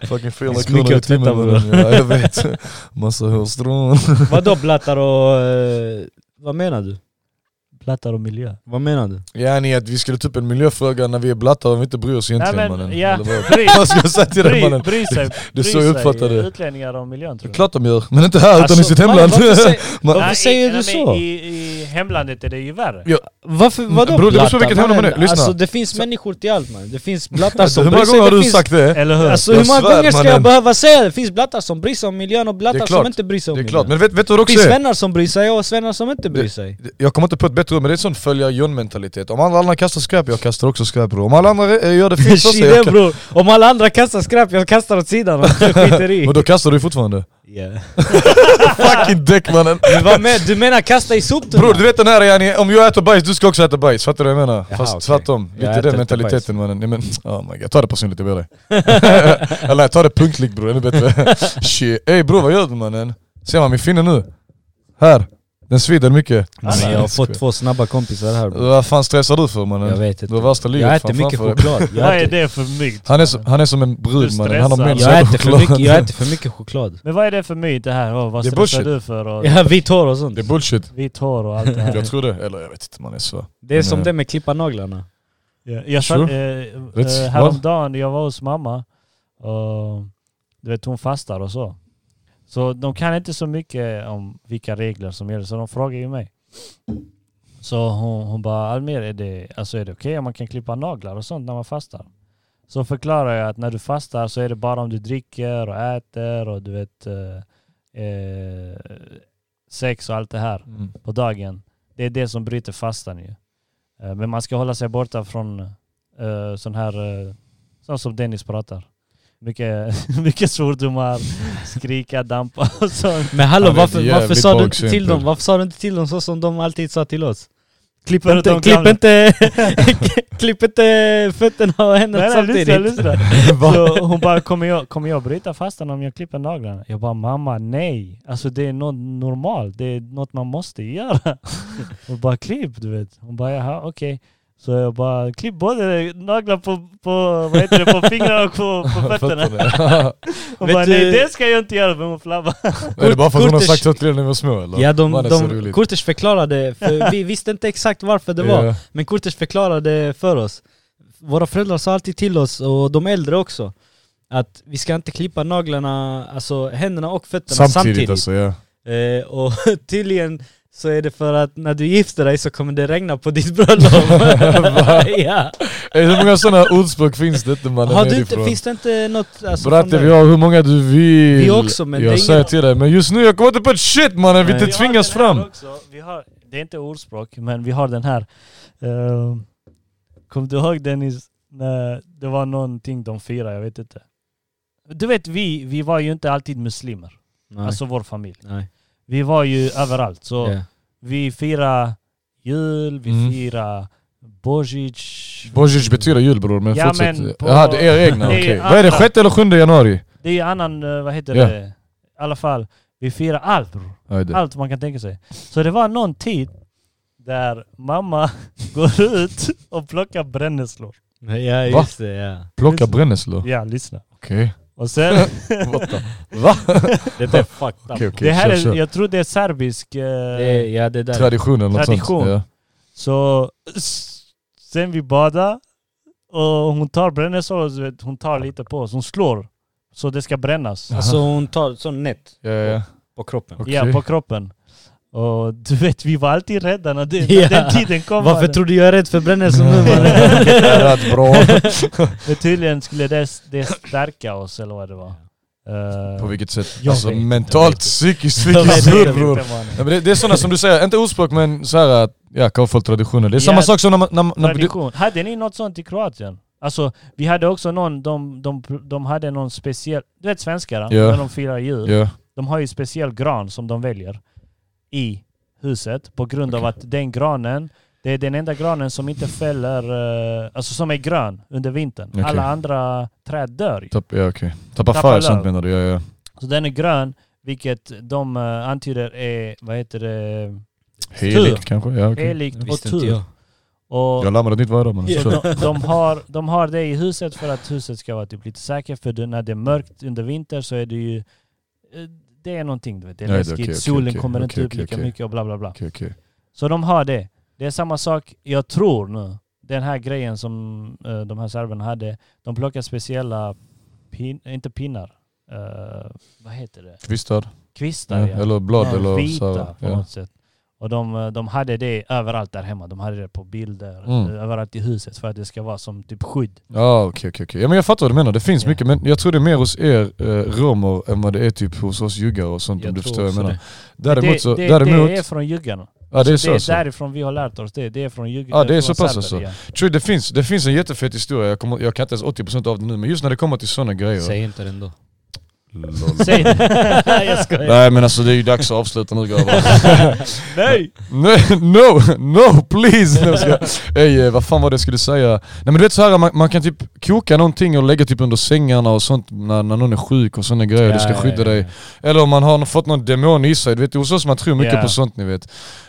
Speaker 2: Fucking
Speaker 3: Det är
Speaker 2: 400
Speaker 3: så mycket
Speaker 2: kronor i
Speaker 3: att tvätta,
Speaker 2: timmen
Speaker 3: bror.
Speaker 2: mannen. Ja, jag vet. Massa hårstrån.
Speaker 3: Vadå blattar och... eh, vad menar du?
Speaker 1: Blattar om miljön.
Speaker 3: Vad menar du?
Speaker 2: *laughs* Ja ni att vi skulle ta upp en miljöfråga när vi är blattar och vi inte bryr oss egentligen
Speaker 1: Nej, men,
Speaker 2: mannen.
Speaker 1: ja.
Speaker 2: Eller vad?
Speaker 1: Bry,
Speaker 2: Vad ska jag säga till dig
Speaker 1: bry,
Speaker 2: mannen?
Speaker 1: bry sig.
Speaker 2: Det är så
Speaker 1: bry
Speaker 2: jag
Speaker 1: sig
Speaker 2: uppfattar det.
Speaker 1: Utlänningar om miljön tror jag.
Speaker 2: Klart de gör, men inte här utan i
Speaker 3: Alltså,
Speaker 2: sitt hemland.
Speaker 3: mannen, varför säger-
Speaker 2: *laughs* Man-
Speaker 3: Varför
Speaker 1: Nej,
Speaker 3: säger
Speaker 1: nej,
Speaker 3: du
Speaker 1: men
Speaker 3: så?
Speaker 1: I, I hemlandet är det ju värre.
Speaker 2: Ja,
Speaker 3: Varför, vadå
Speaker 2: Bror, det beror på
Speaker 3: blattar,
Speaker 2: vilket hemland man är.
Speaker 3: mannen?
Speaker 2: Lyssna. Alltså,
Speaker 3: Alltså det finns människor till allt man. Det
Speaker 2: *laughs*
Speaker 3: finns blattar som
Speaker 2: Hur många
Speaker 3: bryr sig,
Speaker 2: gånger har
Speaker 3: det
Speaker 2: du
Speaker 3: Alltså, finns,
Speaker 2: sagt det?
Speaker 1: Eller hur?
Speaker 3: Alltså
Speaker 2: Jag
Speaker 3: hur många
Speaker 2: svär,
Speaker 3: gånger ska jag
Speaker 2: mannen.
Speaker 3: behöva säga det? Det finns blattar som bryr sig om miljön och blattar som
Speaker 2: klart.
Speaker 3: inte bryr sig om
Speaker 2: Det är
Speaker 3: miljön.
Speaker 2: klart, men vet, vet du vad det
Speaker 3: det
Speaker 2: också
Speaker 3: finns
Speaker 2: är?
Speaker 3: svennar som bryr sig och svennar som inte bryr
Speaker 2: *laughs*
Speaker 3: sig.
Speaker 2: Jag kommer inte på ett bättre ord, men det är en sån följa John mentalitet. Om alla andra kastar skräp, jag kastar också skräp bror. Om alla andra eh, gör
Speaker 3: *laughs*
Speaker 2: det fint för sig,
Speaker 3: Shit,
Speaker 2: jag kan... *laughs*
Speaker 3: bror. Om alla andra kastar skräp, jag kastar åt sidan och skiter i. *laughs*
Speaker 2: Men då kastar du fortfarande.
Speaker 3: Yeah.
Speaker 2: Fucking däck mannen.
Speaker 3: Men vad med, du menar kasta i soptunnan?
Speaker 2: Bror du vet den här yani, om jag äter bajs du ska också äta bajs, fattar du vad jag menar?
Speaker 3: Jaha,
Speaker 2: Fast
Speaker 3: okej.
Speaker 2: tvärtom,
Speaker 3: Jag
Speaker 2: lite
Speaker 3: äter
Speaker 2: den
Speaker 3: inte
Speaker 2: mentaliteten mannen. Nej, men, oh my god, ta det personligt jag ber
Speaker 3: *laughs*
Speaker 2: dig. Eller ta det punktligt bror, ännu bättre. Shit. Ey bror vad gör du mannen? Ser man min finne nu? Här. Den svider mycket.
Speaker 3: Mannen, jag har fått två snabba kompisar här bror.
Speaker 2: Vad fan stressar du för mannen?
Speaker 3: Jag vet inte.
Speaker 2: Du har värsta livet
Speaker 3: Jag äter
Speaker 2: fan
Speaker 3: mycket
Speaker 2: framför dig.
Speaker 3: choklad.
Speaker 2: *laughs*
Speaker 1: Vad
Speaker 3: Jag
Speaker 1: är
Speaker 3: äter,
Speaker 1: det för myt?
Speaker 2: Han är, som, han är som en brud
Speaker 1: Du
Speaker 2: mannen, han har
Speaker 1: stressar.
Speaker 2: mens
Speaker 1: Jag
Speaker 2: över
Speaker 3: jag, äter för
Speaker 2: choklad.
Speaker 3: mycket, jag äter för
Speaker 2: *laughs*
Speaker 3: mycket choklad.
Speaker 1: Men vad är det för myt det här? Åh, vad
Speaker 2: Det är
Speaker 1: stressar
Speaker 2: bullshit.
Speaker 1: du för? Och
Speaker 3: Ja, vitt hår och sånt.
Speaker 2: Det är bullshit.
Speaker 1: Vitt hår och allt det här.
Speaker 2: Jag tror det, eller jag vet inte mannen, jag svär.
Speaker 3: Det är som
Speaker 2: Nej.
Speaker 3: det med klippa naglarna.
Speaker 1: Ja, Jag satt, eh,
Speaker 2: Vet-
Speaker 1: eh, häromdagen, jag var hos mamma och du vet, hon fastar och så. Så de kan inte så mycket om vilka regler som gäller, så de frågar ju mig. Så hon, hon bara, Almer, är det, alltså är det okej om man kan klippa naglar och sånt när man fastar? Så förklarar jag att när du fastar så är det bara om du dricker och äter och du vet eh, eh, sex och allt det här
Speaker 2: Mm.
Speaker 1: på dagen. Det är det som bryter fastan ju. Eh, Men man ska hålla sig borta från eh, sån här, eh, sån som Dennis pratar. Mycket, *laughs* mycket svordomar, skrika, dampa och sånt.
Speaker 3: Men hallå
Speaker 2: Ja, det är
Speaker 3: varför, varför,
Speaker 2: jävligt
Speaker 3: sa
Speaker 2: bra
Speaker 3: du inte till
Speaker 2: exempel.
Speaker 3: dem? varför sa du inte till dem så som de alltid sa till oss? Klipp
Speaker 1: För att
Speaker 3: inte,
Speaker 1: de
Speaker 3: klipp
Speaker 1: glömde.
Speaker 3: inte, *laughs* klipp inte fötterna och händerna
Speaker 1: Nej, nej, lyssna,
Speaker 3: samtidigt.
Speaker 1: lyssna. Så hon bara, kommer jag, kommer jag bryta fastan om jag klipper naglarna? Jag bara, mamma nej. Alltså det är något normalt, det är något man måste göra. Hon bara, klipp du vet. Hon bara, jaha okej. Så jag bara, klipp både naglar på, på, vad heter det, på fingrarna och på, på fötterna.
Speaker 2: Fötterna.
Speaker 1: Hon
Speaker 3: Vet
Speaker 1: bara,
Speaker 3: du-
Speaker 1: nej det ska jag inte göra för hon flabbar.
Speaker 2: Är det bara för att hon har
Speaker 3: Kurtish-
Speaker 2: sagt så till dig när vi var små eller?
Speaker 3: Ja, de,
Speaker 2: Man är så
Speaker 3: de,
Speaker 2: roligt.
Speaker 3: Kurtis förklarade,
Speaker 1: *laughs*
Speaker 3: för vi visste inte exakt varför det var,
Speaker 2: Ja.
Speaker 3: men Kurtis förklarade för oss. Våra föräldrar sa alltid till oss, och de äldre också, att vi ska inte klippa naglarna, alltså händerna och fötterna
Speaker 2: Samtidigt,
Speaker 3: samtidigt.
Speaker 2: alltså ja.
Speaker 3: Eh, och *laughs* tydligen så är det för att när du gifter dig så kommer det regna på ditt
Speaker 2: *laughs*
Speaker 3: bröllop. *laughs*
Speaker 2: Ey,
Speaker 3: ja.
Speaker 2: Eh, Hur många sådana ordspråk finns det inte mannen
Speaker 3: Har du inte, finns det inte något... Alltså,
Speaker 2: Bratte
Speaker 3: från
Speaker 2: vi har hur många du vill.
Speaker 3: Vi också, men det är
Speaker 2: Jag
Speaker 3: ingen-
Speaker 2: säger till dig, men just nu jag kommer inte på ett shit mannen, vi
Speaker 3: Nej.
Speaker 2: inte tvingas
Speaker 1: den här
Speaker 2: fram.
Speaker 1: Också. Vi har, det är inte ordspråk, men vi har den här. Uh, Kommer du ihåg Dennis, när det var någonting de firade, jag vet inte. Du vet vi, vi var ju inte alltid muslimer,
Speaker 3: Nej.
Speaker 1: alltså vår familj.
Speaker 3: Nej.
Speaker 1: Vi var ju överallt, så
Speaker 3: Ja.
Speaker 1: vi firade jul, vi
Speaker 2: Mm.
Speaker 1: firade Bozic.
Speaker 2: Bozic betyder jul bror, men
Speaker 1: Ja,
Speaker 2: fortsätt.
Speaker 1: men på-
Speaker 2: Jaha, det är er egna,
Speaker 3: *laughs*
Speaker 1: Det är
Speaker 2: okej.
Speaker 1: ju
Speaker 2: Vad är det,
Speaker 1: andra.
Speaker 2: sjätte eller sjunde januari?
Speaker 1: Det är ju annan, eh, vad heter
Speaker 2: Ja.
Speaker 1: det, i alla fall. Vi firar allt bror.
Speaker 2: Ja, det.
Speaker 1: Allt man kan tänka sig. Så det var någon tid där mamma *laughs* går ut och plockar brännässlor.
Speaker 3: ja,
Speaker 2: Va?
Speaker 3: just det. Ja.
Speaker 2: Plocka brännässlor?
Speaker 1: Ja, lyssna.
Speaker 2: *laughs* Okej.
Speaker 1: Och sen,
Speaker 2: What the-
Speaker 3: *laughs*
Speaker 2: Va?
Speaker 3: Det är fucked up.
Speaker 2: Okej okej,
Speaker 1: det här
Speaker 2: kör,
Speaker 1: är,
Speaker 2: kör.
Speaker 1: jag tror det är serbisk. eh,
Speaker 3: Det, är- ja, det är där.
Speaker 2: Tradition eller något sånt.
Speaker 1: Tradition.
Speaker 2: Ja.
Speaker 1: Så s- sen vi badar och hon tar brännässlor och du vet, hon tar lite på oss. Hon slår så det ska brännas.
Speaker 3: Alltså hon tar sån nät
Speaker 2: Ja,
Speaker 3: *laughs*
Speaker 2: ja.
Speaker 3: på kroppen.
Speaker 2: Ah, Okej.
Speaker 1: Ja, på kroppen. Och du vet, vi var alltid rädda när, det, när
Speaker 3: Ja.
Speaker 1: den tiden kom.
Speaker 3: Varför tror du jag är rädd för brännelse *laughs* nu mannen?
Speaker 2: Rätt bra.
Speaker 1: Men tydligen skulle det, det stärka oss eller vad det var. Eh,
Speaker 2: På vilket sätt?
Speaker 1: Jag
Speaker 2: alltså
Speaker 1: vet inte.
Speaker 2: mentalt, psykiskt,
Speaker 3: Jag vet
Speaker 2: psykiskt
Speaker 3: inte.
Speaker 2: hur bror? Ja, men det, det är sådana som du säger, inte ordspråk men så här att, ja, kavfullt traditioner. Det
Speaker 1: Ja,
Speaker 2: är samma sak som när man... När, när, du,
Speaker 1: Tradition. Hade ni något sånt i Kroatien? Alltså, vi hade också någon, de, de, de hade någon speciell... Du vet svenskar,
Speaker 2: Ja.
Speaker 1: när de firar jul,
Speaker 2: ja,
Speaker 1: de har ju speciell gran som de väljer i huset på grund av
Speaker 2: Okej.
Speaker 1: att den granen, det är den enda granen som inte fäller, eh, alltså som är grön under vintern.
Speaker 2: Okej.
Speaker 1: Alla andra träd dör ju.
Speaker 2: tapp, ja okej. Tappa
Speaker 1: Tappa
Speaker 2: färg
Speaker 1: löv.
Speaker 2: sånt menar du? Ja, ja.
Speaker 1: Så den är grön, vilket de eh, antyder är, vad heter det,
Speaker 2: Heligt kanske? Ja, okej.
Speaker 1: heligt och
Speaker 3: Visste inte
Speaker 1: tur.
Speaker 3: jag.
Speaker 1: Och
Speaker 2: Jag lammar det nytt varje dag mannen.
Speaker 1: Så
Speaker 2: Kör.
Speaker 1: de, de, har, de har det i huset för att huset ska vara typ lite säkert. För det- när det är mörkt under vinter så är det ju... eh, Det är någonting, du vet. Det är
Speaker 2: Nej, det är
Speaker 1: läskigt.
Speaker 2: okej, okej,
Speaker 1: Solen
Speaker 2: okej,
Speaker 1: kommer
Speaker 2: okej,
Speaker 1: inte upp
Speaker 2: okej,
Speaker 1: lika
Speaker 2: okej.
Speaker 1: mycket och bla bla bla.
Speaker 2: Okej, okej.
Speaker 1: Så de har det. Det är samma sak, jag tror nu, den här grejen som eh, de här serberna hade. De plockar speciella, pin, inte pinnar, eh, vad heter det?
Speaker 2: Kvistar? Ja,
Speaker 1: Kvistar ja.
Speaker 2: eller blad
Speaker 1: Ja,
Speaker 2: eller
Speaker 1: vita
Speaker 2: så här,
Speaker 1: på
Speaker 2: ja.
Speaker 1: något sätt. Och de, eh, de hade det överallt där hemma. De hade det på bilder,
Speaker 2: Mm.
Speaker 1: överallt i huset för att det ska vara som typ skydd.
Speaker 2: Ja okej okej okej. Ja men jag fattar vad du menar, det finns
Speaker 1: Ja.
Speaker 2: mycket men jag tror det är mer hos er eh, romer än vad det är typ hos oss juggar och sånt om
Speaker 3: Jag
Speaker 2: du
Speaker 3: tror
Speaker 2: förstår vad jag
Speaker 3: också
Speaker 2: menar.
Speaker 3: det.
Speaker 2: Däremot så,
Speaker 1: det, det,
Speaker 2: däremot...
Speaker 1: det är från juggarna. Alltså,
Speaker 2: Ja det är
Speaker 1: det
Speaker 2: så alltså.
Speaker 1: är
Speaker 2: så.
Speaker 1: därifrån vi har lärt oss det. Det är från juggarna.
Speaker 2: Ja, det är så pass alltså. Tror det finns, det finns en jättefet historia, jag, kommer, jag kan inte ens 80% av den nu men just när det kommer till sådana grejer.
Speaker 3: Säg inte det ändå.
Speaker 2: Lol.
Speaker 1: Säg *laughs* det.
Speaker 2: *laughs*
Speaker 1: jag skojar.
Speaker 2: Nej men alltså det är ju dags att avsluta nu grabbar.
Speaker 1: *laughs* Nej!
Speaker 2: Nej, no, no please! Nej, jag skojar. Ey, eh, vad fan var det jag skulle säga? Nej men du vet så här, man, man kan typ koka någonting och lägga typ under sängarna och sånt när, när någon är sjuk och sådana grejer, det ska skydda dig. Eller om man har fått någon demon i sig, du vet hos oss man tror mycket
Speaker 1: Ja.
Speaker 2: på sånt ni vet.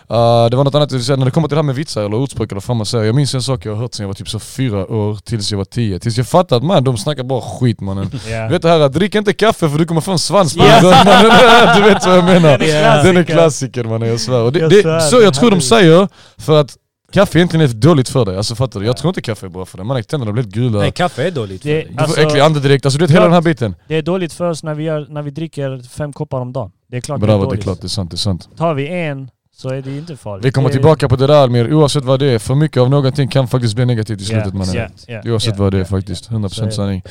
Speaker 2: Eh, det var något annat, jag ville säga, när det kommer till det här med vitsar eller ordspråk eller vad fan man säger. Jag minns en sak jag har hört sedan jag var typ så fyra år tills jag var tio. Tills jag fattade att man, de snackar bara skit mannen.
Speaker 1: Ja.
Speaker 2: Du vet det här, drick inte kaffe för du kommer få en svans *laughs* på
Speaker 1: Ja.
Speaker 2: dig. Du vet vad jag menar.
Speaker 1: Den är
Speaker 2: Den är
Speaker 1: klassiker.
Speaker 2: klassiker mannen, jag svär. Och det,
Speaker 1: Jag
Speaker 2: det,
Speaker 1: svär,
Speaker 2: så
Speaker 1: den
Speaker 2: jag tror de
Speaker 1: här
Speaker 2: säger, för att kaffe egentligen är dåligt för dig. Alltså fattar du? Jag tror inte kaffe är bra för dig. Man tänderna blir helt gula.
Speaker 3: Nej kaffe är dåligt för
Speaker 1: Det-
Speaker 3: dig.
Speaker 2: Du får
Speaker 1: Alltså-
Speaker 2: äcklig andedräkt, alltså du vet hela den här biten.
Speaker 1: Det är dåligt för oss när vi, gör, när vi dricker fem koppar om dagen. Det är klart det är
Speaker 2: Bravo, det är
Speaker 1: dåligt.
Speaker 2: klart, det är sant, det är sant.
Speaker 1: Tar vi en så är det inte farligt.
Speaker 2: Vi kommer
Speaker 1: det...
Speaker 2: tillbaka på det där mer, oavsett vad det är. För mycket av någonting kan faktiskt bli negativt i slutet mannen.
Speaker 1: Ja, ja, ja,
Speaker 2: Oavsett
Speaker 1: ja.
Speaker 2: vad det är faktiskt, 100%
Speaker 1: Så är
Speaker 2: sanning.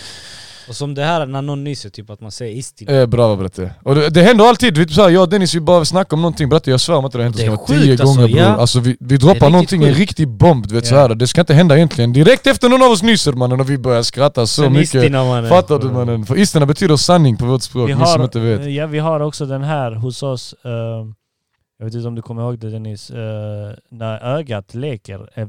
Speaker 3: Och som det här när någon nyser, typ att man säger istil.
Speaker 2: Eh, bravo Bratte. Och det, det händer alltid, vi, så här, jag och Dennis vi bara snackar om någonting Bratte, jag svär om att det har hänt
Speaker 3: Det är
Speaker 2: oss kanske
Speaker 3: sjukt,
Speaker 2: tio
Speaker 3: alltså,
Speaker 2: gånger bror.
Speaker 3: ja.
Speaker 2: Alltså vi, vi
Speaker 3: Det är
Speaker 2: droppar
Speaker 3: riktigt
Speaker 2: någonting, en
Speaker 3: sjukt.
Speaker 2: riktig bomb du vet
Speaker 1: Ja.
Speaker 2: såhär, det ska inte hända egentligen. Direkt efter någon av oss nyser mannen och vi börjar skratta så mycket.
Speaker 3: mannen.
Speaker 2: Fattar du mannen? För istina betyder sanning på vårt språk,
Speaker 1: Vi
Speaker 2: ni som
Speaker 1: har, eh,
Speaker 2: inte vet.
Speaker 1: ja, vi har också den här hos oss. eh, jag vet inte om du kommer ihåg det Dennis. eh, när ögat leker. eh,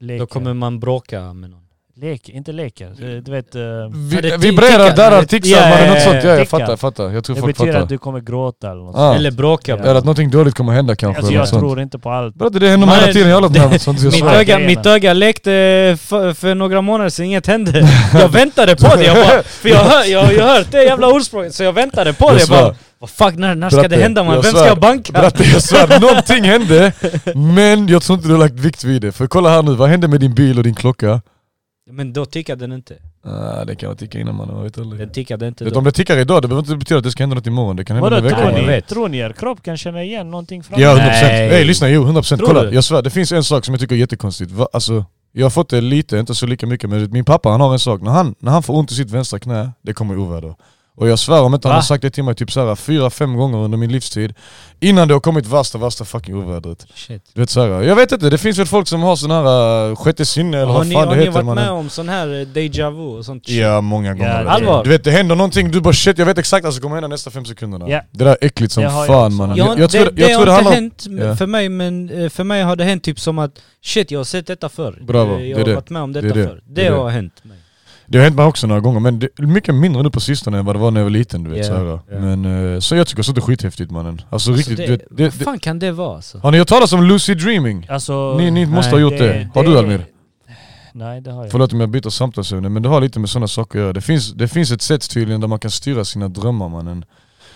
Speaker 1: leker.
Speaker 3: Då kommer man bråka med någon.
Speaker 1: Leker, inte leker. Eh, du vet, eh,
Speaker 3: Ja, det
Speaker 2: Vi,
Speaker 3: är
Speaker 2: vi
Speaker 3: ti-
Speaker 2: brärar,
Speaker 3: tickar,
Speaker 2: darrar,
Speaker 3: det är-
Speaker 2: tixar
Speaker 3: ja, ja,
Speaker 2: mannen, något
Speaker 3: ja,
Speaker 2: sånt. Ja, jag
Speaker 1: tickar.
Speaker 2: fattar, jag fattar. Jag tror
Speaker 1: det
Speaker 2: folk
Speaker 1: betyder
Speaker 2: fattar.
Speaker 1: att du kommer gråta eller något.
Speaker 2: Ah.
Speaker 3: Eller bråka.
Speaker 1: Ja.
Speaker 2: Eller att någonting dåligt kommer hända kanske.
Speaker 1: alltså,
Speaker 2: eller
Speaker 1: jag
Speaker 2: något sånt.
Speaker 1: tror inte på allt.
Speaker 2: Bratte det händer mig
Speaker 3: Nej,
Speaker 2: hela tiden, jag
Speaker 1: *laughs*
Speaker 2: håller med om sånt. jag
Speaker 3: Mitt
Speaker 2: svär.
Speaker 3: öga,
Speaker 1: Grejerna.
Speaker 3: mitt öga läckte för, för några månader sedan, inget hände.
Speaker 2: *laughs*
Speaker 3: Jag väntade på det, jag bara, för jag har jag, har ju hört det jävla ordspråket, så jag väntade på det.
Speaker 2: Jag
Speaker 3: Jag
Speaker 2: svär.
Speaker 3: bara, vad fuck, när, när ska det
Speaker 2: Bratte,
Speaker 3: hända man?
Speaker 2: jag
Speaker 3: Vem ska
Speaker 2: svär.
Speaker 3: jag banka?
Speaker 2: Bratte jag svär, någonting hände men jag tror inte du har lagt vikt vid det. För kolla här nu, vad hände med din bil och din klocka?
Speaker 3: *laughs* Men då tickade den inte.
Speaker 2: Ah, det kan jag ticka innan mannen, man vet aldrig.
Speaker 3: Den tickade inte
Speaker 2: Vet, om
Speaker 3: då.
Speaker 2: det tickar idag, det behöver inte betyda att det ska hända något imorgon. Det kan hända
Speaker 1: Vadå
Speaker 2: en vecka.
Speaker 1: tror
Speaker 3: man
Speaker 2: mannen.
Speaker 1: ni?
Speaker 3: vet.
Speaker 1: Tror ni er kropp kan känna igen någonting framåt?
Speaker 2: Ja, 100%.
Speaker 3: Nej.
Speaker 2: Ey lyssna, jo 100%.
Speaker 3: Tror
Speaker 2: Kolla,
Speaker 3: du?
Speaker 2: jag svär, det finns en sak som jag tycker är jättekonstigt. Va? Alltså, jag har fått det lite, inte så lika mycket, men min pappa han har en sak. När han, när han får ont i sitt vänstra knä, det kommer oväder. Och jag svär om inte han
Speaker 3: Va?
Speaker 2: har sagt det till mig typ såhär 4-5 gånger under min livstid Innan det har kommit värsta, värsta fucking ovädret
Speaker 3: Shit.
Speaker 2: Du vet såhär, jag vet inte, det finns väl folk som har sån här äh, sjätte sinne eller
Speaker 3: Har
Speaker 2: vad
Speaker 3: ni,
Speaker 2: fan
Speaker 3: har
Speaker 2: det
Speaker 3: ni
Speaker 2: heter
Speaker 3: varit
Speaker 2: man
Speaker 3: med om sån här eh, deja vu och sånt? shit?
Speaker 2: Ja, många gånger
Speaker 1: det-
Speaker 3: Allvar?
Speaker 2: Du vet det händer någonting, du bara shit jag vet exakt vad som kommer hända nästa fem sekunderna
Speaker 1: Ja.
Speaker 2: Det där är äckligt som
Speaker 1: Det har jag
Speaker 2: fan
Speaker 1: också.
Speaker 2: mannen
Speaker 1: Ja,
Speaker 2: Jag, jag tror
Speaker 3: det,
Speaker 2: jag tror
Speaker 3: har
Speaker 2: det
Speaker 3: inte
Speaker 2: handlar om...
Speaker 3: hänt
Speaker 2: Ja.
Speaker 3: för mig, men eh, för mig har det hänt typ som att shit, jag har sett detta förr.
Speaker 2: Bravo,
Speaker 3: Eh,
Speaker 2: det är
Speaker 3: jag har
Speaker 2: det.
Speaker 3: varit med om
Speaker 2: är
Speaker 3: detta
Speaker 2: det.
Speaker 3: förr.
Speaker 2: Det
Speaker 3: Det,
Speaker 2: är det.
Speaker 3: har hänt mig.
Speaker 2: Det har hänt mig också några gånger, men det är mycket mindre nu på sistone än vad det var när jag var liten du vet
Speaker 3: Ja,
Speaker 2: såhär.
Speaker 3: ja.
Speaker 2: Men eh, så jag tycker sånt är skithäftigt mannen Alltså
Speaker 3: Alltså,
Speaker 2: riktigt,
Speaker 3: det-
Speaker 2: du vet, det,
Speaker 3: Vad
Speaker 2: det,
Speaker 3: fan kan det vara alltså?
Speaker 2: Har ni hört talas om lucid dreaming?
Speaker 1: Alltså,
Speaker 2: Ni, ni måste ha
Speaker 1: nej,
Speaker 2: gjort det, Har du Almir?
Speaker 1: Nej det har jag
Speaker 2: Förlåt om jag byter samtalsämne men det har lite med sådana saker att göra Det finns, det finns ett sätt tydligen där man kan styra sina drömmar mannen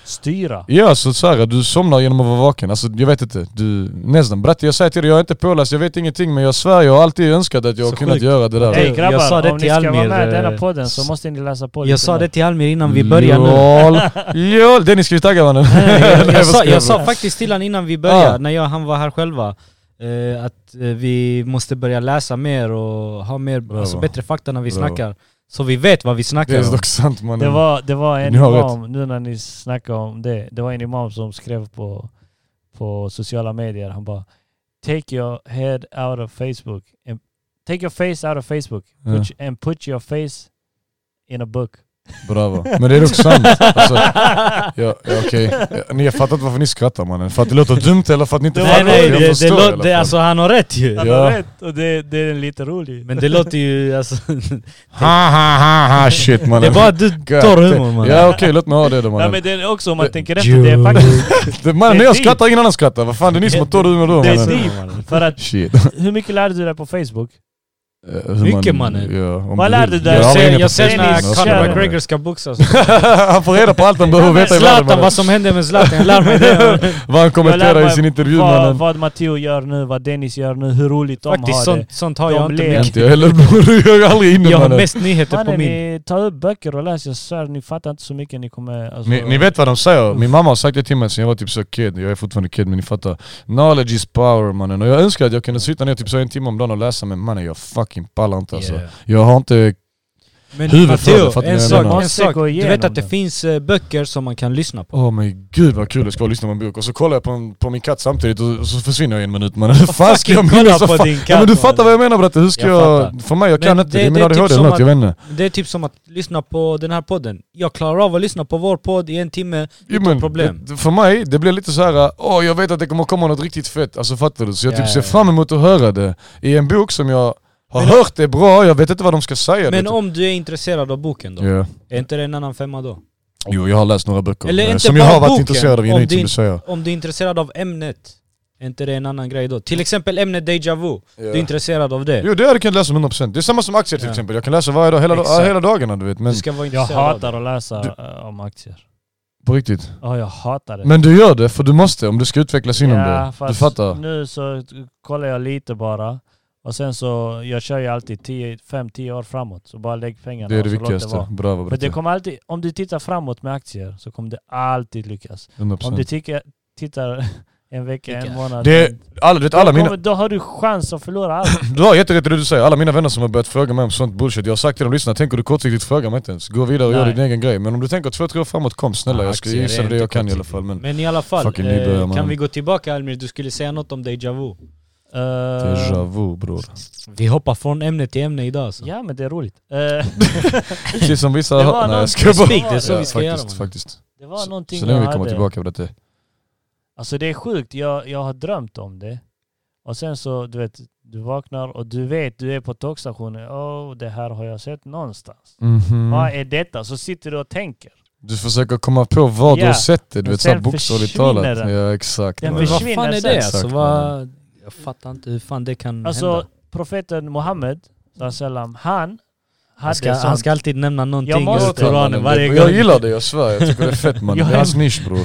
Speaker 1: Styra?
Speaker 2: Ja, så, så här, du somnar genom att vara vaken. Alltså jag vet inte, du... Nästan. Bratte, jag säger till dig, jag är inte påläst, jag vet ingenting men jag svär, jag har alltid önskat att jag
Speaker 3: Så
Speaker 2: har kunnat
Speaker 3: sjukt.
Speaker 2: göra det där.
Speaker 3: Nej,
Speaker 1: Ey
Speaker 3: jag sa
Speaker 1: grabbar,
Speaker 3: det
Speaker 1: om ni
Speaker 3: till
Speaker 1: ska vara
Speaker 3: Almir,
Speaker 1: med i den här
Speaker 3: eh,
Speaker 1: podden så måste ni läsa på
Speaker 3: Jag sa
Speaker 1: mer.
Speaker 3: det till Almir innan vi började nu.
Speaker 2: Lol, lol. Dennis, ska vi tagga mannen? *laughs*
Speaker 3: Nej, *laughs* jag,
Speaker 2: vad
Speaker 3: jag, sa,
Speaker 2: ska
Speaker 3: jag
Speaker 2: jag
Speaker 3: sa
Speaker 2: säga?
Speaker 3: faktiskt till honom innan vi började,
Speaker 2: Ah.
Speaker 3: när jag, han var här själva, eh, att eh, vi måste börja läsa mer och ha mer,
Speaker 2: Bravo.
Speaker 3: alltså, bättre fakta när vi
Speaker 2: Bravo.
Speaker 3: snackar. Så vi vet vad vi
Speaker 2: Det
Speaker 3: snackar
Speaker 2: är
Speaker 3: om.
Speaker 2: dock sant mannen.
Speaker 1: Det var, det var en
Speaker 2: Ni har
Speaker 1: imam, nu när ni snackar om det, det var en imam som skrev på, på sociala medier, han bara Take your head out of Facebook. And take your face out of Facebook put you- and put your face in a book.
Speaker 2: Bravo. Men det är dock sant. Alltså, ja, ja, okej. Ja, Ni har fattat varför ni skrattar mannen. För att det låter dumt eller för att ni inte
Speaker 3: Nej
Speaker 2: fattar?
Speaker 3: nej,
Speaker 2: jag
Speaker 3: det, det,
Speaker 2: förstår i alla
Speaker 3: lå-
Speaker 2: fall.
Speaker 3: det, alltså han har rätt ju.
Speaker 1: *laughs* Han
Speaker 2: Ja.
Speaker 1: har rätt och det, det är lite roligt.
Speaker 3: Men det låter ju alltså... *laughs*
Speaker 2: Ha ha ha ha shit mannen.
Speaker 3: det är bara du torr humor mannen.
Speaker 2: Ja okej, låt mig ha det då
Speaker 1: Nej
Speaker 2: mannen.
Speaker 1: men det är också om man
Speaker 2: Det-
Speaker 1: tänker efter, det är faktiskt
Speaker 2: Det-
Speaker 1: det
Speaker 2: Mannen,
Speaker 1: är
Speaker 2: när jag
Speaker 1: ni.
Speaker 2: skrattar ingen annan skrattar. Vad fan, det är ni som har torr humor då
Speaker 1: Det är
Speaker 2: mannen.
Speaker 1: ni. för att
Speaker 2: Shit.
Speaker 1: hur mycket lärde du dig på
Speaker 2: *laughs*
Speaker 1: Facebook?
Speaker 2: Eh, hur
Speaker 3: Mycket,
Speaker 2: man-
Speaker 3: mannen.
Speaker 2: Ja, om
Speaker 1: Vad lärde
Speaker 2: vill.
Speaker 1: du dig?
Speaker 2: har inga
Speaker 3: Jag ser, jag
Speaker 2: precis
Speaker 3: ser när
Speaker 2: innan.
Speaker 1: Conor
Speaker 3: Conor
Speaker 1: Kära.
Speaker 3: McGregor ska boxas.
Speaker 2: *laughs* han får reda på allt han behöver veta i världen
Speaker 3: Zlatan,
Speaker 2: mannen.
Speaker 3: vad som hände med Zlatan, jag lär
Speaker 1: *laughs*
Speaker 3: mig det.
Speaker 2: Vad han
Speaker 1: Jag lär
Speaker 2: kommenterar i
Speaker 1: mig
Speaker 2: sin intervju
Speaker 1: Vad,
Speaker 2: mannen.
Speaker 1: vad Matteo gör nu, vad Dennis gör nu, hur roligt de
Speaker 3: Faktiskt
Speaker 1: har det.
Speaker 3: sånt, sånt har
Speaker 1: De
Speaker 3: jag inte
Speaker 1: ler.
Speaker 3: mycket.
Speaker 2: Inte jag heller *laughs* bror, jag är aldrig inne
Speaker 3: Jag har
Speaker 2: mannen.
Speaker 3: mest nyheter på
Speaker 1: Mannen,
Speaker 3: min.
Speaker 1: ni tar upp böcker och läser, jag svär, ni fattar inte så mycket ni kommer... Alltså,
Speaker 2: Ni, ni vet vad de säger, min mamma har sagt det till mig sen jag var typ så kid, jag är fortfarande kid men ni fattar Knowledge is power mannen, och jag önskar att jag kunde sitta ner typ så en timme om dagen och läsa men mannen jag fucking pallar inte alltså
Speaker 3: Yeah.
Speaker 2: Jag har inte
Speaker 3: Men
Speaker 2: Huvudet för
Speaker 3: Matteo,
Speaker 2: det, fattar ni
Speaker 3: en
Speaker 2: vad jag menar?
Speaker 3: sak,
Speaker 1: Man
Speaker 3: en
Speaker 1: ska
Speaker 3: sak.
Speaker 1: gå
Speaker 3: Du
Speaker 1: igenom
Speaker 3: vet att det
Speaker 1: den.
Speaker 3: finns eh, böcker som man kan lyssna på.
Speaker 2: Åh men gud vad kul det ska vara att lyssna på en bok. Och så kollar jag på, en, på min katt samtidigt och, och så försvinner jag i en minut mannen. Hur *laughs* fan ska jag
Speaker 3: Fucking kolla
Speaker 2: minnas? vad
Speaker 3: på
Speaker 2: fan-
Speaker 3: din katt,
Speaker 2: ja, men du fattar
Speaker 3: mannen.
Speaker 2: vad jag menar bratte. Hur ska
Speaker 3: Jag
Speaker 2: jag...
Speaker 3: fattar.
Speaker 2: För mig, jag
Speaker 3: Men
Speaker 2: kan inte.
Speaker 3: det-
Speaker 2: Det är min
Speaker 3: det är typ
Speaker 2: ADHD eller
Speaker 3: som
Speaker 2: något, jag vet inte.
Speaker 3: Det är typ som att lyssna på den här podden. Jag klarar av att lyssna på vår podd i en timme
Speaker 2: Jo,
Speaker 3: utan
Speaker 2: men
Speaker 3: problem.
Speaker 2: det- För mig, det blir lite så här. åh jag vet att det kommer komma något riktigt fett, alltså fattar du? Så jag
Speaker 3: Ja,
Speaker 2: typ
Speaker 3: ja,
Speaker 2: ser
Speaker 3: ja.
Speaker 2: fram emot att höra det i en bok som jag har
Speaker 3: Men-
Speaker 2: hört är bra, jag vet inte vad de ska säga.
Speaker 3: Men
Speaker 2: det,
Speaker 3: om du är intresserad av boken då?
Speaker 2: typ. Ja.
Speaker 3: Är inte det en annan femma då?
Speaker 2: Jo, jag har läst några böcker
Speaker 3: Eller
Speaker 2: eh,
Speaker 3: inte
Speaker 2: som jag
Speaker 3: bara
Speaker 2: har varit
Speaker 3: boken,
Speaker 2: intresserad av
Speaker 3: om
Speaker 2: genuint som
Speaker 3: din-
Speaker 2: du säger.
Speaker 3: Om du är intresserad av ämnet, är inte det en annan grej då? Till exempel ämnet Deja Vu, du är intresserad av det.
Speaker 2: Jo det hade jag kunnat läsa om 100%. Det är samma som aktier till
Speaker 3: Ja.
Speaker 2: exempel, jag kan läsa varje dag, hela,
Speaker 3: Exakt.
Speaker 2: ja, hela dagarna du vet. Men
Speaker 3: Du ska vara
Speaker 1: Jag
Speaker 3: intresserad
Speaker 1: hatar
Speaker 3: av
Speaker 1: att läsa
Speaker 2: Du-
Speaker 1: eh, om aktier.
Speaker 2: på riktigt.
Speaker 1: Ja, jag hatar det.
Speaker 2: Men du gör det för du måste om du ska utvecklas inom det. Du
Speaker 1: fast
Speaker 2: fattar?
Speaker 1: Nu så kollar jag lite bara. Och sen så, jag kör ju alltid 5-10 år framåt. Så bara lägg pengarna
Speaker 2: Det är det
Speaker 1: och så låt
Speaker 2: viktigaste.
Speaker 1: vara.
Speaker 2: Bravo
Speaker 1: För det
Speaker 2: bratte.
Speaker 1: kommer alltid, om du tittar framåt med aktier så kommer det alltid lyckas. Om du
Speaker 2: 100%.
Speaker 1: ticka, tittar *laughs* en vecka, en
Speaker 3: Lyckas.
Speaker 1: månad.
Speaker 2: Det, alla, du vet, alla
Speaker 1: då,
Speaker 2: mina,
Speaker 1: kommer, då har du chans att förlora
Speaker 2: *laughs*
Speaker 1: allt.
Speaker 2: Du har jätterätt i det du säger, alla mina vänner som har börjat fråga mig om sånt bullshit Jag har sagt till dem, lyssna tänker du kortsiktigt fråga mig inte ens Gå vidare och gör
Speaker 1: Nej.
Speaker 2: din egen grej Men om du tänker två, tre år framåt, kom snälla
Speaker 3: Ja,
Speaker 2: Jag ska
Speaker 3: aktier
Speaker 2: gissa
Speaker 3: är
Speaker 2: det
Speaker 3: inte
Speaker 2: jag kan i alla
Speaker 3: kortsiktigt.
Speaker 2: fall men
Speaker 3: Men i alla fall,
Speaker 2: Fucking nybörjare,
Speaker 3: eh,
Speaker 2: mannen.
Speaker 3: kan vi gå tillbaka Almir? Du skulle säga något om Deja Vu.
Speaker 1: Eh,
Speaker 2: Déjà
Speaker 1: *laughs*
Speaker 2: vu bror
Speaker 3: Vi hoppar från ämne till ämne idag alltså.
Speaker 1: ja men det är roligt.
Speaker 2: *laughs*
Speaker 1: Eh,
Speaker 2: Precis som vissa
Speaker 1: Det
Speaker 2: har
Speaker 1: var
Speaker 2: hört, nej
Speaker 1: någon
Speaker 2: jag ska bara
Speaker 1: specifik, det är så
Speaker 2: Ja,
Speaker 1: vi
Speaker 3: ska göra,
Speaker 2: faktiskt,
Speaker 3: mannen.
Speaker 2: faktiskt.
Speaker 1: det var någonting
Speaker 2: Så länge vi
Speaker 1: jag
Speaker 2: kommer
Speaker 1: hade.
Speaker 2: tillbaka på detta
Speaker 1: Alltså det är sjukt, jag, jag har drömt om det. Och sen så, du vet, du vaknar och du vet, du är på tågstationen. Åh, det här har jag sett någonstans.
Speaker 2: Mm.
Speaker 1: Vad är detta? Så sitter du och tänker.
Speaker 2: Du försöker komma på vad du
Speaker 1: Ja.
Speaker 2: har sett det, du
Speaker 1: Men
Speaker 2: vet såhär
Speaker 1: sen
Speaker 2: bokstavligt
Speaker 1: försvinner
Speaker 2: talat
Speaker 1: den.
Speaker 2: Ja exakt
Speaker 1: Den
Speaker 2: mannen.
Speaker 3: Men vad fan är det
Speaker 2: Exakt,
Speaker 3: alltså? Vad... Jag fattar inte hur fan det kan
Speaker 1: Alltså
Speaker 3: hända.
Speaker 1: profeten Muhammed, sallam, han hade
Speaker 3: Han ska,
Speaker 1: sånt.
Speaker 3: han ska alltid nämna någonting
Speaker 1: måste-
Speaker 3: ur
Speaker 2: Låt han,
Speaker 3: Koranen
Speaker 2: mannen.
Speaker 3: varje gång.
Speaker 2: Jag gillar det, jag svär, jag tycker det är
Speaker 1: *laughs*
Speaker 2: fett mannen
Speaker 1: Jag
Speaker 2: Det är
Speaker 1: är-
Speaker 2: hans nisch bror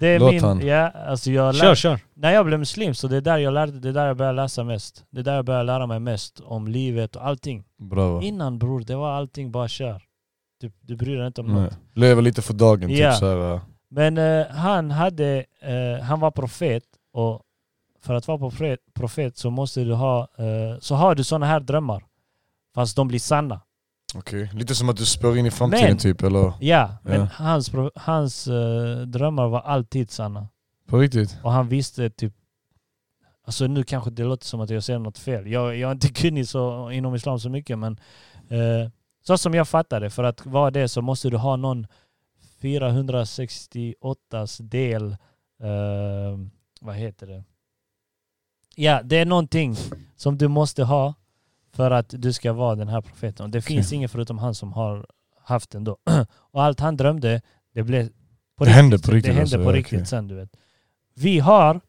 Speaker 1: det är
Speaker 2: låt
Speaker 1: min,
Speaker 2: han.
Speaker 1: Ja, alltså jag lär,
Speaker 3: Kör, kör.
Speaker 1: När jag blev muslim så det är där jag lärde, det är där jag började läsa mest. Det är där jag började lära mig mest om livet och allting.
Speaker 2: Bravo
Speaker 1: Innan bror, det var allting bara kör. Du, du bryr dig inte om
Speaker 2: Nej.
Speaker 1: något.
Speaker 2: Lever lite för dagen
Speaker 1: Ja.
Speaker 2: typ såhär ja.
Speaker 1: Men eh, han, hade, eh, han var profet och för att vara profet, profet så måste du ha, eh, så har du sådana här drömmar. Fast de blir sanna.
Speaker 2: Okej, lite som att du spår in i framtiden
Speaker 1: Men-
Speaker 2: typ eller?
Speaker 1: Ja, men
Speaker 2: Ja.
Speaker 1: hans, pro- hans eh, drömmar var alltid sanna.
Speaker 2: På riktigt?
Speaker 1: Och han visste typ... Alltså nu kanske det låter som att jag säger något fel. Jag, jag är inte kunnig så, inom islam så mycket men... Eh, så som jag fattar det, för att vara det så måste du ha någon 468s del... Eh, vad heter det? Ja, det är någonting som du måste ha för att du ska vara den här profeten. Och det
Speaker 2: Okej.
Speaker 1: finns ingen förutom han som har haft den då. *clears throat* Och allt han drömde, det blev... På
Speaker 2: Det hände på riktigt
Speaker 1: Det hände
Speaker 2: alltså,
Speaker 1: på
Speaker 2: ja,
Speaker 1: riktigt
Speaker 2: okej.
Speaker 1: sen du vet. Vi har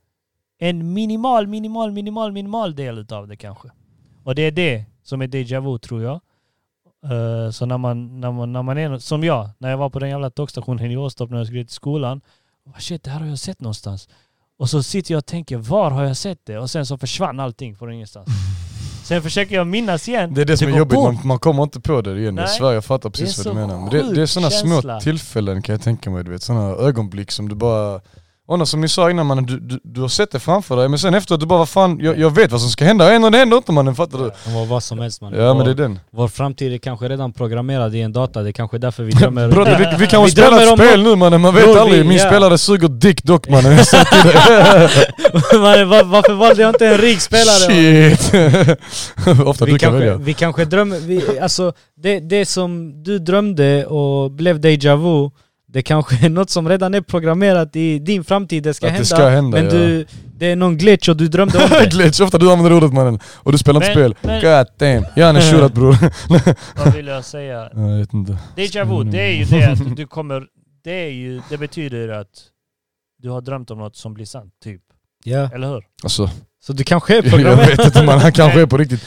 Speaker 1: en minimal, minimal, minimal, minimal del utav det kanske. Och det är det som är déjà vu tror jag. Eh, så när man, när, man, när man är, som jag, när jag var på den jävla tågstationen i Åstorp när jag skulle till skolan. Oh, shit, det här har jag sett någonstans. Och så sitter jag och tänker, var har jag sett det? Och sen så försvann allting från ingenstans. Sen försöker jag minnas igen.
Speaker 2: Det är det som är
Speaker 1: går
Speaker 2: jobbigt,
Speaker 1: bort.
Speaker 2: man, man kommer inte på det igen. Jag
Speaker 1: Nej.
Speaker 2: svär, jag fattar precis
Speaker 1: Det är
Speaker 2: vad
Speaker 1: så
Speaker 2: du menar. Men det, det är
Speaker 1: sjuk
Speaker 2: sådana små
Speaker 1: känsla.
Speaker 2: tillfällen kan jag tänka mig, du vet. Sådana ögonblick som du bara... Anna, som ni sa innan mannen, du, du, du har sett det framför dig men sen efteråt du bara vad fan, jag, jag vet vad som ska hända, ändå det händer inte mannen, fattar du?
Speaker 3: Det var vad som helst man.
Speaker 2: Ja men
Speaker 3: vår,
Speaker 2: det är den.
Speaker 3: vår framtid är kanske redan programmerad i en data, det är kanske är därför *laughs* vi drömmer...
Speaker 2: Bror vi, vi kan
Speaker 3: Vi
Speaker 2: spela
Speaker 3: drömmer
Speaker 2: ett
Speaker 3: om
Speaker 2: spel nu mannen, man vet
Speaker 3: Bror, vi-
Speaker 2: aldrig. Min
Speaker 3: ja.
Speaker 2: spelare suger dick dock
Speaker 3: *laughs*
Speaker 2: mannen. Samtidigt.
Speaker 3: Var- var- Varför valde jag inte en rik spelare?
Speaker 2: Shit! *laughs* Ofta du
Speaker 3: Vi
Speaker 2: kan
Speaker 3: kanske,
Speaker 2: välja.
Speaker 3: vi kanske drömmer... Vi, alltså, det, det som du drömde och blev deja vu, det kanske är något som redan är programmerat i din framtid, det ska,
Speaker 2: Att det
Speaker 3: hända,
Speaker 2: ska hända,
Speaker 3: Men
Speaker 2: ja.
Speaker 3: du, det är någon glitch och du
Speaker 2: *laughs*
Speaker 3: drömde om det.
Speaker 2: Glitch, ofta du använder ordet mannen. Och du spelar inte
Speaker 1: Men-
Speaker 2: spel.
Speaker 1: men-
Speaker 2: God damn. Jag är shurat bror. *laughs*
Speaker 1: Vad vill jag säga?
Speaker 2: Jag vet inte.
Speaker 1: Déjà vu, det är ju det att du kommer... Det, är ju, det betyder att du har drömt om något som blir sant, typ.
Speaker 3: Ja.
Speaker 1: Eller hur?
Speaker 2: Alltså,
Speaker 3: Så du kanske
Speaker 2: *laughs*
Speaker 3: är
Speaker 2: jag
Speaker 3: programmerad.
Speaker 2: vet inte man, han kanske är på riktigt.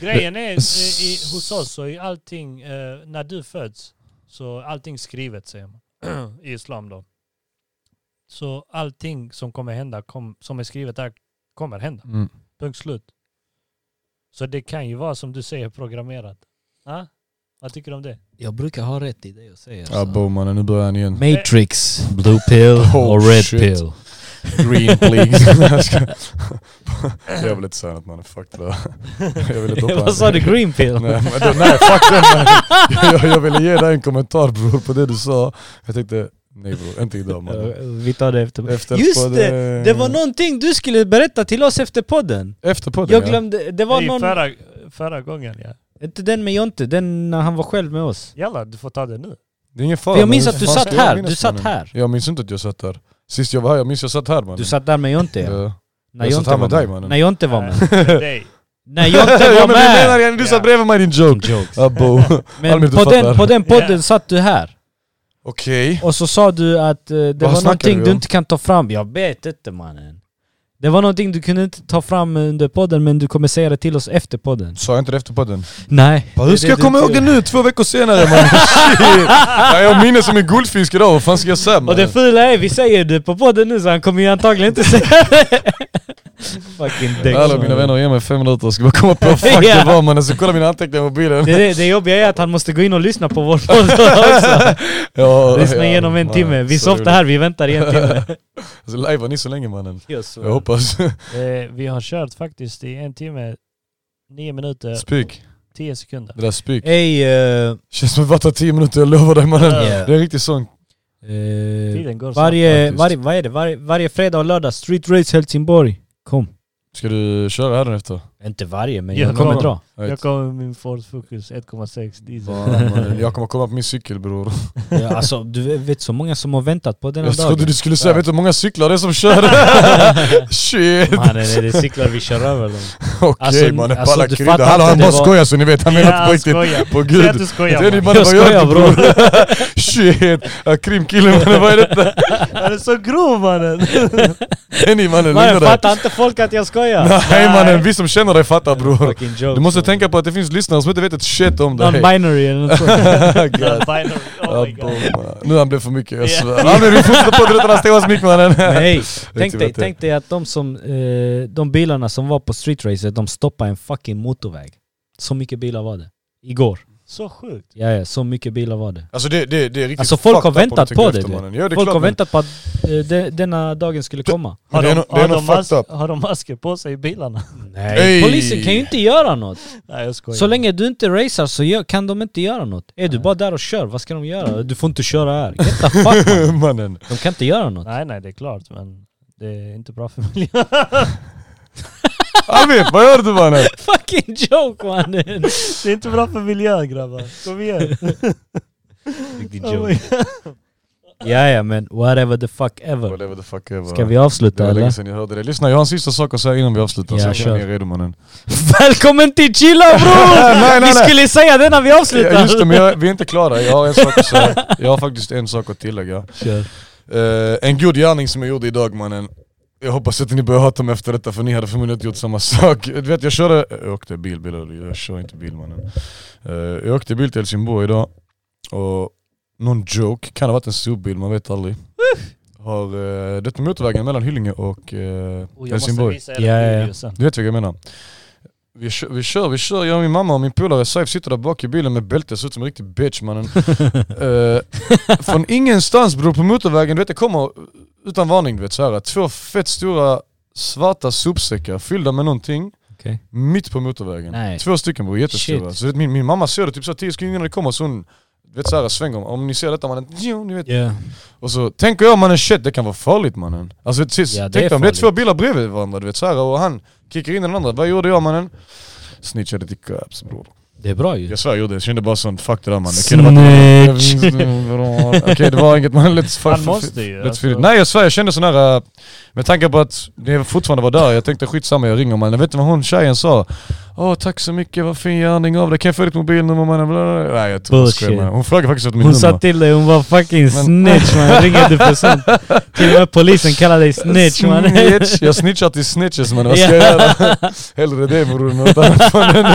Speaker 1: Grejen är, eh, i, hos oss så är allting, eh, när du föds, så är allting skrivet säger man. *clears throat* I islam då. Så allting som kommer hända, kom, som är skrivet där, kommer hända.
Speaker 2: Mm.
Speaker 1: Punkt slut. Så det kan ju vara som du säger programmerat. Ah? Vad tycker du om det?
Speaker 3: Jag brukar ha rätt i det jag säger.
Speaker 2: Ja Ah, bo mannen, nu börjar han igen.
Speaker 3: *laughs* Matrix, blue pill
Speaker 2: Oh,
Speaker 3: och red *laughs*
Speaker 2: shit.
Speaker 3: pill. *laughs*
Speaker 2: Green please. Jag ska- *laughs* Jag vill inte säga något mannen, fuck det där. Jag ville doppa
Speaker 3: Vad sa
Speaker 2: en-
Speaker 3: du? Green pill? *laughs*
Speaker 2: Nej, men då, nej fuck den mannen. Jag, jag ville ge dig en kommentar bror på det du sa. Jag tänkte, nej bror, inte idag mannen.
Speaker 3: Eh, Vi tar det efter.
Speaker 2: Efter
Speaker 3: Just
Speaker 2: podden-
Speaker 3: det! Det var någonting du skulle berätta till oss efter podden.
Speaker 2: Efter podden
Speaker 3: Jag glömde, det var
Speaker 1: Nej,
Speaker 3: någon...
Speaker 1: förra, förra gången ja.
Speaker 3: Inte den med Jonte, den när han var själv med oss.
Speaker 1: Jalla, du får ta det nu.
Speaker 2: ja. Det är ingen fara.
Speaker 3: För jag minns
Speaker 2: men
Speaker 3: att du
Speaker 2: fan
Speaker 3: satt
Speaker 2: ska jag
Speaker 3: här,
Speaker 2: minnas,
Speaker 3: du satt
Speaker 2: mannen?
Speaker 3: här.
Speaker 2: Jag minns inte att jag satt här. Sist jag var här, jag minns jag satt här mannen.
Speaker 3: Du satt där med Jonte ja.
Speaker 2: Ja.
Speaker 3: När
Speaker 2: jag satt
Speaker 3: Jonte
Speaker 2: här
Speaker 3: var
Speaker 2: med dig,
Speaker 3: med.
Speaker 2: mannen.
Speaker 3: När Jonte var
Speaker 1: Nej,
Speaker 3: med.
Speaker 1: Eh, för dig.
Speaker 2: *laughs*
Speaker 3: När Jonte
Speaker 2: ja
Speaker 3: var
Speaker 2: men du menar
Speaker 3: med!
Speaker 2: jag, du
Speaker 1: Ja.
Speaker 2: satt bredvid mig din
Speaker 3: *laughs*
Speaker 2: joke.
Speaker 3: Jokes.
Speaker 2: Abbo. *laughs*
Speaker 3: Men
Speaker 2: Allmänt
Speaker 3: på den,
Speaker 2: fattar.
Speaker 3: på den
Speaker 1: Ja.
Speaker 3: *laughs* podden satt du här.
Speaker 2: Okej.
Speaker 3: Och så sa du att eh, det var
Speaker 2: snackade vi
Speaker 3: någonting
Speaker 2: om?
Speaker 3: du inte kan ta fram. Jag vet inte mannen. Det var någonting du kunde inte ta fram under podden men du kommer säga det till oss efter podden.
Speaker 2: Sa jag inte det efter podden?
Speaker 3: Nej.
Speaker 2: Bara, hur ska jag komma ihåg det nu två veckor senare
Speaker 3: *laughs*
Speaker 2: mannen? Shit! Ja, jag minns som en guldfisk idag, vad fan ska jag säga
Speaker 3: Och det
Speaker 2: mannen?
Speaker 3: fula är, vi säger det på podden nu så han kommer ju antagligen inte säga
Speaker 2: *laughs*
Speaker 3: det. Fucking däck.
Speaker 2: Alla mina vänner, ge mig fem minuter, jag ska bara komma på vad fuck
Speaker 3: *laughs* Ja.
Speaker 2: det var mannen, så kolla mina anteckningar i mobilen.
Speaker 3: Det, det, det jobbiga är att han måste gå in och lyssna på vår podd också.
Speaker 2: *laughs* Ja,
Speaker 3: Lyssna igenom en
Speaker 2: mannen,
Speaker 3: timme. Vi
Speaker 2: så
Speaker 3: softar här, vi väntar i
Speaker 2: *laughs*
Speaker 3: en timme.
Speaker 2: Alltså lajvar ni så länge mannen? Jag hoppas.
Speaker 1: Eh, vi har kört faktiskt i en timme, nio
Speaker 2: *laughs*
Speaker 1: minuter,
Speaker 2: Spyk.
Speaker 1: tio sekunder.
Speaker 2: Det där spyk.
Speaker 3: Ey, eh,
Speaker 2: Känns som att det bara tar tio minuter, jag lovar dig mannen.
Speaker 1: Ja.
Speaker 2: Det är en riktig sån.
Speaker 3: eh,
Speaker 1: Tiden går snabbt.
Speaker 3: varje,
Speaker 2: faktiskt.
Speaker 3: varje, vad är det? Varje, varje fredag och lördag, Street Race Helsingborg. Kom.
Speaker 2: Ska du köra här efter?
Speaker 3: Inte varje, men
Speaker 1: Ja,
Speaker 3: jag kommer
Speaker 1: kom.
Speaker 3: dra.
Speaker 1: Jag kommer med min Ford Focus 1,6 diesel.
Speaker 2: Fan, mannen, *laughs* Jag kommer komma på min cykel bror.
Speaker 3: Ja, alltså, du vet så många som har väntat på den här
Speaker 2: Jag
Speaker 3: dagen.
Speaker 2: trodde du skulle säga, vet du hur många cyklar det är som
Speaker 3: *laughs*
Speaker 2: kör? Shit!
Speaker 3: Mannen, är det cyklar vi kör över
Speaker 2: *laughs*
Speaker 3: dem?
Speaker 2: Okej
Speaker 3: Alltså,
Speaker 2: mannen,
Speaker 3: alltså,
Speaker 2: palla
Speaker 3: du
Speaker 2: krydda.
Speaker 3: fattar
Speaker 2: Hallå
Speaker 3: inte,
Speaker 2: han
Speaker 3: det
Speaker 2: bara
Speaker 3: var-
Speaker 2: skojar så ni vet, han menar inte på riktigt.
Speaker 1: skojar.
Speaker 2: *laughs* På
Speaker 1: Säg
Speaker 2: gud.
Speaker 1: att du
Speaker 2: Det är ni
Speaker 1: skojar. man.
Speaker 2: mannen, vad gör
Speaker 3: Jag skojar,
Speaker 2: du bror? *laughs* Shit! Ja, Krimkillen mannen, vad är detta?
Speaker 1: Han är så grov
Speaker 2: *laughs*
Speaker 1: mannen.
Speaker 2: Det är ni mannen, lugna
Speaker 3: Mannen,
Speaker 2: dig.
Speaker 3: fattar inte folk att jag skojar?
Speaker 2: Nej mannen, vi som känner dig fattar bror.
Speaker 3: Fucking joke.
Speaker 2: Du måste tänka på att det finns lyssnare som inte vet ett shit om dig.
Speaker 3: Non-binary eller något sånt.
Speaker 2: *laughs* God.
Speaker 1: Binary.
Speaker 2: Ja,
Speaker 1: Oh my god.
Speaker 2: bomba. Nu han blev för mycket, jag
Speaker 1: Ja.
Speaker 2: svär. Han blev fortsätta på det utan att stänga mick mannen.
Speaker 3: Nej,
Speaker 2: tur
Speaker 3: tänk dig,
Speaker 2: att det-
Speaker 3: tänk dig att de, som, eh, de bilarna som var på streetracet, de stoppade en fucking motorväg. Så mycket bilar var det. Igår.
Speaker 1: Så sjukt.
Speaker 3: Ja, ja, så mycket bilar var det.
Speaker 2: Alltså det, det, det är riktigt
Speaker 3: Alltså, folk
Speaker 2: fucked
Speaker 3: har
Speaker 2: up om
Speaker 3: väntat
Speaker 2: du tänker
Speaker 3: på det,
Speaker 2: efter,
Speaker 3: du.
Speaker 2: mannen. Ja, det är
Speaker 3: Folk
Speaker 2: klart,
Speaker 3: har
Speaker 2: men-
Speaker 3: väntat på att eh, de, denna dagen skulle komma.
Speaker 2: Men
Speaker 1: Har
Speaker 2: det är
Speaker 1: de,
Speaker 2: nog- det är
Speaker 1: har,
Speaker 2: nog
Speaker 1: de
Speaker 2: fucked
Speaker 1: mas-
Speaker 2: up.
Speaker 1: har de masker på sig i bilarna? *laughs*
Speaker 3: Nej.
Speaker 2: Ey.
Speaker 3: Polisen kan ju inte göra något.
Speaker 1: Nej jag skojar.
Speaker 3: Så länge du inte racear så gör, kan de inte göra något. Är du bara där och kör, vad ska de göra? Du får inte köra här. Get the fuck *laughs* man.
Speaker 2: mannen.
Speaker 3: De kan inte göra något.
Speaker 1: Nej nej det är klart men det är inte bra för miljön.
Speaker 2: Arvid, vad gör du mannen?
Speaker 3: Fucking joke mannen!
Speaker 1: *laughs* Det är inte bra för miljön grabbar. Kom
Speaker 2: *laughs*
Speaker 1: igen.
Speaker 3: Riktig
Speaker 1: Oh my
Speaker 3: joke. Ja, ja men whatever the fuck ever.
Speaker 2: Whatever the fuck ever.
Speaker 3: Ska vi
Speaker 2: det
Speaker 3: avsluta
Speaker 2: var länge
Speaker 3: eller?
Speaker 2: sedan jag hörde det. Lyssna, jag har en sista sak att säga innan vi avslutar,
Speaker 3: Ja,
Speaker 2: så jag känner
Speaker 3: kör.
Speaker 2: mig redo mannen.
Speaker 3: Välkommen till *laughs* Chilla bror!
Speaker 2: nej, nej, nej.
Speaker 3: Vi skulle säga det när vi avslutar!
Speaker 2: Ja, just det, men jag, vi är inte klara. Jag har en sak att säga. Jag har faktiskt en sak att tillägga.
Speaker 3: *laughs* Kör.
Speaker 2: Eh, en god gärning som jag gjorde idag mannen Jag hoppas att ni börjar hata mig efter detta för ni hade förmodligen inte gjort samma sak *laughs* Du vet jag körde, jag åkte bil, bil jag kör inte bil mannen Eh, Jag åkte bil till Helsingborg idag och någon joke, kan ha varit en subbil, man vet aldrig Har, eh, det är på motorvägen mellan Hyllinge och
Speaker 1: Och
Speaker 2: eh,
Speaker 1: jag måste
Speaker 2: Helsingborg
Speaker 1: visa er en
Speaker 3: Ja, ja, ja.
Speaker 1: video sen.
Speaker 2: du vet vad jag menar. Vi kör, vi kör, vi kör. Jag och min mamma och min polare Saif sitter där bak i bilen med bälte, ser ut som en riktig bitch mannen. Eh, från ingenstans bror, på motorvägen, du vet det kommer utan varning du vet så här. Två fett stora svarta sopsäckar fyllda med någonting.
Speaker 3: Okej.
Speaker 2: Mitt på motorvägen.
Speaker 3: Nej.
Speaker 2: Två stycken bror, jättestora.
Speaker 3: Shit.
Speaker 2: Så du vet, min, min mamma ser det typ så här 10 sekunder innan det kommer så hon du vet såhär svänger, om ni ser detta mannen, jo, ni vet.
Speaker 3: Ja.
Speaker 2: Och så tänker jag mannen shit det kan vara farligt mannen. Alltså vet, sist,
Speaker 3: Ja, det
Speaker 2: tänk
Speaker 3: är
Speaker 2: om det är
Speaker 3: farligt.
Speaker 2: två bilar bredvid varandra du vet såhär och han kickar in den andra. Vad gjorde jag mannen? Snitchade till cops bror.
Speaker 3: Det är bra ju.
Speaker 2: Jag svär jag gjorde det, jag kände bara sån fuck det där mannen. Okej, det var-
Speaker 3: Snitch!
Speaker 2: *laughs* Okej det var inget mannen, let's fuck.
Speaker 1: Han måste ju.
Speaker 2: Let's feel it.
Speaker 1: alltså.
Speaker 2: Nej jag svär jag kände sån här, äh, med tanke på att det fortfarande var där, jag tänkte skitsamma jag ringer mannen. Vet du vad hon tjejen sa? Åh tack så mycket, vad fin gärning av dig, kan jag få ditt mobilnummer mannen? Bla, bla, bla. Nej jag tror jag skojar
Speaker 3: Bullshit.
Speaker 2: med henne. Hon frågade faktiskt efter mitt
Speaker 3: Hon
Speaker 2: nummer.
Speaker 3: sa till dig, hon var fucking snitch man. Ringer du
Speaker 2: *laughs*
Speaker 3: för sånt? Till och med polisen kallar dig snitch man.
Speaker 2: Snitch. Jag snitchar till snitches mannen, vad ska jag göra?
Speaker 3: *laughs*
Speaker 2: Hellre det bror än något annat mannen.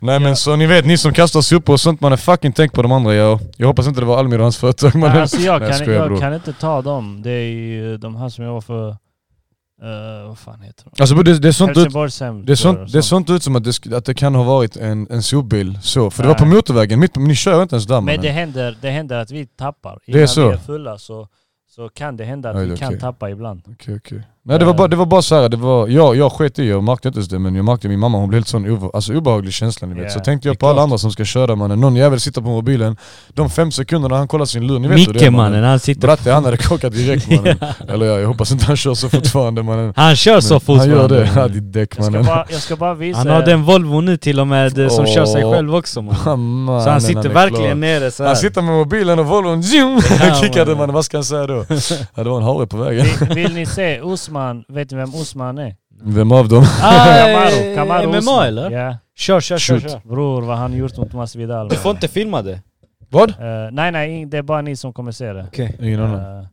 Speaker 2: Nej men så ni vet, ni som kastar sopor och sånt mannen, fucking tänk på de andra jag. Jag hoppas inte det var Almir och hans företag
Speaker 1: Nej,
Speaker 2: mannen.
Speaker 1: alltså jag,
Speaker 2: Nej, jag
Speaker 1: kan,
Speaker 2: skojar,
Speaker 1: jag
Speaker 2: bror.
Speaker 1: kan inte ta dem. Det är ju de här som jag var för... eh, vad fan heter de?
Speaker 2: Alltså bror, det, det är sånt du
Speaker 1: Helsingborgshem.
Speaker 2: Det är sånt, det är sånt ut som att det, sk- att det kan ha varit en, en sopbil så, för det var
Speaker 1: Nej.
Speaker 2: på motorvägen, mitt på, men ni kör inte ens där
Speaker 1: Men det
Speaker 2: mannen.
Speaker 1: händer, det händer att vi tappar.
Speaker 2: Det är
Speaker 1: Innan
Speaker 2: så.
Speaker 1: vi är fulla så, så kan det hända att
Speaker 2: Ja, det
Speaker 1: vi
Speaker 2: är
Speaker 1: kan
Speaker 2: okej.
Speaker 1: tappa ibland.
Speaker 2: Okej okej. Nej det var bara, det var bara så här, det var, jag, jag sket i, jag märkte inte ens det men jag märkte min mamma hon blev helt sån obe, alltså, obehaglig känsla ni vet.
Speaker 1: Ja,
Speaker 2: så tänkte
Speaker 1: det är
Speaker 2: jag på alla
Speaker 1: klart.
Speaker 2: andra som ska köra mannen, någon jävel sitter på mobilen, de fem sekunderna han kollar sin lur, ni vet hur det är
Speaker 3: Micke mannen, han sitter...
Speaker 2: Bratte han hade kockat direkt
Speaker 3: *laughs*
Speaker 2: mannen. Eller ja, jag hoppas inte han kör så fortfarande mannen.
Speaker 3: Han kör så fort
Speaker 2: Han gör det,
Speaker 3: mannen.
Speaker 2: ja ditt däck
Speaker 1: Jag ska,
Speaker 2: *laughs* mannen.
Speaker 1: bara, jag ska bara visa
Speaker 3: Han har
Speaker 1: er.
Speaker 3: den Volvo nu till och med eh, som kör sig
Speaker 2: Åh.
Speaker 3: själv
Speaker 2: *laughs*
Speaker 3: också man. Så
Speaker 2: Mannen,
Speaker 3: han sitter
Speaker 2: är
Speaker 3: verkligen
Speaker 2: klar.
Speaker 3: nere så här.
Speaker 2: Han sitter med mobilen och Volvon zoom, *laughs*
Speaker 3: Ja,
Speaker 2: kickade
Speaker 3: mannen.
Speaker 2: mannen, vad ska han säga
Speaker 3: *laughs*
Speaker 2: då? Ja, det var en hare på vägen.
Speaker 1: Vill, vill ni se Osman? Vet ni vem Osman
Speaker 3: *laughs*
Speaker 1: är?
Speaker 2: Vem av dem?
Speaker 3: Ah,
Speaker 1: Kamaru. Kamaru
Speaker 3: MMA
Speaker 1: Usman.
Speaker 3: eller?
Speaker 1: Ja.
Speaker 3: Kör, kör, kör,
Speaker 2: Shoot.
Speaker 3: kör.
Speaker 1: Bror, vad han gjort mot Mas Vidal.
Speaker 3: Du får inte filma det.
Speaker 2: Vad?
Speaker 1: Eh, nej, nej, ing- det är bara ni som kommer se det.
Speaker 3: Okej.
Speaker 2: Ingen annan.
Speaker 1: Eh,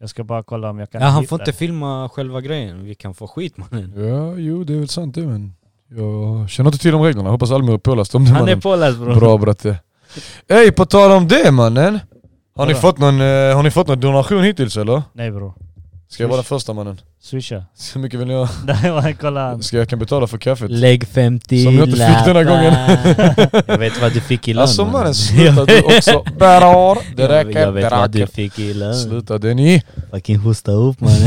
Speaker 1: jag ska bara kolla om jag kan
Speaker 3: Ja, han
Speaker 1: hitta
Speaker 3: får inte
Speaker 1: det.
Speaker 3: filma själva grejen, vi kan få skit mannen.
Speaker 2: Ja, jo det är väl sant det men jag känner inte till de reglerna. Hoppas Almir är påläst om det
Speaker 3: Han är
Speaker 2: mannen.
Speaker 3: påläst bror.
Speaker 2: Bra bratte. Ey, på tal om det mannen. Har ni,
Speaker 1: Vadå?
Speaker 2: fått någon, eh, har ni fått någon donation hittills eller?
Speaker 1: Nej bror.
Speaker 2: Ska jag vara den första mannen? *laughs*
Speaker 1: Swisha. *laughs*
Speaker 2: Så mycket vill jag?
Speaker 1: Där var han, kolla han.
Speaker 2: Ska jag kan betala för kaffet?
Speaker 3: Lägg 50
Speaker 2: Som jag inte fick denna gången.
Speaker 3: *laughs* lappar. jag vet vad du fick i lön.
Speaker 2: Alltså mannen
Speaker 3: mannen.
Speaker 2: sluta
Speaker 3: *laughs*
Speaker 2: du också. Berar, det
Speaker 3: Jag-
Speaker 2: räcker,
Speaker 3: Jag
Speaker 2: det
Speaker 3: vet vad du
Speaker 2: räcker.
Speaker 3: fick i lön.
Speaker 2: Sluta det ni.
Speaker 3: Fucking hosta
Speaker 2: *laughs*
Speaker 3: upp mannen.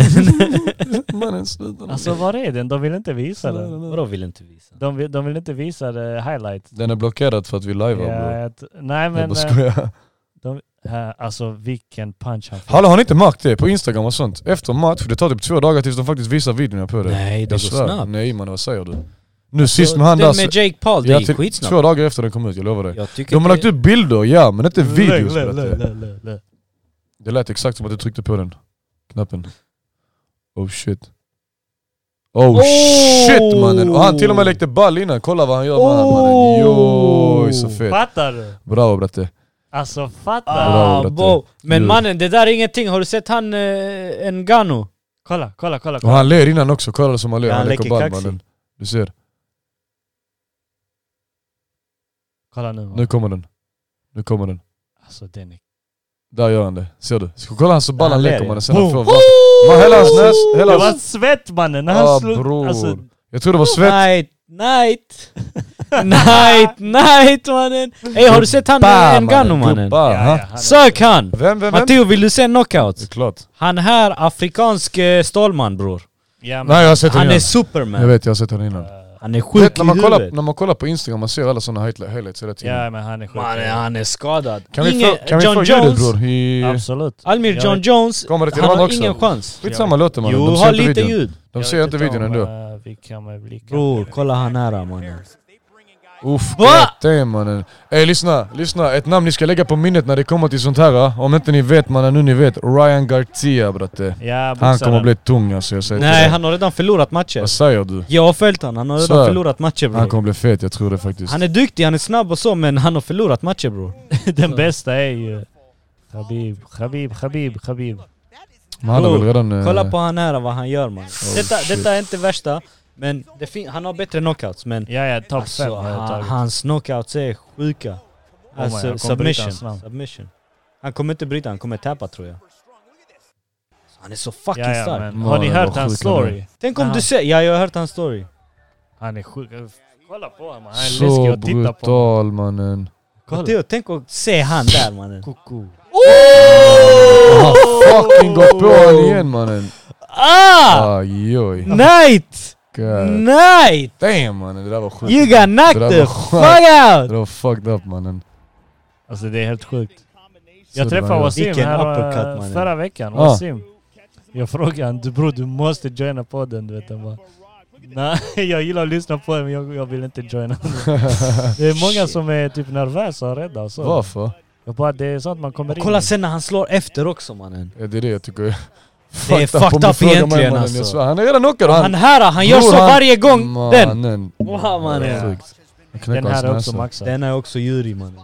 Speaker 2: Mannen sluta.
Speaker 1: Alltså var är den? De vill inte visa den.
Speaker 3: Vadå vill inte visa?
Speaker 1: De vill, de vill inte visa det highlight.
Speaker 2: Den är blockerad för att vi livear
Speaker 1: Ja,
Speaker 2: bror.
Speaker 1: jag t- nej men...
Speaker 2: Jag bara
Speaker 1: eh,
Speaker 2: skojar.
Speaker 1: här, alltså vilken punch han fick.
Speaker 2: Hallå har ni inte märkt det på instagram och sånt? Efter match, det tar typ två dagar tills de faktiskt visar videorna på det.
Speaker 3: Nej, det går
Speaker 2: Jag svär.
Speaker 3: snabbt.
Speaker 2: Nej mannen vad säger du? Nu sist med han där,
Speaker 3: Den
Speaker 2: så-
Speaker 3: med Jake Paul,
Speaker 2: ja,
Speaker 3: Alltså, det gick
Speaker 2: till-
Speaker 3: skitsnabbt.
Speaker 2: två dagar efter den kom ut, jag lovar dig.
Speaker 3: Jag tycker
Speaker 2: De har
Speaker 3: det-
Speaker 2: lagt upp bilder, ja men inte
Speaker 1: Lä-
Speaker 2: videos
Speaker 1: lä-
Speaker 2: vet
Speaker 1: lä-
Speaker 2: du.
Speaker 1: lä- lä- lä.
Speaker 2: Det lät exakt som att du tryckte på den knappen. Oh shit. Oh, shit mannen! Och han till och med lekte ball innan, kolla vad han gör med han mannen.
Speaker 3: Oh.
Speaker 2: Joj så fett.
Speaker 1: Fattar du?
Speaker 2: Bravo bratte.
Speaker 1: Alltså fattar du?
Speaker 2: Bra,
Speaker 3: Ah,
Speaker 2: Bratte.
Speaker 3: bo. Men
Speaker 2: Du-
Speaker 3: mannen, det där är ingenting. Har du sett han eh, Ngano?
Speaker 1: Kolla, kolla, kolla.
Speaker 2: Och
Speaker 1: kolla.
Speaker 2: han ler innan också, kolla som han ler.
Speaker 3: Ja,
Speaker 2: Han,
Speaker 3: han
Speaker 2: leker
Speaker 3: leker
Speaker 2: ball
Speaker 3: kaxig.
Speaker 2: mannen. Du ser,
Speaker 1: Kolla nu. man.
Speaker 2: nu kommer den. Nu kommer den.
Speaker 1: Alltså den är...
Speaker 2: Där gör han det, ser du? Så kolla han så ball
Speaker 3: Han
Speaker 2: han
Speaker 3: ler,
Speaker 2: leker
Speaker 3: ja.
Speaker 2: mannen sen han
Speaker 1: Boom.
Speaker 2: får vast. Man, hela hans näs, hela
Speaker 1: Det var
Speaker 2: hans...
Speaker 1: svett mannen när han
Speaker 2: Ja,
Speaker 1: slog...
Speaker 2: Ah, bror.
Speaker 1: Alltså,
Speaker 2: Jag tror det var svett.
Speaker 3: Night, night. *laughs* night, night mannen. Ey har du sett han eh, Ngano mannen?
Speaker 2: Gubbar,
Speaker 1: ja, ja,
Speaker 2: Ah, ha?
Speaker 1: han-
Speaker 3: Sök han!
Speaker 2: Vem, vem, vem?
Speaker 3: Matteo vill du se knockout?
Speaker 2: Klart.
Speaker 3: Han här, afrikansk eh, stålman bror.
Speaker 1: Ja, men,
Speaker 2: Nej jag har sett honom
Speaker 3: Han är
Speaker 2: innan.
Speaker 3: superman.
Speaker 2: Jag vet, jag har sett honom innan.
Speaker 3: Han är
Speaker 2: Du
Speaker 3: sjuk
Speaker 2: vet,
Speaker 3: i
Speaker 2: när, man kollar,
Speaker 3: huvudet.
Speaker 2: när man kollar på Instagram, man ser alla sådana highlights hela tiden.
Speaker 1: ja, men han är sjuk.
Speaker 3: Mannen han är skadad.
Speaker 2: Kan vi
Speaker 3: Ingen-
Speaker 2: få, kan vi
Speaker 3: John
Speaker 2: få ljudet
Speaker 3: Jones,
Speaker 2: bror? I...
Speaker 1: Absolut.
Speaker 2: Ah,
Speaker 3: Almir
Speaker 1: Jag
Speaker 3: John
Speaker 1: vet-
Speaker 3: Jones,
Speaker 2: Kommer det till
Speaker 3: han
Speaker 2: dem
Speaker 3: har
Speaker 2: också?
Speaker 3: ingen chans.
Speaker 2: Skitsamma låter mannen,
Speaker 3: Jo,
Speaker 2: de
Speaker 3: ha
Speaker 2: ser inte
Speaker 3: lite
Speaker 2: videon.
Speaker 3: ljud.
Speaker 2: De
Speaker 1: jag
Speaker 2: ser
Speaker 1: vet
Speaker 2: inte videon
Speaker 1: om,
Speaker 2: ändå.
Speaker 1: eh, Vi kan väl blicka.
Speaker 3: Bror, kolla han här mannen.
Speaker 2: Uff,
Speaker 3: Va?
Speaker 2: det mannen. Ey lyssna, lyssna. Ett namn ni ska lägga på minnet när det kommer till sånt här. eh. Om inte ni vet mannen, nu ni vet. Ryan Garcia bratte.
Speaker 1: Ja,
Speaker 2: Han
Speaker 1: boxaren.
Speaker 2: kommer bli tung alltså, jag säger till
Speaker 3: Nej,
Speaker 2: dig.
Speaker 3: han har redan förlorat matcher.
Speaker 2: Vad säger du?
Speaker 3: Jag har följt han, han har redan
Speaker 2: Så.
Speaker 3: förlorat matcher
Speaker 2: Han
Speaker 3: bror.
Speaker 2: kommer bli fet, jag tror det faktiskt.
Speaker 3: Han är duktig, han är snabb och så men han har förlorat matcher bror.
Speaker 1: *laughs* Den bästa är ju... Khabib, Khabib, Khabib, Khabib.
Speaker 2: Men han har väl
Speaker 3: Bror,
Speaker 2: redan... eh,
Speaker 3: Kolla på han här vad han gör man.
Speaker 1: Oh,
Speaker 3: detta,
Speaker 2: shit.
Speaker 3: detta är inte värsta, men det fin- han har bättre knockouts men
Speaker 1: Ja, ja, topp fem
Speaker 3: alltså,
Speaker 1: har jag
Speaker 3: han,
Speaker 1: tagit. Oh
Speaker 3: hans knockouts är sjuka.
Speaker 1: my
Speaker 3: Alltså
Speaker 1: God, kommer bryta
Speaker 3: submission.
Speaker 1: hans namn.
Speaker 3: submission. Han kommer inte bryta, han kommer tappa tror jag. Han är så fucking
Speaker 1: Ja, ja,
Speaker 3: stark.
Speaker 1: men, Ah.
Speaker 2: stark.
Speaker 1: har ni
Speaker 2: Ja, det
Speaker 1: hört
Speaker 2: var
Speaker 1: hans
Speaker 2: sjukt ändå.
Speaker 1: story?
Speaker 3: Tänk om
Speaker 1: Ja.
Speaker 3: du ser, ja jag har hört hans story.
Speaker 1: Han är sjuk. Kolla på honom, han är läskig
Speaker 2: Så
Speaker 1: att titta på.
Speaker 2: brutal mannen.
Speaker 1: Kolla.
Speaker 3: Matteo, tänk att se han där mannen.
Speaker 1: Koko.
Speaker 2: Han fucking gått på honom igen mannen.
Speaker 3: Ah!
Speaker 2: Aj oj.
Speaker 3: Night!
Speaker 2: God
Speaker 3: Night!
Speaker 2: damn mannen, det där var sjukt.
Speaker 3: You got knocked
Speaker 2: Det där
Speaker 3: the
Speaker 2: var
Speaker 3: fuck
Speaker 2: Det
Speaker 3: out!
Speaker 2: där var fucked up mannen.
Speaker 1: Alltså det är helt sjukt.
Speaker 2: Så
Speaker 1: Jag
Speaker 2: det
Speaker 1: träffade
Speaker 2: var-
Speaker 1: Wasim
Speaker 3: Vilken uppercut,
Speaker 1: här
Speaker 3: mannen.
Speaker 1: eh, förra veckan.
Speaker 3: Ah.
Speaker 2: Ja.
Speaker 1: Wasim. Jag frågade honom, du bror du måste joina podden. Du vet, han bara, Nej, *laughs* jag gillar att lyssna på den men jag, jag vill inte
Speaker 3: *laughs*
Speaker 1: joina. det är många
Speaker 3: Shit.
Speaker 1: som är typ nervösa och rädda och så.
Speaker 2: Varför?
Speaker 1: Jag bara, det är sånt man kommer *laughs* in
Speaker 3: Kolla
Speaker 1: i.
Speaker 3: sen när han slår efter också mannen.
Speaker 2: Ja, det är det jag tycker är
Speaker 3: Det är
Speaker 2: om
Speaker 3: fucked
Speaker 2: du
Speaker 3: up
Speaker 2: frågar mig,
Speaker 3: egentligen,
Speaker 2: mannen.
Speaker 3: alltså.
Speaker 2: Jag svär, han är redan knockad och
Speaker 3: Han här, han gör
Speaker 2: Bror,
Speaker 3: så
Speaker 2: han-
Speaker 3: varje gång den!
Speaker 2: Mannen.
Speaker 3: Wow, mannen.
Speaker 2: Det är sjukt. Han knäcker
Speaker 1: Den här är
Speaker 2: hans
Speaker 1: också
Speaker 2: näsa.
Speaker 1: maxad.
Speaker 3: Den är också djurig mannen.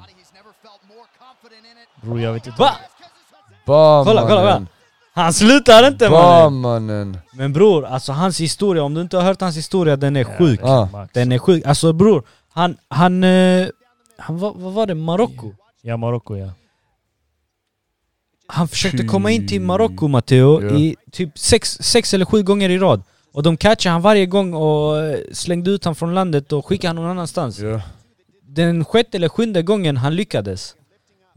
Speaker 1: Bror jag vet inte.
Speaker 3: Va?
Speaker 2: Ba,
Speaker 3: Kolla, kolla,
Speaker 2: mannen.
Speaker 3: Han slutar inte
Speaker 2: Ba
Speaker 3: mannen!
Speaker 2: mannen.
Speaker 3: Men bror, alltså hans historia, om du inte har hört hans historia, den är sjuk.
Speaker 2: Ah.
Speaker 1: Max.
Speaker 3: Den är sjuk. Alltså bror, han... Han... eh, han vad, vad var det? Marocko?
Speaker 1: Ja, Marocko ja.
Speaker 3: Han försökte
Speaker 2: Fy.
Speaker 3: komma in till Marocko, Matteo,
Speaker 2: Ja.
Speaker 3: i typ sex, sex eller sju gånger i rad. Och de catchade han varje gång och eh, slängde ut han från landet och skickade han någon annanstans.
Speaker 2: Ja.
Speaker 3: Den sjätte eller sjunde gången han lyckades.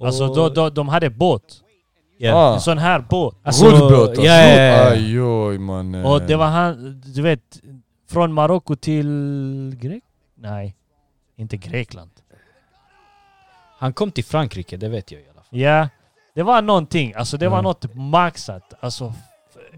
Speaker 1: Alltså
Speaker 3: Och-
Speaker 1: då, då, de hade båt.
Speaker 3: Ja.
Speaker 1: En sån här båt.
Speaker 3: Alltså,
Speaker 2: Rullbåt
Speaker 3: ja, ja, ja.
Speaker 2: Aj oj mannen.
Speaker 3: Eh.
Speaker 1: Och det var han, du vet, från Marocko till Grek... Nej, inte
Speaker 3: Mm.
Speaker 1: Grekland.
Speaker 3: Han kom till Frankrike, det vet jag i alla fall.
Speaker 1: Ja, det var någonting. Alltså det var
Speaker 2: Mm.
Speaker 1: något maxat. Alltså,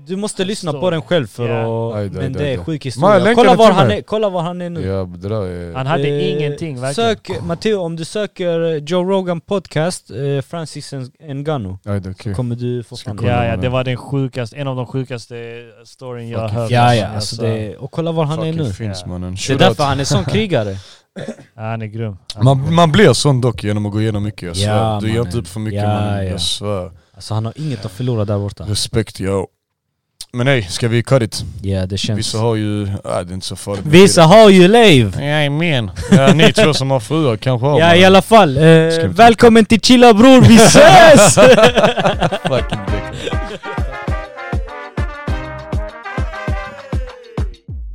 Speaker 3: Du måste lyssna
Speaker 1: Så.
Speaker 3: på den själv för
Speaker 1: Ja.
Speaker 3: att...
Speaker 2: Aj, aj,
Speaker 3: men
Speaker 2: aj,
Speaker 3: det är
Speaker 2: aj.
Speaker 3: sjuk
Speaker 2: Men jag
Speaker 3: historia.
Speaker 2: länkar
Speaker 3: Kolla
Speaker 2: det
Speaker 3: var,
Speaker 2: till
Speaker 3: han
Speaker 2: mig.
Speaker 3: är, kolla var han är nu.
Speaker 2: Ja det där är...
Speaker 1: han hade
Speaker 3: Eh,
Speaker 1: ingenting verkligen.
Speaker 3: Sök, Matteo, om du söker eh, Joe Rogan podcast, eh, Francis En- Engano,
Speaker 2: Aj, det är okej.
Speaker 3: kommer du få
Speaker 2: Mm. Ska
Speaker 3: fram
Speaker 2: kolla.
Speaker 3: det.
Speaker 1: Ja, ja,
Speaker 2: men-
Speaker 1: det var den sjukaste, en av de sjukaste storyn jag har
Speaker 2: Fucking
Speaker 1: hört.
Speaker 3: Ja, ja, alltså det, och kolla var han är
Speaker 2: Fucking
Speaker 3: nu.
Speaker 2: finns
Speaker 1: Ja.
Speaker 2: mannen.
Speaker 3: Det är
Speaker 2: Shoutout.
Speaker 3: därför han
Speaker 2: *laughs*
Speaker 3: är sån krigare.
Speaker 1: Ja, han är grym. Han är
Speaker 2: Man,
Speaker 1: grym.
Speaker 2: man blir sån dock genom att gå igenom mycket, jag svär.
Speaker 3: Ja,
Speaker 2: du ger
Speaker 3: mannen.
Speaker 2: inte upp för mycket
Speaker 3: Ja,
Speaker 2: mannen,
Speaker 3: ja.
Speaker 2: jag svär.
Speaker 3: Alltså han har inget att förlora där borta.
Speaker 2: Respekt yo. Men nej, ska vi cut it?
Speaker 3: Ja, det känns.
Speaker 2: Vissa har ju... Nej det är inte så farligt.
Speaker 3: Vissa har ju liv!
Speaker 2: Jajamän. Ja, ni två som har fruar kanske har
Speaker 3: Ja i
Speaker 2: mannen.
Speaker 3: alla fall,
Speaker 2: Ska
Speaker 3: eh,
Speaker 2: vi- *laughs*
Speaker 3: välkommen till Chilla bror, vi ses!
Speaker 2: Fucking dick.